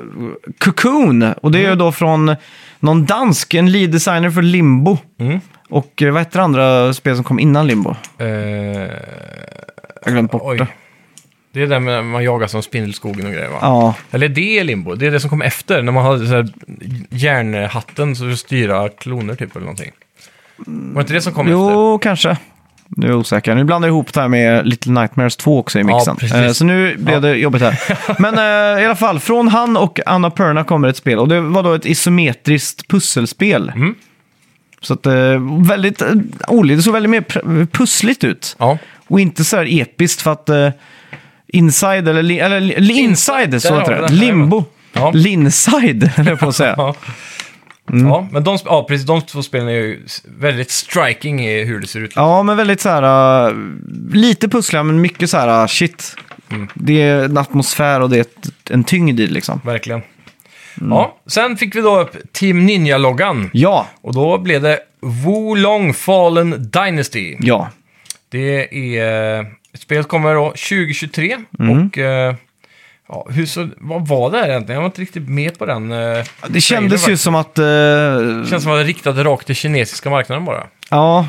Speaker 1: Cocoon och det
Speaker 2: Mm.
Speaker 1: är ju då från någon dansk, en lead designer för Limbo.
Speaker 2: Mm.
Speaker 1: Och eh, vad hette det andra spel som kom innan Limbo?
Speaker 2: Eh,
Speaker 1: Jag har glömt bort
Speaker 2: oj.
Speaker 1: det.
Speaker 2: Det är där med- man jagar som spindelskogen och grejer va?
Speaker 1: Ja,
Speaker 2: Eller det är limbo, det är det som kom efter, när man hade så här järnhatten så att styra kloner typ eller någonting. Var det inte det som kom efter?
Speaker 1: jo kanske. Nu är jag osäker. Nu blandar jag ihop det här med Little Nightmares 2 också i
Speaker 2: Ja,
Speaker 1: mixen.
Speaker 2: precis.
Speaker 1: Eh, så nu blev det jobbigt här. Men eh, i alla fall, från han och Anna Perna kommer ett spel. Och det var då ett isometriskt pusselspel.
Speaker 2: Mm.
Speaker 1: Så att, eh, väldigt eh, olikt. Det såg väldigt mer pr- pussligt ut.
Speaker 2: Ja.
Speaker 1: Och inte så här episkt för att eh, Inside, eller, li, eller li, li- Inside, så
Speaker 2: där
Speaker 1: heter
Speaker 2: har
Speaker 1: det.
Speaker 2: vi det.
Speaker 1: Limbo.
Speaker 2: Ja.
Speaker 1: Linside, höll jag på att säga.
Speaker 2: Ja.
Speaker 1: Mm.
Speaker 2: ja, men de, sp- ja, precis, de två spelen är ju s- väldigt striking i hur det ser ut.
Speaker 1: Ja, men väldigt så här... äh, lite pussliga, men mycket så här, äh, shit.
Speaker 2: Mm.
Speaker 1: Det är en atmosfär och det är ett, en tyngd i liksom.
Speaker 2: Verkligen.
Speaker 1: Mm.
Speaker 2: Ja, sen fick vi då upp Team Ninja-loggan.
Speaker 1: Ja,
Speaker 2: Och då blev det Wolong Fallen Dynasty.
Speaker 1: ja.
Speaker 2: Det är... eh, Ett spel som kommer då 2023
Speaker 1: Mm.
Speaker 2: och... eh, Ja, hur så, vad var det här egentligen? Jag var inte riktigt med på den. eh,
Speaker 1: Det
Speaker 2: trailern
Speaker 1: kändes ju
Speaker 2: faktiskt.
Speaker 1: som att... äh,
Speaker 2: Det känns som att det riktade rakt till kinesiska marknaden bara.
Speaker 1: ja,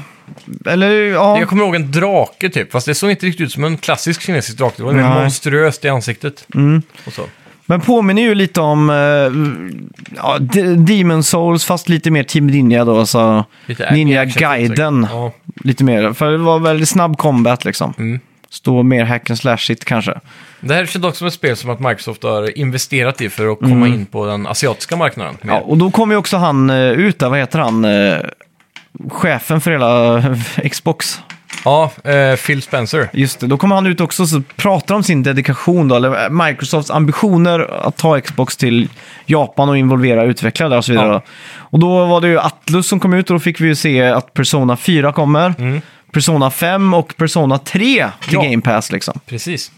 Speaker 1: eller ja.
Speaker 2: Jag kommer ihåg en drake typ, fast det såg inte riktigt ut som en klassisk kinesisk drake. Det var mer
Speaker 1: Nej. Mm.
Speaker 2: monstruöst i ansiktet. Och så.
Speaker 1: Men påminner ju lite om äh, ja, D- Demon Souls, fast lite mer Team Ninja då. Alltså
Speaker 2: Lite
Speaker 1: Ninja-guiden.
Speaker 2: Ja,
Speaker 1: Lite mer, för det var väldigt snabb combat liksom.
Speaker 2: Mm.
Speaker 1: Stå mer hack and slash-igt kanske.
Speaker 2: Det här känns också som ett spel som att Microsoft har investerat i för att komma in på den asiatiska marknaden.
Speaker 1: Mm. Ja, och då kom ju också han eh, ut där, vad heter han? eh, Chefen för hela eh, Xbox.
Speaker 2: ja eh, Phil Spencer.
Speaker 1: Just det, då kom han ut också och pratade om sin dedikation då, eller eh, Microsofts ambitioner att ta Xbox till Japan och involvera utvecklare där och så vidare.
Speaker 2: Ja.
Speaker 1: Och då var det ju Atlus som kom ut och då fick vi ju se att Persona 4 kommer, Persona 5 och Persona 3 till
Speaker 2: Mm. Ja.
Speaker 1: Game Pass liksom.
Speaker 2: Precis.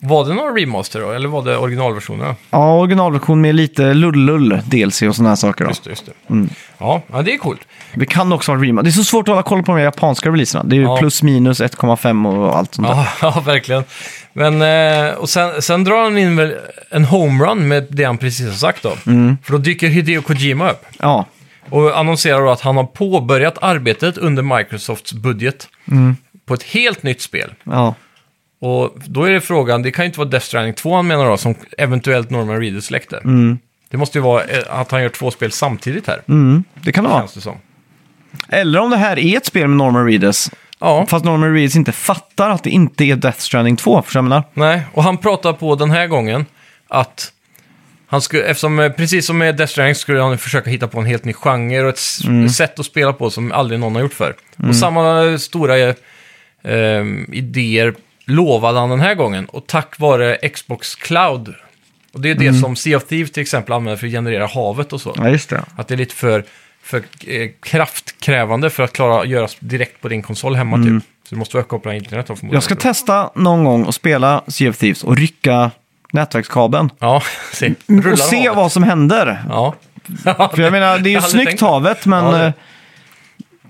Speaker 2: Var det någon remaster då, eller var det originalversionerna?
Speaker 1: Ja, originalversion med lite lull-lull, DLC och sådana här saker då.
Speaker 2: Just det, just det.
Speaker 1: Mm.
Speaker 2: Ja, ja, det är coolt.
Speaker 1: Det kan också vara en remake. Det är så svårt att hålla koll på de här japanska releaserna. Det är ju
Speaker 2: Ja.
Speaker 1: plus minus 1,5 och allt sånt där.
Speaker 2: Ja, ja verkligen. Men, eh, och sen, sen drar han in väl en homerun med det han precis har sagt då. För då dyker Hideo Kojima upp
Speaker 1: Ja.
Speaker 2: och annonserar då att han har påbörjat arbetet under Microsofts budget på ett helt nytt spel.
Speaker 1: ja.
Speaker 2: Och då är det frågan, det kan ju inte vara Death Stranding 2 han menar då, som eventuellt Norman Reedus släckte. Det måste ju vara eh, att han gör två spel samtidigt här,
Speaker 1: Mm, det kan det vara.
Speaker 2: känns det som.
Speaker 1: Eller om det här är ett spel med Norman Reedus.
Speaker 2: Ja,
Speaker 1: Fast Norman Reedus inte fattar att det inte är Death Stranding 2. Förstår du vad jag menar?
Speaker 2: nej. Och han pratar på den här gången att han skulle, eftersom, eh, precis som med Death Stranding skulle han försöka hitta på en helt ny genre och ett s-
Speaker 1: Mm.
Speaker 2: sätt att spela på som aldrig någon har gjort förr. Och samma stora eh, ehm, idéer lovade han den här gången. Och tack vare Xbox Cloud, och det är det som Sea of Thieves till exempel använder för att generera havet och så.
Speaker 1: Mm. Ja, just det.
Speaker 2: Att det är lite för, för eh, kraftkrävande för att klara göras direkt på din konsol hemma typ. Så du måste vara uppkopplad till internet då förmodligen.
Speaker 1: Mm. Jag ska testa någon gång och spela Sea of Thieves och rycka nätverkskabeln.
Speaker 2: Ja, se. Rullar
Speaker 1: Mm, och se
Speaker 2: havet.
Speaker 1: vad som händer.
Speaker 2: Ja.
Speaker 1: För jag menar, det är ju
Speaker 2: hade
Speaker 1: snyggt
Speaker 2: tänkt-
Speaker 1: havet, men...
Speaker 2: Ja, det-
Speaker 1: eh,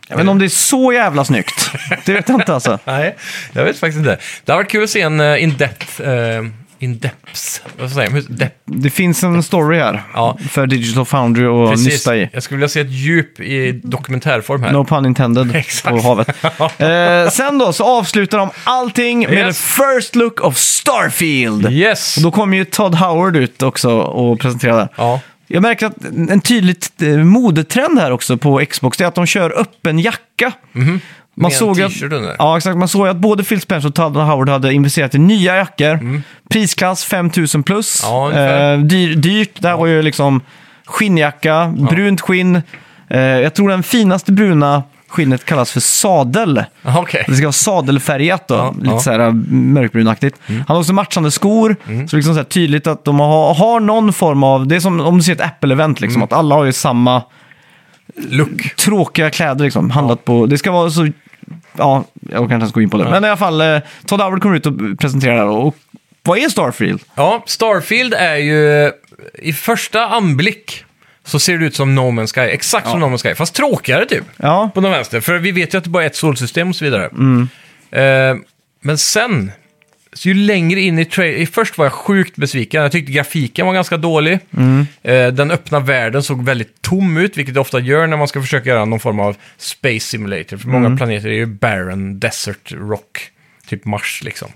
Speaker 1: Jag vet inte om det är så jävla snyggt. Det vet jag inte alltså.
Speaker 2: Nej, jag vet faktiskt inte. Det har varit kul att se en eh, in-depth... eh, in-depths... Vad säger man? Hur- Depth.
Speaker 1: Det finns en story här.
Speaker 2: Ja.
Speaker 1: För Digital Foundry och
Speaker 2: Precis.
Speaker 1: nysta i.
Speaker 2: Jag skulle vilja se ett djup i dokumentärform här.
Speaker 1: No pun intended
Speaker 2: Exakt.
Speaker 1: på havet. eh, sen då så avslutar de allting med
Speaker 2: Yes.
Speaker 1: the first look of Starfield.
Speaker 2: Yes!
Speaker 1: Och då kommer ju Todd Howard ut också och presenterar det.
Speaker 2: Ja.
Speaker 1: Jag märker att en tydlig t- eh, modetrend här också på Xbox, det är att de kör öppen jacka. Man
Speaker 2: Mhm. Med en
Speaker 1: såg, ju
Speaker 2: t-shirt under.
Speaker 1: att, ja, exakt, man såg ju att både Phil Spencer och Todd Howard hade investerat i nya jackor. Prisklass 5000 plus.
Speaker 2: Mm.
Speaker 1: Eh,
Speaker 2: Ja, ungefär.
Speaker 1: dyr, dyrt. Det här var ju liksom skinnjacka, brunt skinn. Eh, jag tror den finaste bruna skinnet kallas för sadel.
Speaker 2: Aha, Okej.
Speaker 1: Det ska vara sadelfärgat då,
Speaker 2: Ja,
Speaker 1: lite
Speaker 2: ja. Mm.
Speaker 1: så här mörkbrunaktigt. Han har också matchande skor, så liksom så här tydligt att de har, har någon form av, det är som om du ser ett Apple-event, liksom,
Speaker 2: Mm.
Speaker 1: att alla har ju samma
Speaker 2: Look.
Speaker 1: tråkiga kläder liksom, handlat på. Det ska vara så, ja, jag orkar inte ens gå in på det. Men i alla fall, eh, Todd Howard kommer ut och presenterar det här och vad är Starfield?
Speaker 2: Ja, Starfield är ju... eh, I första anblick så ser det ut som No Man's Sky. Exakt som No Man's Sky, fast tråkigare typ.
Speaker 1: Ja,
Speaker 2: På den vänster, för vi vet ju att det bara är ett solsystem och så vidare. Eh, men sen Så ju längre in i trailern... Först var jag sjukt besviken. Jag tyckte grafiken var ganska dålig. Eh, Den öppna världen såg väldigt tom ut, vilket det ofta gör när man ska försöka göra någon form av space simulator. För många planeter är ju barren, desert, rock. Typ Mars liksom.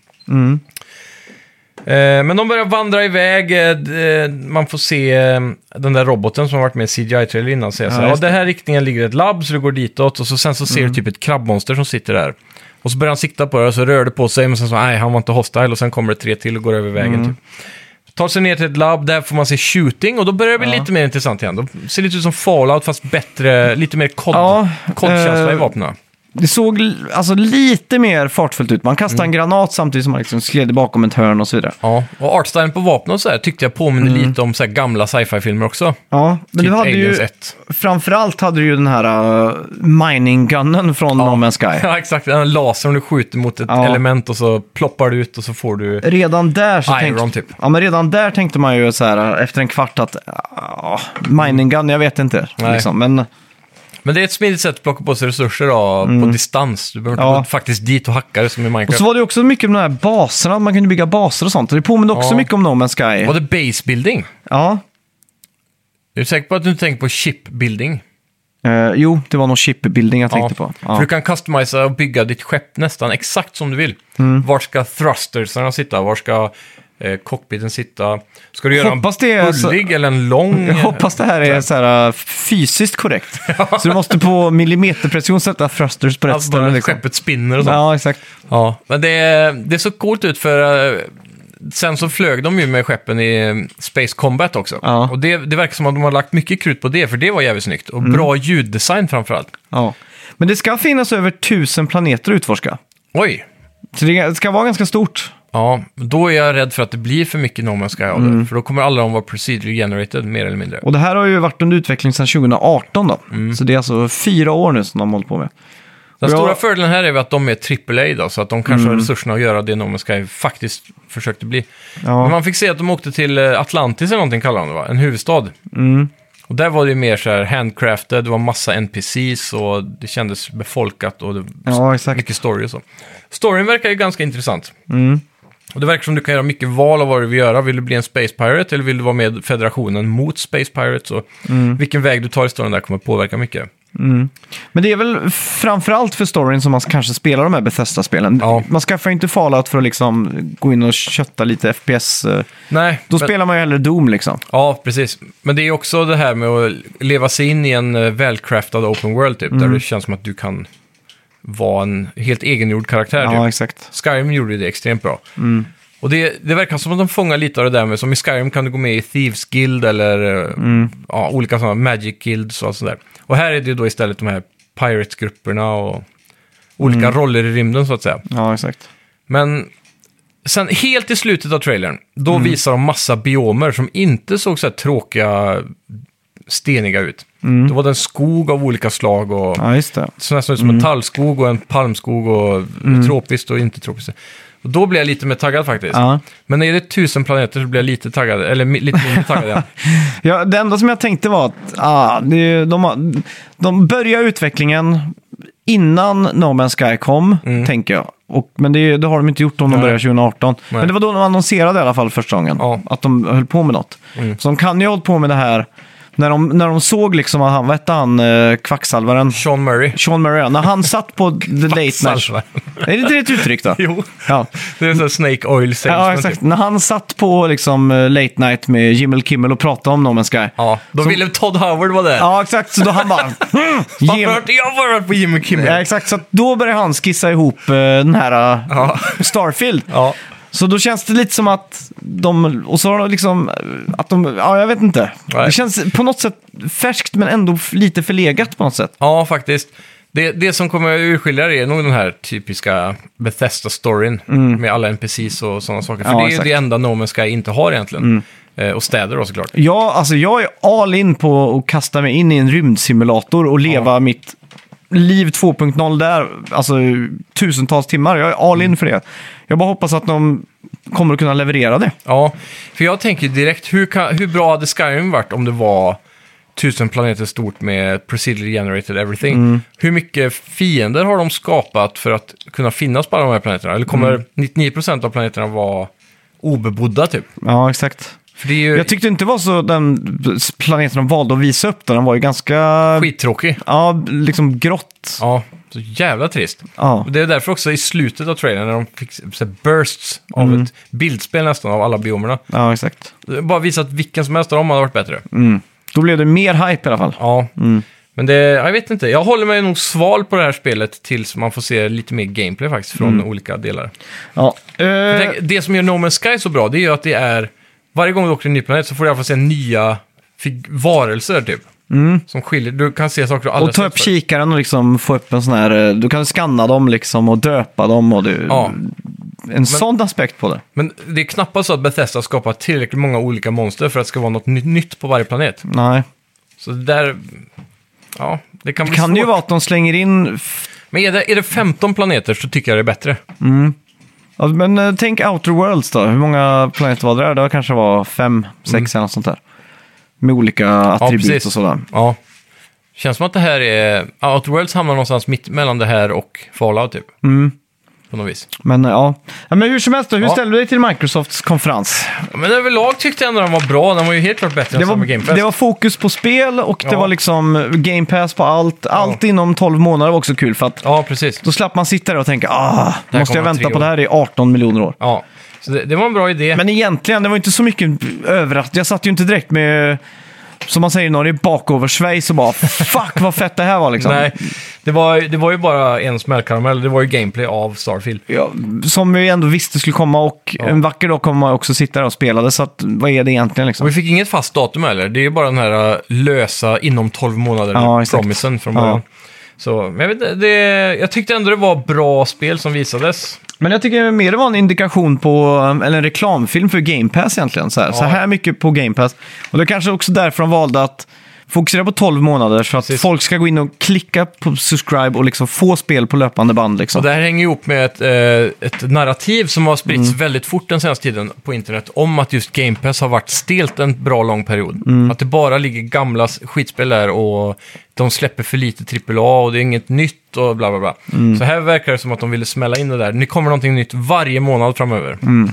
Speaker 2: Eh, Men de börjar vandra iväg. eh, d- eh, Man får se eh, den där roboten som har varit med i CGI-trailer innan. Säga så här, ja,
Speaker 1: just Mm.
Speaker 2: den här riktningen ligger ett labb, så du går ditåt. Och så sen så ser du typ ett krabbmonster som sitter där. Och så börjar han sikta på det och så rör det på sig, men sen så, nej, han var inte hostile. Och sen kommer det tre till och går över vägen.
Speaker 1: Mm.
Speaker 2: Typ. Tar sig ner till ett labb, där får man se shooting och då börjar det bli lite mer intressant igen. De ser lite ut som Fallout fast bättre, lite mer kod,
Speaker 1: Ja,
Speaker 2: kodkänsla i
Speaker 1: eh,
Speaker 2: vapnen.
Speaker 1: Det såg l- alltså, lite mer fartfullt ut. Man kastade
Speaker 2: Mm.
Speaker 1: en granat samtidigt som man liksom sled bakom ett hörn och så vidare.
Speaker 2: Ja, och artstylen på vapnen och så här tyckte jag påminner lite om så här gamla sci-fi-filmer också.
Speaker 1: Ja, Mm. men
Speaker 2: typ
Speaker 1: du hade
Speaker 2: Aliens
Speaker 1: ju...
Speaker 2: 1.
Speaker 1: Framförallt hade du ju den här uh, mining-gunnen från No Man's Sky.
Speaker 2: Ja, exakt. Den lasern du skjuter mot ett
Speaker 1: Ja.
Speaker 2: element och så ploppar du ut och så får du...
Speaker 1: Redan där, så
Speaker 2: Iron,
Speaker 1: tänkte,
Speaker 2: typ.
Speaker 1: ja, men redan där tänkte man ju så här uh, efter en kvart att uh, mining gun, jag vet inte.
Speaker 2: Nej.
Speaker 1: Liksom. Men
Speaker 2: Men det är ett smidigt sätt att plocka på sig resurser då, på distans. Du behöver inte
Speaker 1: Mm. Ja.
Speaker 2: gå faktiskt dit och hacka det som i
Speaker 1: Och
Speaker 2: Minecraft.
Speaker 1: så var det ju också mycket med de här baserna, man kunde bygga baser och sånt. Och det påminner också
Speaker 2: Ja.
Speaker 1: mycket om No Man's Sky.
Speaker 2: Var det base building?
Speaker 1: Ja.
Speaker 2: Är du säker på att du inte tänker på chip building?
Speaker 1: Eh, jo, det var nog chipbuilding jag tänkte på.
Speaker 2: För
Speaker 1: Ja.
Speaker 2: du kan customisa och bygga ditt skepp nästan exakt som du vill.
Speaker 1: Mm.
Speaker 2: Var ska thrustersarna sitta? Var ska eh, cockpiten sitta? Ska du göra en
Speaker 1: Hoppas det är så-
Speaker 2: bullig eller en lång?
Speaker 1: Jag hoppas det här är så här, uh, fysiskt korrekt. så du måste på millimeterprecision sätta thrusters på rätt
Speaker 2: Alltså bara
Speaker 1: ställe.
Speaker 2: att
Speaker 1: Liksom.
Speaker 2: skeppet spinner och sånt.
Speaker 1: Ja, exakt.
Speaker 2: Ja, men det, det såg coolt ut för eh, sen så flög de ju med skeppen i eh, Space Combat också.
Speaker 1: Ja.
Speaker 2: Och det, det verkar som att de har lagt mycket krut på det, för det var jävligt snyggt.
Speaker 1: Mm.
Speaker 2: Och bra ljuddesign framförallt.
Speaker 1: Ja. Men det ska finnas över tusen planeter att utforska.
Speaker 2: Oj!
Speaker 1: Så det ska vara ganska stort.
Speaker 2: Ja, då är jag rädd för att det blir för mycket No Man's Sky av
Speaker 1: Mm.
Speaker 2: det. För då kommer alla de vara procedure generated, mer eller mindre.
Speaker 1: Och det här har ju varit under utveckling sedan 2018 då. Så det är alltså fyra år nu som de har hållit på med.
Speaker 2: Den
Speaker 1: bra. Mm.
Speaker 2: stora fördelen här är väl att de är AAA då, så att de kanske har resurserna att göra det No Man's Sky faktiskt försökte bli.
Speaker 1: Ja.
Speaker 2: Men man fick se att de åkte till eh, Atlantis eller någonting kallar de det va? En huvudstad.
Speaker 1: Mm.
Speaker 2: Och där var det ju mer så här handcrafted, det var massa NPCs och det kändes befolkat och det
Speaker 1: Ja, exakt.
Speaker 2: mycket story och så. Storyn verkar ju ganska intressant.
Speaker 1: Mm.
Speaker 2: Och det verkar som du kan göra mycket val av vad du vill göra. Vill du bli en Space Pirate eller vill du vara med federationen mot Space Pirates? Och
Speaker 1: Mm.
Speaker 2: Vilken väg du tar i storyn där kommer påverka mycket.
Speaker 1: Men det är väl framförallt för storyn som man kanske spelar de här Bethesda-spelen.
Speaker 2: Ja.
Speaker 1: Man skaffar ju inte Fallout för att liksom gå in och kötta lite FPS. eh.
Speaker 2: Nej,
Speaker 1: Då
Speaker 2: men-
Speaker 1: spelar man ju hellre Doom liksom.
Speaker 2: Ja, precis. Men det är också det här med att leva sig in i en eh, välcraftad open world, typ, där det känns som att du kan vara en helt egengjord karaktär.
Speaker 1: Ja,
Speaker 2: typ.
Speaker 1: exakt.
Speaker 2: Skyrim gjorde det extremt bra. Och det, det verkar som att de fångar lite av det där med, som i Skyrim kan du gå med i Thieves Guild eller eh, ja, olika sådana Magic Guilds och allt sånt där. Och här är det då istället de här Pirates-grupperna och olika roller i rymden så att säga.
Speaker 1: Ja, exakt.
Speaker 2: Men sen helt i slutet av trailern, då
Speaker 1: Mm.
Speaker 2: visar de massa biomer som inte såg så här tråkiga, steniga ut. Då var det en skog av olika slag och
Speaker 1: Mm. Ja, Mm. just det.
Speaker 2: så nästan ut som en tallskog och en palmskog och
Speaker 1: Mm.
Speaker 2: tropiskt och inte tropiskt. Och då blir jag lite mer taggad faktiskt.
Speaker 1: Ja.
Speaker 2: Men är det tusen planeter så blir jag lite taggad, eller mi- lite mindre taggad. ja.
Speaker 1: Ja, det enda som jag tänkte var att ah, det, de, har- de börjar utvecklingen innan No Man's Sky kom, tänker jag. Och, men det, det har de inte gjort om de
Speaker 2: Mm. Nej.
Speaker 1: börjar 2018.
Speaker 2: Nej.
Speaker 1: Men det var då de annonserade i alla fall första gången,
Speaker 2: Ja. Mm.
Speaker 1: att de höll på med något. Så de kan ju ha hållit på med det här, när de, när de såg liksom, att han, vad hette han, eh, kvacksalvaren?
Speaker 2: Sean Murray.
Speaker 1: Sean Murray, när han satt på the late night...
Speaker 2: Salva.
Speaker 1: Är det inte det ett uttryck då?
Speaker 2: jo,
Speaker 1: Ja.
Speaker 2: det är så här Snake Oil Salesman.
Speaker 1: Ja,
Speaker 2: typ.
Speaker 1: exakt. När han satt på liksom, eh, late night med Jimmy Kimmel och pratade om No Man's Sky.
Speaker 2: Ja, då
Speaker 1: Så-
Speaker 2: ville Todd Howard vara där.
Speaker 1: Ja, exakt. Så då han bara... "Hmm,
Speaker 2: Varför
Speaker 1: Jim.
Speaker 2: har inte jag varit på Jimmy Kimmel?
Speaker 1: Ja, exakt. Så att då börjar han skissa ihop eh, den här eh,
Speaker 2: Ja.
Speaker 1: Starfield.
Speaker 2: Ja.
Speaker 1: Så då känns det lite som att de... Och så har de liksom... eh, Att de... Ja, jag vet inte.
Speaker 2: Nej.
Speaker 1: Det känns på något sätt färskt men ändå f- lite förlegat på något sätt.
Speaker 2: Ja, faktiskt. Det, det som kommer att urskilja det är nog den här typiska Bethesda-storyn med alla NPCs och sådana saker. För
Speaker 1: Mm. Ja,
Speaker 2: det är ju
Speaker 1: exakt. Mm.
Speaker 2: det enda No Man's Sky inte har egentligen. Eh, och städer då såklart.
Speaker 1: Ja, alltså jag är all in på att kasta mig in i en rymdsimulator och leva mitt liv 2.0 där. Alltså tusentals timmar. Jag är
Speaker 2: Mm.
Speaker 1: all in för det. Jag bara hoppas att de kommer att kunna leverera det.
Speaker 2: Ja, för jag tänker direkt, hur, kan, hur bra hade Skyrim varit om det var tusen planeter stort med procedurally generated everything.
Speaker 1: Mm.
Speaker 2: Hur mycket fiender har de skapat för att kunna finnas på alla de här planeterna? Eller kommer
Speaker 1: Mm.
Speaker 2: 99% av planeterna vara obebodda typ?
Speaker 1: Ja, exakt.
Speaker 2: För det är ju
Speaker 1: Jag tyckte inte det var så den planeten de valde att visa upp. Då. Den var ju ganska...
Speaker 2: skittråkigt.
Speaker 1: Ja, liksom grått.
Speaker 2: Ja, så jävla trist.
Speaker 1: Ja.
Speaker 2: Och det är därför också i slutet av trailern när de fick så här, bursts av
Speaker 1: Mm.
Speaker 2: ett bildspel nästan av alla biomerna.
Speaker 1: ja, exakt.
Speaker 2: Bara visat vilken som helst av dem hade varit bättre.
Speaker 1: Mm. Då blev det mer hype i alla fall.
Speaker 2: Ja,
Speaker 1: Mm.
Speaker 2: men det, jag vet inte. Jag håller mig nog sval på det här spelet tills man får se lite mer gameplay faktiskt från
Speaker 1: Mm.
Speaker 2: olika delar.
Speaker 1: Ja.
Speaker 2: Tänk, det som gör No Man's Sky så bra, det är ju att det är... Varje gång du åker till en ny planet så får du i alla fall se nya fig- varelser typ. Som skiljer. Du kan se saker du aldrig
Speaker 1: Mm. Eh, och ta
Speaker 2: sett
Speaker 1: upp
Speaker 2: förut.
Speaker 1: kikaren och liksom få upp en sån här... eh, Du kan skanna dem liksom och döpa dem. Och du,
Speaker 2: Ja.
Speaker 1: En sån aspekt på det.
Speaker 2: Men det är knappast så att Bethesda skapar tillräckligt många olika monster för att det ska vara något ny- nytt på varje planet.
Speaker 1: Nej.
Speaker 2: Så det där... Ja, det kan bli
Speaker 1: Det kan
Speaker 2: svårt.
Speaker 1: ju vara att de slänger in... f-
Speaker 2: Men är det, är det 15 planeter så tycker jag det är bättre.
Speaker 1: ja, Men eh, tänk Outer Worlds då. Hur många planeter var det där? Det kanske var fem, sex eller något sånt där. Med olika attribut
Speaker 2: Mm. precis.
Speaker 1: och sådär.
Speaker 2: Ja. Känns som att det här är... ja, Outer Worlds hamnar någonstans mitt mellan det här och Fallout typ.
Speaker 1: Mm.
Speaker 2: På något vis.
Speaker 1: Men eh, ja. ja men hur som helst då, hur
Speaker 2: Ja.
Speaker 1: ställde du dig till Microsofts konferens?
Speaker 2: Ja, Men överlag tyckte jag ändå den var bra. Den var ju helt klart bättre
Speaker 1: Det
Speaker 2: än Summer Game
Speaker 1: var,
Speaker 2: Fest.
Speaker 1: det var fokus på spel och det
Speaker 2: Ja.
Speaker 1: var liksom Game Pass på allt. Allt inom 12 månader var också kul för att
Speaker 2: Ja, precis.
Speaker 1: då slapp man sitta där och tänka ah, måste
Speaker 2: här
Speaker 1: jag
Speaker 2: kommer om
Speaker 1: vänta
Speaker 2: tre
Speaker 1: på det här i 18 miljoner år.
Speaker 2: Ja. Så det, det var en bra idé.
Speaker 1: Men egentligen, det var inte så mycket överraskning. Jag satt ju inte direkt med, som man säger i Norge, bakoversvejs och bara fuck vad fett det här var liksom.
Speaker 2: Nej, det var, det var ju bara en smällkaramell. Det var ju gameplay av Starfield.
Speaker 1: Ja, som vi ändå visste skulle komma och en vacker dag kommer man också sitta där och spela det. Så att, vad är det egentligen liksom?
Speaker 2: Och vi fick inget fast datum heller. Det är ju bara den här äh, lösa inom 12 månader
Speaker 1: Ja, exakt.
Speaker 2: promisen från
Speaker 1: Ja.
Speaker 2: början. Så, men jag, vet, inte, det, jag tyckte ändå det var bra spel som visades.
Speaker 1: Men jag tycker mer det var en indikation på, eller en reklamfilm för Game Pass egentligen. Så här, så här mycket på Game Pass. Och det är kanske också därför de valde att fokusera på 12 månader så att
Speaker 2: Precis.
Speaker 1: folk ska gå in och klicka på subscribe och liksom få spel på löpande band.
Speaker 2: Och
Speaker 1: Liksom.
Speaker 2: det här hänger ihop med ett, eh, ett narrativ som har spritts
Speaker 1: Mm.
Speaker 2: väldigt fort den senaste tiden på internet om att just Game Pass har varit stelt en bra lång period.
Speaker 1: Mm.
Speaker 2: Att det bara ligger gamla s- skitspel där och de släpper för lite AAA och det är inget nytt och bla bla bla.
Speaker 1: Mm.
Speaker 2: Så här verkar det som att de ville smälla in det där. Nu kommer någonting nytt varje månad framöver.
Speaker 1: Mm.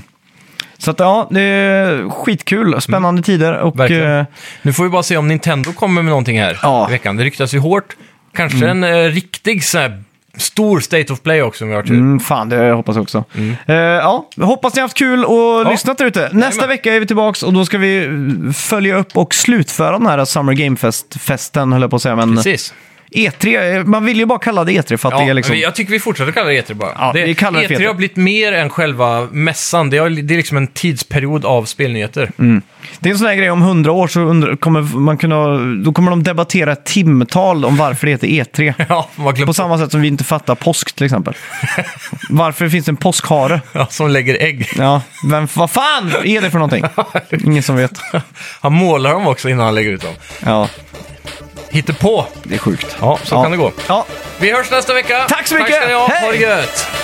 Speaker 1: Så att, ja, det är skitkul, spännande tider och
Speaker 2: Mm. Verkligen.
Speaker 1: eh,
Speaker 2: Nu får vi bara se om Nintendo kommer med någonting här
Speaker 1: Ja. Mm.
Speaker 2: i veckan. Det ryktas ju hårt. Kanske en eh, riktig sån här stor State of Play också om vi har tur.
Speaker 1: mm, fan det hoppas jag också.
Speaker 2: Mm.
Speaker 1: Eh, ja, hoppas ni har haft kul och lyssnat där ute. Nästa
Speaker 2: Jajamän.
Speaker 1: vecka är vi tillbaka och då ska vi eh, följa upp och slutföra den här Summer Game Fest-festen, höll jag på att säga. Men...
Speaker 2: Precis.
Speaker 1: E3, eh, man vill ju bara kalla det E3 för att
Speaker 2: Ja,
Speaker 1: det är liksom...
Speaker 2: vi- Jag tycker vi fortsätter kalla det E3 bara.
Speaker 1: Ja, vi kallar det för E
Speaker 2: E3
Speaker 1: E3.
Speaker 2: har blivit mer än själva mässan. Det, har, det är liksom en tidsperiod av spelnyheter.
Speaker 1: Mm. Det är en sån här grej, om hundra år så undrar, kommer man kunna... Då kommer de debattera ett timtal om varför det heter E3.
Speaker 2: Ja, man glömmer
Speaker 1: På samma sätt som vi inte fattar påsk till exempel. Varför finns det en påskhare?
Speaker 2: ja, som lägger ägg.
Speaker 1: Ja, men vad fan är det för någonting? Ingen som vet.
Speaker 2: Han målar dem också innan han lägger ut dem.
Speaker 1: Ja,
Speaker 2: Hittar på.
Speaker 1: det är sjukt.
Speaker 2: Ja, så
Speaker 1: ja.
Speaker 2: kan det gå.
Speaker 1: Ja,
Speaker 2: Vi hörs nästa vecka.
Speaker 1: Tack så mycket!
Speaker 2: Tack ska ni ha.
Speaker 1: Hej!
Speaker 2: Ha det gött!